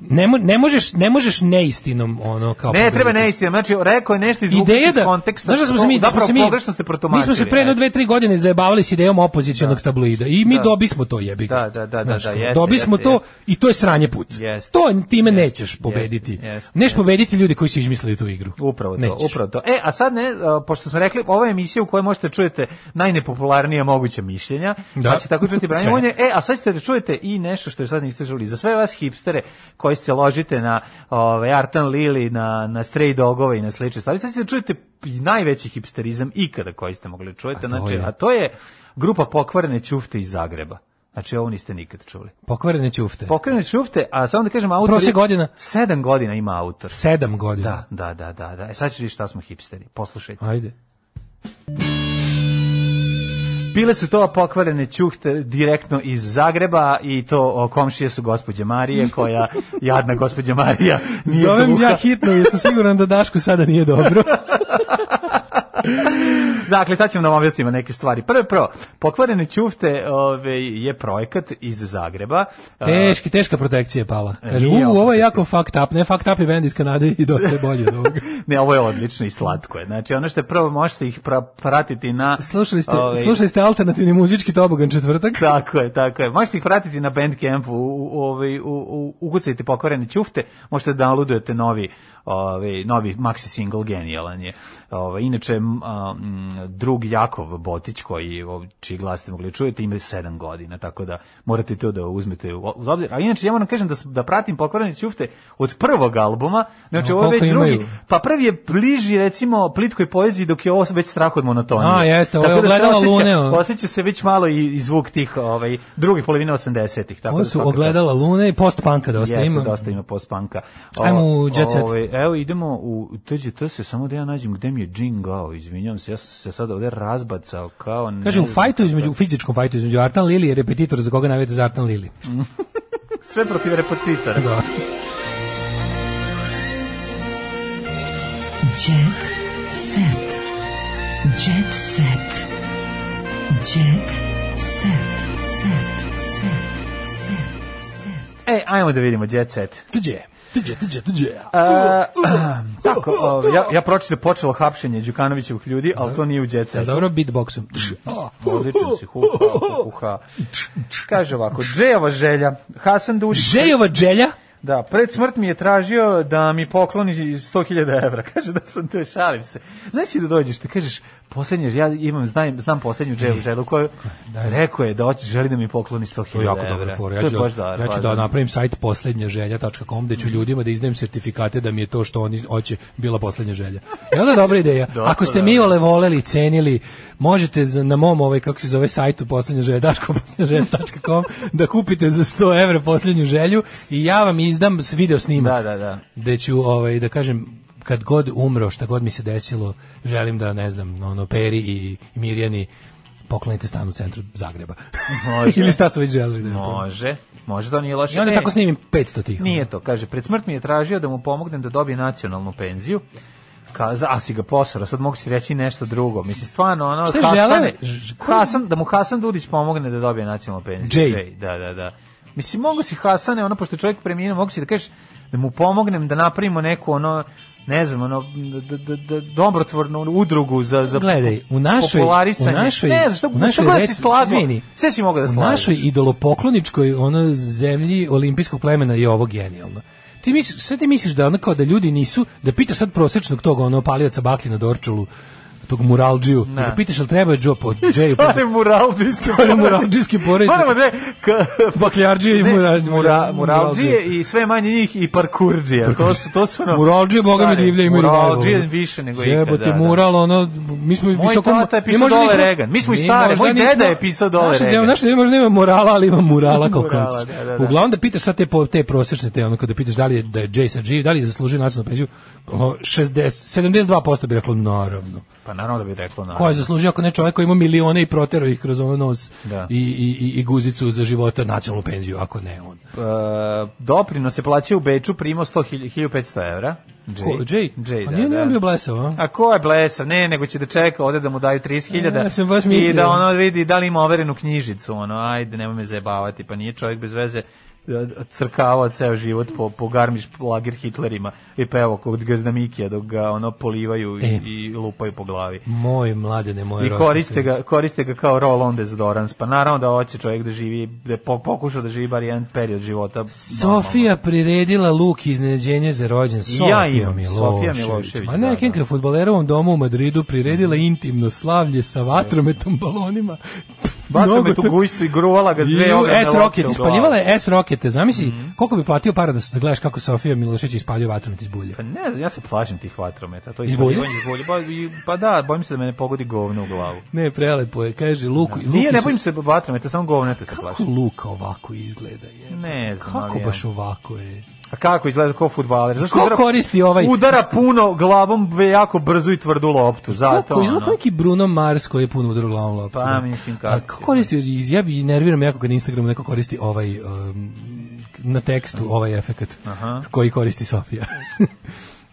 Speaker 6: ne, mo- ne možeš ne možeš neistinom ono kao
Speaker 5: Ne, treba
Speaker 6: pobediti.
Speaker 5: neistina. Znači, rekao je nešto iz,
Speaker 6: Ideja
Speaker 5: iz
Speaker 6: da,
Speaker 5: konteksta.
Speaker 6: znaš da smo
Speaker 5: što-
Speaker 6: se mi, da smo
Speaker 5: zapravo
Speaker 6: se mi,
Speaker 5: pogrešno ste protumačili.
Speaker 6: mi smo se pre jedno
Speaker 5: e.
Speaker 6: dve, tri godine zajebavali s idejom opozicionog tabloida i mi
Speaker 5: Da.
Speaker 6: dobismo to jebi. ga.
Speaker 5: Da, da, da, da,
Speaker 6: Znaš,
Speaker 5: da, jeste,
Speaker 6: Dobi smo
Speaker 5: jeste,
Speaker 6: to
Speaker 5: jeste.
Speaker 6: i to je sranje put.
Speaker 5: Jeste.
Speaker 6: to time
Speaker 5: Jeste,
Speaker 6: nećeš pobediti.
Speaker 5: jeste, jeste,
Speaker 6: Neš
Speaker 5: jeste.
Speaker 6: pobediti ljudi koji su izmislili tu igru.
Speaker 5: Upravo to,
Speaker 6: Nećeš.
Speaker 5: upravo to. E, a sad ne, a, pošto smo rekli, ovo je emisija u kojoj možete da čujete najnepopularnija moguća mišljenja,
Speaker 6: Da.
Speaker 5: pa će tako čuti Branje
Speaker 6: Sve.
Speaker 5: Vonje. E, a sad ćete da čujete i nešto što je sad niste čuli. Za sve vas hipstere koji se ložite na ovaj, Artan Lili, na, na Stray Dogove i na slične stvari, sad ćete da čujete najveći hipsterizam ikada koji ste mogli da čujete.
Speaker 6: A to
Speaker 5: znači,
Speaker 6: je?
Speaker 5: a to je grupa pokvarene ćufte iz Zagreba. Znači, ovo niste nikad čuli.
Speaker 6: Pokvarene ćufte.
Speaker 5: Pokrene ćufte, a samo da kažem, autor... je-
Speaker 6: Prosjek godina?
Speaker 5: Sedam godina ima autor.
Speaker 6: Sedam godina.
Speaker 5: Da, da, da, da, da. E sad ćeš vidjeti šta smo hipsteri. Poslušajte.
Speaker 6: Ajde.
Speaker 5: Bile su to pokvarene ćuhte direktno iz Zagreba i to o, komšije su gospođe Marije, koja, jadna gospođa Marija, nije
Speaker 6: Zovem
Speaker 5: duha.
Speaker 6: ja hitno, jer sam siguran da Dašku sada nije dobro.
Speaker 5: Dakle, sad ćemo da vam objasnimo neke stvari. Prvo, prvo, pokvarene ćufte ove, je projekat iz Zagreba. A, E,
Speaker 6: Teški, teška protekcija je pala. Kaže,
Speaker 5: Nije
Speaker 6: u,
Speaker 5: ovo
Speaker 6: ovo je
Speaker 5: protekcija.
Speaker 6: jako fucked up. Ne, fucked up je band iz Kanade i dosta je bolje od ovoga.
Speaker 5: Ne, ovo je odlično i slatko je. Znači, ono što je prvo, možete ih pra- pratiti na...
Speaker 6: Slušali ste,
Speaker 5: ovaj, Da.
Speaker 6: slušali ste alternativni muzički tobogan četvrtak?
Speaker 5: Tako je, tako je. Možete ih pratiti na Bandcampu, u, u, ovaj, u, u, ukucajte pokvarene ćufte, možete da downloadujete novi, ovaj, novi maxi single, genijalan je. Ovaj, inače, m, a, m, drug Jakov Botić, koji, o, čiji glas ste mogli da čujete, ima 7 godina, tako da morate to da uzmete u u obzir. A inače, ja moram kažem da, s- da pratim pokvarene ćufte od prvog albuma, znači
Speaker 6: A
Speaker 5: ovo je već
Speaker 6: koliko
Speaker 5: drugi,
Speaker 6: imaju?
Speaker 5: pa prvi je bliži, recimo, plitkoj poeziji, dok je ovo već strah od monotonije.
Speaker 6: A, jeste, ovo je
Speaker 5: Tako da se
Speaker 6: ogledalo
Speaker 5: osjeća-
Speaker 6: Lune, ovo.
Speaker 5: Osjeća se već malo i, i zvuk tih ovaj, drugih polovine 80-ih. Tako
Speaker 6: Ovo
Speaker 5: da
Speaker 6: su
Speaker 5: svaka
Speaker 6: ogledala Lune i post-punka da
Speaker 5: čast.
Speaker 6: dosta
Speaker 5: Jeste,
Speaker 6: ima.
Speaker 5: dosta ima post-punka.
Speaker 6: Ajmo
Speaker 5: O-
Speaker 6: u Jet Set.
Speaker 5: ovaj, evo, idemo u... Tođe, to se samo da ja nađem gde mi je džingao, izvinjam se, ja sam se sad ovde razbacao kao... ne
Speaker 6: Kaže, u
Speaker 5: znam
Speaker 6: fajtu
Speaker 5: kako.
Speaker 6: između, u fizičkom fajtu između Artan Lili je repetitor za koga navijete za Artan Lili.
Speaker 5: Sve protiv repetitora.
Speaker 6: Da.
Speaker 4: Jet set. Jet set. Jet set. Set. Set. Set. Set.
Speaker 5: E, ajmo da vidimo Jet Set.
Speaker 6: Tuđe, tuđe, tuđe, tuđe.
Speaker 5: E, tako, o, ja, ja pročito počelo hapšenje Đukanovićevih ljudi, ali to nije u Jet
Speaker 6: Jel
Speaker 5: Set.
Speaker 6: dobro beatboxom? Tš, a.
Speaker 5: Odlično si huha, huha. Kaže ovako, Džejova želja, Hasan Dudić...
Speaker 6: Žejova dželja?
Speaker 5: Da, pred smrt mi je tražio da mi pokloni 100.000 evra. Kaže da sam te šalim se. Znaš si da dođeš, ti kažeš, posljednje, ja imam, znam, znam posljednju dževu želu koju
Speaker 6: Daj.
Speaker 5: rekao je da hoće, želi da mi pokloni 100.000 evra.
Speaker 6: To je jako dobra fora. Ja
Speaker 5: To je
Speaker 6: ću,
Speaker 5: baš Mhm.
Speaker 6: da, ja ću da napravim sajt poslednjaželja.com gde ću ljudima da izdajem sertifikate da mi je to što oni hoće bila poslednja želja. I onda je dobra ideja. Ako
Speaker 5: da.
Speaker 6: ste mi ole voleli, cenili, možete za- na mom ovaj, kako se zove, sajtu poslednjaželja.com da kupite za 100 evra poslednju želju i ja vam izdam s- video snimak.
Speaker 5: Da, da, da.
Speaker 6: Gde ću, ovaj, da kažem, kad god umro, šta god mi se desilo, želim da, ne znam, ono, Peri i Mirjani poklonite stan u centru Zagreba.
Speaker 5: Može.
Speaker 6: Ili šta su već želeli da naprave.
Speaker 5: Može, može da nije loše.
Speaker 6: I onda
Speaker 5: E,
Speaker 6: tako snimim 500 tih.
Speaker 5: Nije to, kaže, pred smrt mi je tražio da mu pomognem da dobije nacionalnu penziju. Ka, za- a si ga posara, sad mogu si reći nešto drugo. Mislim, stvarno, ono,
Speaker 6: Šta je
Speaker 5: Hasan,
Speaker 6: želeo? Ž-
Speaker 5: Hasan, da mu Hasan Dudić pomogne da dobije nacionalnu penziju.
Speaker 6: Jay.
Speaker 5: Da, da, da. Mislim, mogu si Hasane, ono, pošto je čovjek preminuo, mogu si da kažeš da mu pomognem da napravimo neku, ono, ne znam, ono, da, da, da, dobrotvornu udrugu za, za
Speaker 6: Gledaj, u našoj, u
Speaker 5: Da, popularisanje.
Speaker 6: našoj,
Speaker 5: ne znam, što,
Speaker 6: u našoj
Speaker 5: što god da
Speaker 6: rec-
Speaker 5: si slago,
Speaker 6: izvini,
Speaker 5: sve si mogao da
Speaker 6: u
Speaker 5: slažeš.
Speaker 6: našoj idolopokloničkoj ono, zemlji olimpijskog plemena je ovo genijalno. Ti misliš, sve ti misliš da ono kao da ljudi nisu, da pitaš sad prosječnog tog ono palioca baklje na Dorčulu, tog muralđiju, i da pitaš jel treba Joe po Džeju, po
Speaker 5: Stare muralđijske
Speaker 6: Stare muralđijske porodice.
Speaker 5: Moramo da ka,
Speaker 6: bakljarđije i
Speaker 5: ne,
Speaker 6: mura,
Speaker 5: mura, muralđije i sve manje njih i parkurđije. To su, to su nam
Speaker 6: Muralđije, boga mi
Speaker 5: stare
Speaker 6: divlje imaju
Speaker 5: Da. Muralđije više nego ikad.
Speaker 6: Jebote,
Speaker 5: da, da.
Speaker 6: mural, ono, mi smo
Speaker 5: Moj
Speaker 6: visoko...
Speaker 5: tata je
Speaker 6: mi
Speaker 5: pisao
Speaker 6: možda
Speaker 5: Dole
Speaker 6: nismo-
Speaker 5: Regan. Mi smo i
Speaker 6: mi
Speaker 5: stare,
Speaker 6: možda
Speaker 5: moj deda
Speaker 6: nismo-
Speaker 5: je pisao Dole
Speaker 6: Naša zemlja,
Speaker 5: Regan.
Speaker 6: naša zemlja možda nema morala, ali ima murala koliko
Speaker 5: Murala,
Speaker 6: hoćeš.
Speaker 5: da, da, da.
Speaker 6: Uglavnom da pitaš sad te, po, te prosječne, te ono, kada pitaš da li je, da je Jay sad živ, da li je zaslužio nacionalnu penziju, ono, 60, 72% bi reklo, naravno.
Speaker 5: Pa naravno da bi reklo na.
Speaker 6: Ko je zaslužio ako ne čovjek koji ima milione i protero ih kroz ono nos
Speaker 5: Da.
Speaker 6: i, i, i, i guzicu za života nacionalnu penziju, ako ne on.
Speaker 5: E, doprinos se plaćao u Beču, primao 100 1500 evra.
Speaker 6: Ko, Jay?
Speaker 5: Jay,
Speaker 6: A
Speaker 5: da,
Speaker 6: nije,
Speaker 5: da.
Speaker 6: nije on bio blesav, a?
Speaker 5: A ko je blesav? Ne, nego će da čeka ovde da mu daju
Speaker 6: Ja
Speaker 5: 30.000
Speaker 6: sam baš
Speaker 5: i
Speaker 6: mislio.
Speaker 5: da ono vidi da li ima overenu knjižicu, ono, ajde, nemoj me zajebavati, pa nije čovjek bez veze e, crkavao ceo život po, po garmiš lager Hitlerima i pevao kod Gazda Mikija dok ga ono polivaju i,
Speaker 6: E.
Speaker 5: i lupaju po glavi.
Speaker 6: Moj mladene, moj
Speaker 5: I koriste ga, koriste ga kao roll-on dezodorans, pa naravno da hoće čovjek da živi, da je po- pokušao da živi bar jedan period života.
Speaker 6: Sofija priredila luk iznenađenje za rođen Sofija
Speaker 5: ja imam, Sofija
Speaker 6: Milošević.
Speaker 5: Milošević,
Speaker 6: Ma
Speaker 5: da,
Speaker 6: nekim
Speaker 5: da.
Speaker 6: kad futbolerovom domu u Madridu priredila intimno slavlje sa vatrometom, balonima.
Speaker 5: Batom je
Speaker 6: Mnogo
Speaker 5: tu
Speaker 6: to-
Speaker 5: gujstvu i gruvala ga s
Speaker 6: I
Speaker 5: dve
Speaker 6: u
Speaker 5: ogromne lopte u
Speaker 6: S-Rocket,
Speaker 5: glavu. Mhm.
Speaker 6: ispaljivala je S-Rokete. Zamisli, koliko bi platio para da se da gledaš kako Sofija Milošević ispaljuje vatromet iz bulje.
Speaker 5: Pa ne znam, ja se plašim tih vatrometa. To je
Speaker 6: Iz bulje?
Speaker 5: ispaljivanje iz bulje. Pa, i- pa da, bojim se da mene pogodi govno u glavu.
Speaker 6: Ne, prelepo je, kaže, luk, luk
Speaker 5: Da. Nije, ne
Speaker 6: su-
Speaker 5: bojim se vatrometa, samo govneta se
Speaker 6: Kako
Speaker 5: plašim.
Speaker 6: luka ovako izgleda? Je?
Speaker 5: Ne znam,
Speaker 6: Kako
Speaker 5: ali ja.
Speaker 6: baš ovako je?
Speaker 5: A kako izgleda kao fudbaler? Zašto
Speaker 6: Ko koristi ovaj-
Speaker 5: Udara puno glavom, ve- jako brzu i tvrdu loptu. Zato,
Speaker 6: Kako izgleda
Speaker 5: ono.
Speaker 6: kao neki Bruno Mars koji je puno udro glavom loptu.
Speaker 5: Pa, mislim, kako
Speaker 6: da.
Speaker 5: da.
Speaker 6: A
Speaker 5: će,
Speaker 6: kako koristi, ja bi nerviram jako kad na Instagramu neko koristi ovaj, um, na tekstu ovaj efekat Ovaj, koji koristi Sofija.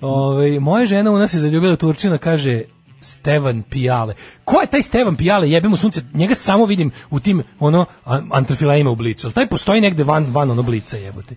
Speaker 6: Ove, moja žena u nas je zaljubila Turčina, kaže, Stevan Pijale. Ko je taj Stevan Pijale? Jebe mu sunce. Njega samo vidim u tim ono an- antrofilejima u Blicu. Jel taj postoji negde van van ono Blica, jebote.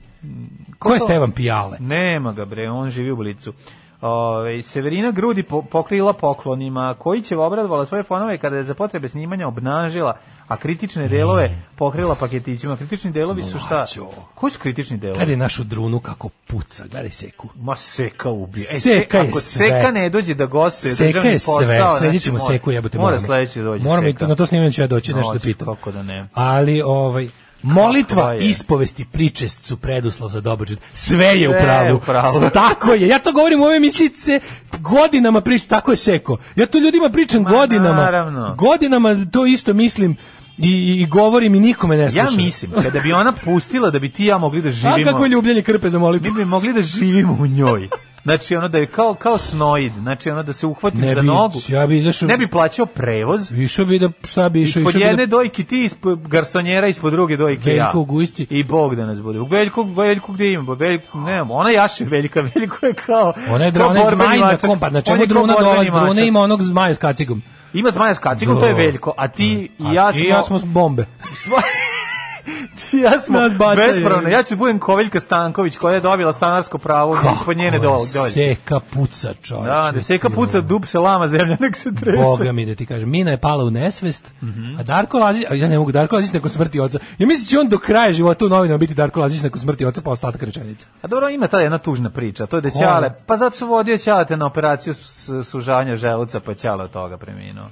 Speaker 6: Ko je
Speaker 5: Mm, to?
Speaker 6: Stevan Pijale?
Speaker 5: Nema ga bre, on živi u blicu. Ove, Severina grudi po, pokrila poklonima, koji će obradovala svoje fanove kada je za potrebe snimanja obnažila, a kritične delove pokrila paketićima. Kritični delovi su šta?
Speaker 6: Mlađo.
Speaker 5: Koji su kritični delovi?
Speaker 6: Gledaj našu drunu kako puca, gledaj seku.
Speaker 5: Ma seka ubija. E,
Speaker 6: Seka je
Speaker 5: ako
Speaker 6: sve.
Speaker 5: seka ne dođe da gostuje
Speaker 6: Seka
Speaker 5: državni
Speaker 6: je
Speaker 5: posao,
Speaker 6: sve,
Speaker 5: znači,
Speaker 6: sledeći ćemo
Speaker 5: mora-
Speaker 6: seku jebote
Speaker 5: Mora
Speaker 6: moramo.
Speaker 5: sledeći da dođe
Speaker 6: Moramo i
Speaker 5: seka.
Speaker 6: to- na to snimanje ću ja doći nešto da
Speaker 5: Hoćeš,
Speaker 6: pitam.
Speaker 5: Kako da ne. da
Speaker 6: Ali ovaj Molitva,
Speaker 5: je?
Speaker 6: ispovesti, pričest su preduslov za dobar život. Sve je u
Speaker 5: Sve je
Speaker 6: pravu.
Speaker 5: u pravu.
Speaker 6: Tako je. Ja to govorim u ove misice godinama pričam, tako je seko. Ja to ljudima pričam
Speaker 5: Ma,
Speaker 6: godinama.
Speaker 5: naravno.
Speaker 6: Godinama to isto mislim i, i, i govorim i nikome ne
Speaker 5: Ja
Speaker 6: slušam.
Speaker 5: mislim, kada bi ona pustila da bi ti i ja mogli da živimo...
Speaker 6: A kako je ljubljenje krpe za molitvu?
Speaker 5: mi bi mogli da živimo u njoj. Znači ono da je kao kao snoid, znači ono da se uhvatim
Speaker 6: Ne
Speaker 5: za
Speaker 6: bi,
Speaker 5: nogu.
Speaker 6: ja bi izašao-
Speaker 5: Ne bi plaćao prevoz.
Speaker 6: Išao bi da, šta bi išao?
Speaker 5: Ispod
Speaker 6: Išao bi da-
Speaker 5: jedne dojke ti, ispod garsonjera ispod druge dojke ja.
Speaker 6: Veljko u gusti.
Speaker 5: I Bog da nas bude. U Veljku, Veljku gde ima? Ba, Veljku, nemamo. Ona jaše Veljka, Veljko je kao...
Speaker 6: Ona je
Speaker 5: kao
Speaker 6: drona
Speaker 5: borbeni
Speaker 6: zmaj na
Speaker 5: mačak.
Speaker 6: kompa, znači na
Speaker 5: On
Speaker 6: čemu
Speaker 5: je kao
Speaker 6: druna
Speaker 5: borbeni
Speaker 6: dolazi, druna
Speaker 5: mačak.
Speaker 6: ima onog zmaja s kacigom.
Speaker 5: Ima zmaja s kacigom, to je Veljko. A ti i ja
Speaker 6: A ti
Speaker 5: smo...
Speaker 6: i ja smo bombe.
Speaker 5: Ti i ja smo
Speaker 6: Nas bacaju.
Speaker 5: bespravno. Ja ću da budem Koveljka Stanković koja je dobila stanarsko pravo ispod njene
Speaker 6: Kako je
Speaker 5: dol- dolje.
Speaker 6: Seka puca, čovječe.
Speaker 5: Da, da seka puca dub se lama zemlja, nek se trese.
Speaker 6: Boga mi da ti kažem, Mina je pala u nesvest,
Speaker 5: Mhm.
Speaker 6: a Darko Lazić, a ja ne mogu Darko Lazić nakon smrti oca. Ja mislim da će on do kraja života u novinama biti Darko Lazić nakon smrti oca, pa ostatak rečenica.
Speaker 5: A dobro, ima ta jedna tužna priča, to je da
Speaker 6: Koja?
Speaker 5: Ćale, pa zato su vodio Ćale te na operaciju s- s- sužavanja želuca, pa Ćale od toga preminuo.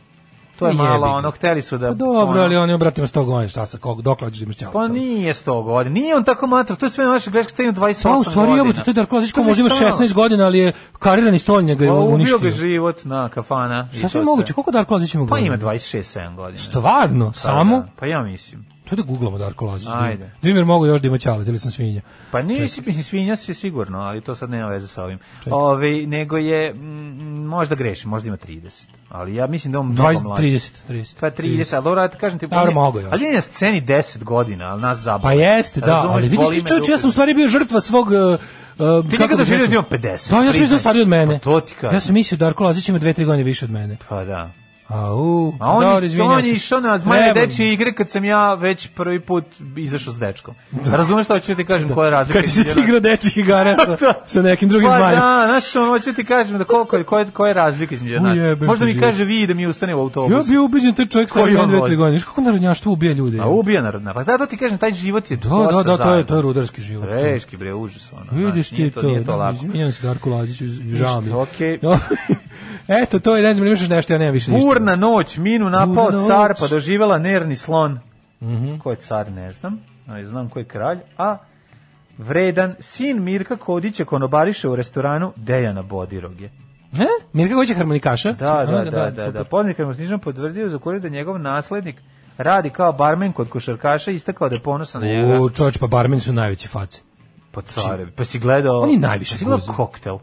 Speaker 5: To je
Speaker 6: Jebi
Speaker 5: malo,
Speaker 6: ga.
Speaker 5: ono, hteli su da...
Speaker 6: Pa dobro,
Speaker 5: ono,
Speaker 6: ali on je obratimo 100 godina, šta sa kog, dokle ćeš da imaš ćao?
Speaker 5: Pa nije 100 godina, nije on tako matrav, to je sve naša greška, taj ima 28
Speaker 6: Pa
Speaker 5: godina.
Speaker 6: u stvari, jebote, to je Darko Lazić ko
Speaker 5: mi je
Speaker 6: možda ima
Speaker 5: stalo.
Speaker 6: 16 godina, ali je karirani stolnjak ga je
Speaker 5: Pa, ubio
Speaker 6: uništio.
Speaker 5: ga život na kafana. i
Speaker 6: Šta
Speaker 5: to
Speaker 6: sve moguće, koliko Darko Lazić ima
Speaker 5: Pa
Speaker 6: godina?
Speaker 5: ima 26-7 godina.
Speaker 6: Stvarno,
Speaker 5: Pa da,
Speaker 6: samo?
Speaker 5: Pa ja mislim.
Speaker 6: To da googlamo Darko Lazić.
Speaker 5: Ajde.
Speaker 6: Dimer mogu još da ima ćalet ili sam svinja.
Speaker 5: Pa nisi, mislim, svinja si sigurno, ali to sad nema veze sa ovim. Ove, nego je, mm, možda grešim, možda ima 30, ali ja mislim da je on mnogo
Speaker 6: 20,
Speaker 5: mlađi.
Speaker 6: 30, 30.
Speaker 5: Pa 30, ali dobro, ja ti kažem ti,
Speaker 6: Dobro,
Speaker 5: on je-
Speaker 6: mogu ja.
Speaker 5: ali on je na sceni 10 godina, ali nas zabavlja.
Speaker 6: Pa jeste, da,
Speaker 5: Razumeš,
Speaker 6: ali vidiš
Speaker 5: boli
Speaker 6: ti
Speaker 5: me
Speaker 6: čovječ, ja sam u
Speaker 5: dupe.
Speaker 6: stvari bio žrtva svog... Uh,
Speaker 5: Ti njega doživio da ima 50.
Speaker 6: Da, ja sam
Speaker 5: priznaj.
Speaker 6: mislio stvari od mene.
Speaker 5: Pa to ti kažem.
Speaker 6: Ja sam mislio Darko Lazić ima 2-3 godine više od mene.
Speaker 5: Pa da.
Speaker 6: Au,
Speaker 5: A on,
Speaker 6: dobro,
Speaker 5: je,
Speaker 6: izvinjam
Speaker 5: on
Speaker 6: se.
Speaker 5: je išao na zmajne
Speaker 6: Trebam.
Speaker 5: dečje igre kad sam ja već prvi put izašao s dečkom. Razumeš što hoću ti kažem koja je razlika?
Speaker 6: Da. Kad si se
Speaker 5: između
Speaker 6: ti igrao dečih igara sa, sa nekim drugim
Speaker 5: Pa
Speaker 6: zmajem.
Speaker 5: da, znaš, ono, hoću ti kažem da koliko je, koje, koje je razlika između nas.
Speaker 6: Ujebem
Speaker 5: Možda
Speaker 6: ti
Speaker 5: mi
Speaker 6: život.
Speaker 5: kaže vi da mi ustane u autobusu.
Speaker 6: Ja bi ubeđen taj čovjek
Speaker 5: Koji
Speaker 6: stari
Speaker 5: on
Speaker 6: mene 2-3
Speaker 5: vozi?
Speaker 6: godine. Znaš kako narodnjaštvo ubija ljude?
Speaker 5: A ubija narodna. Pa da, da ti kažem, taj život je
Speaker 6: Da,
Speaker 5: dosta
Speaker 6: da, da, to je,
Speaker 5: zajeban.
Speaker 6: to je rudarski život.
Speaker 5: Teški, bre, užas, ono. znaš,
Speaker 6: Vidiš ti
Speaker 5: nije
Speaker 6: to,
Speaker 5: Nije to
Speaker 6: da,
Speaker 5: lako.
Speaker 6: izvinjam se Darko Laziću, žao mi. je.
Speaker 5: okej.
Speaker 6: Eto, to je, ne znam, imaš još nešto, ja nemam više ništa.
Speaker 5: Burna noć, Minu napao
Speaker 6: Burna
Speaker 5: car,
Speaker 6: noć. Mhm.
Speaker 5: pa doživela nerni slon. Ko je car, ne znam, ali znam ko je kralj. A vredan, sin Mirka Kodića konobariše u restoranu Dejana Bodiroge.
Speaker 6: E? Mirka Gojić je harmonikaša?
Speaker 5: Da, da,
Speaker 6: Ono,
Speaker 5: da, da, da.
Speaker 6: super.
Speaker 5: da. Poznat kad mu snižan potvrdio za kurir da njegov naslednik radi kao barmen kod košarkaša i istakao da je ponosan na njega.
Speaker 6: U, čovječ, pa barmeni su najveći face.
Speaker 5: Pa care, pa si gledao...
Speaker 6: Oni najviše
Speaker 5: pa si gledao
Speaker 6: kuze.
Speaker 5: koktel.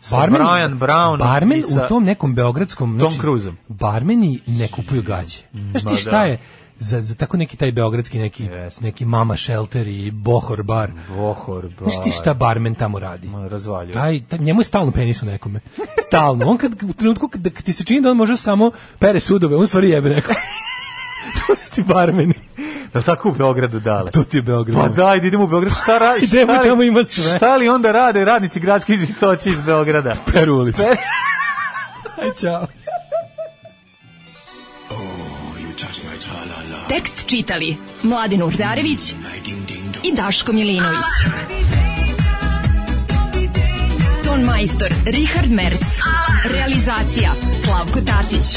Speaker 5: Sa Brian Brown
Speaker 6: barmen
Speaker 5: i sa...
Speaker 6: u tom nekom beogradskom... znači,
Speaker 5: Tom Cruiseom.
Speaker 6: Barmeni ne kupuju gađe. Znaš
Speaker 5: Ma
Speaker 6: ti šta
Speaker 5: da.
Speaker 6: je? Za, za tako neki taj beogradski neki,
Speaker 5: Jeste.
Speaker 6: neki mama shelter i bohor bar.
Speaker 5: Vohor, bar.
Speaker 6: Znaš ti šta Da. barmen tamo radi?
Speaker 5: Ma, Razvaljuje.
Speaker 6: Taj, taj, njemu je stalno penis u nekome. Stalno. On kad u trenutku kad, kad ti se čini da on može samo pere sudove, on u stvari jebe neko. to su ti barmeni.
Speaker 5: Da li tako u Beogradu dale?
Speaker 6: To ti je Beograd.
Speaker 5: Pa daj, da idemo u Beograd, šta radi?
Speaker 6: Idemo, tamo ima sve.
Speaker 5: Šta li onda rade radnici gradski izvistoći iz Beograda?
Speaker 6: Peru ulicu. Aj, čao.
Speaker 4: Tekst čitali Mladin Urdarević i Daško Milinović. Ton majstor Richard Merc. Realizacija Slavko Tatić.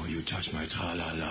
Speaker 1: Oh, you touch my tra-la-la.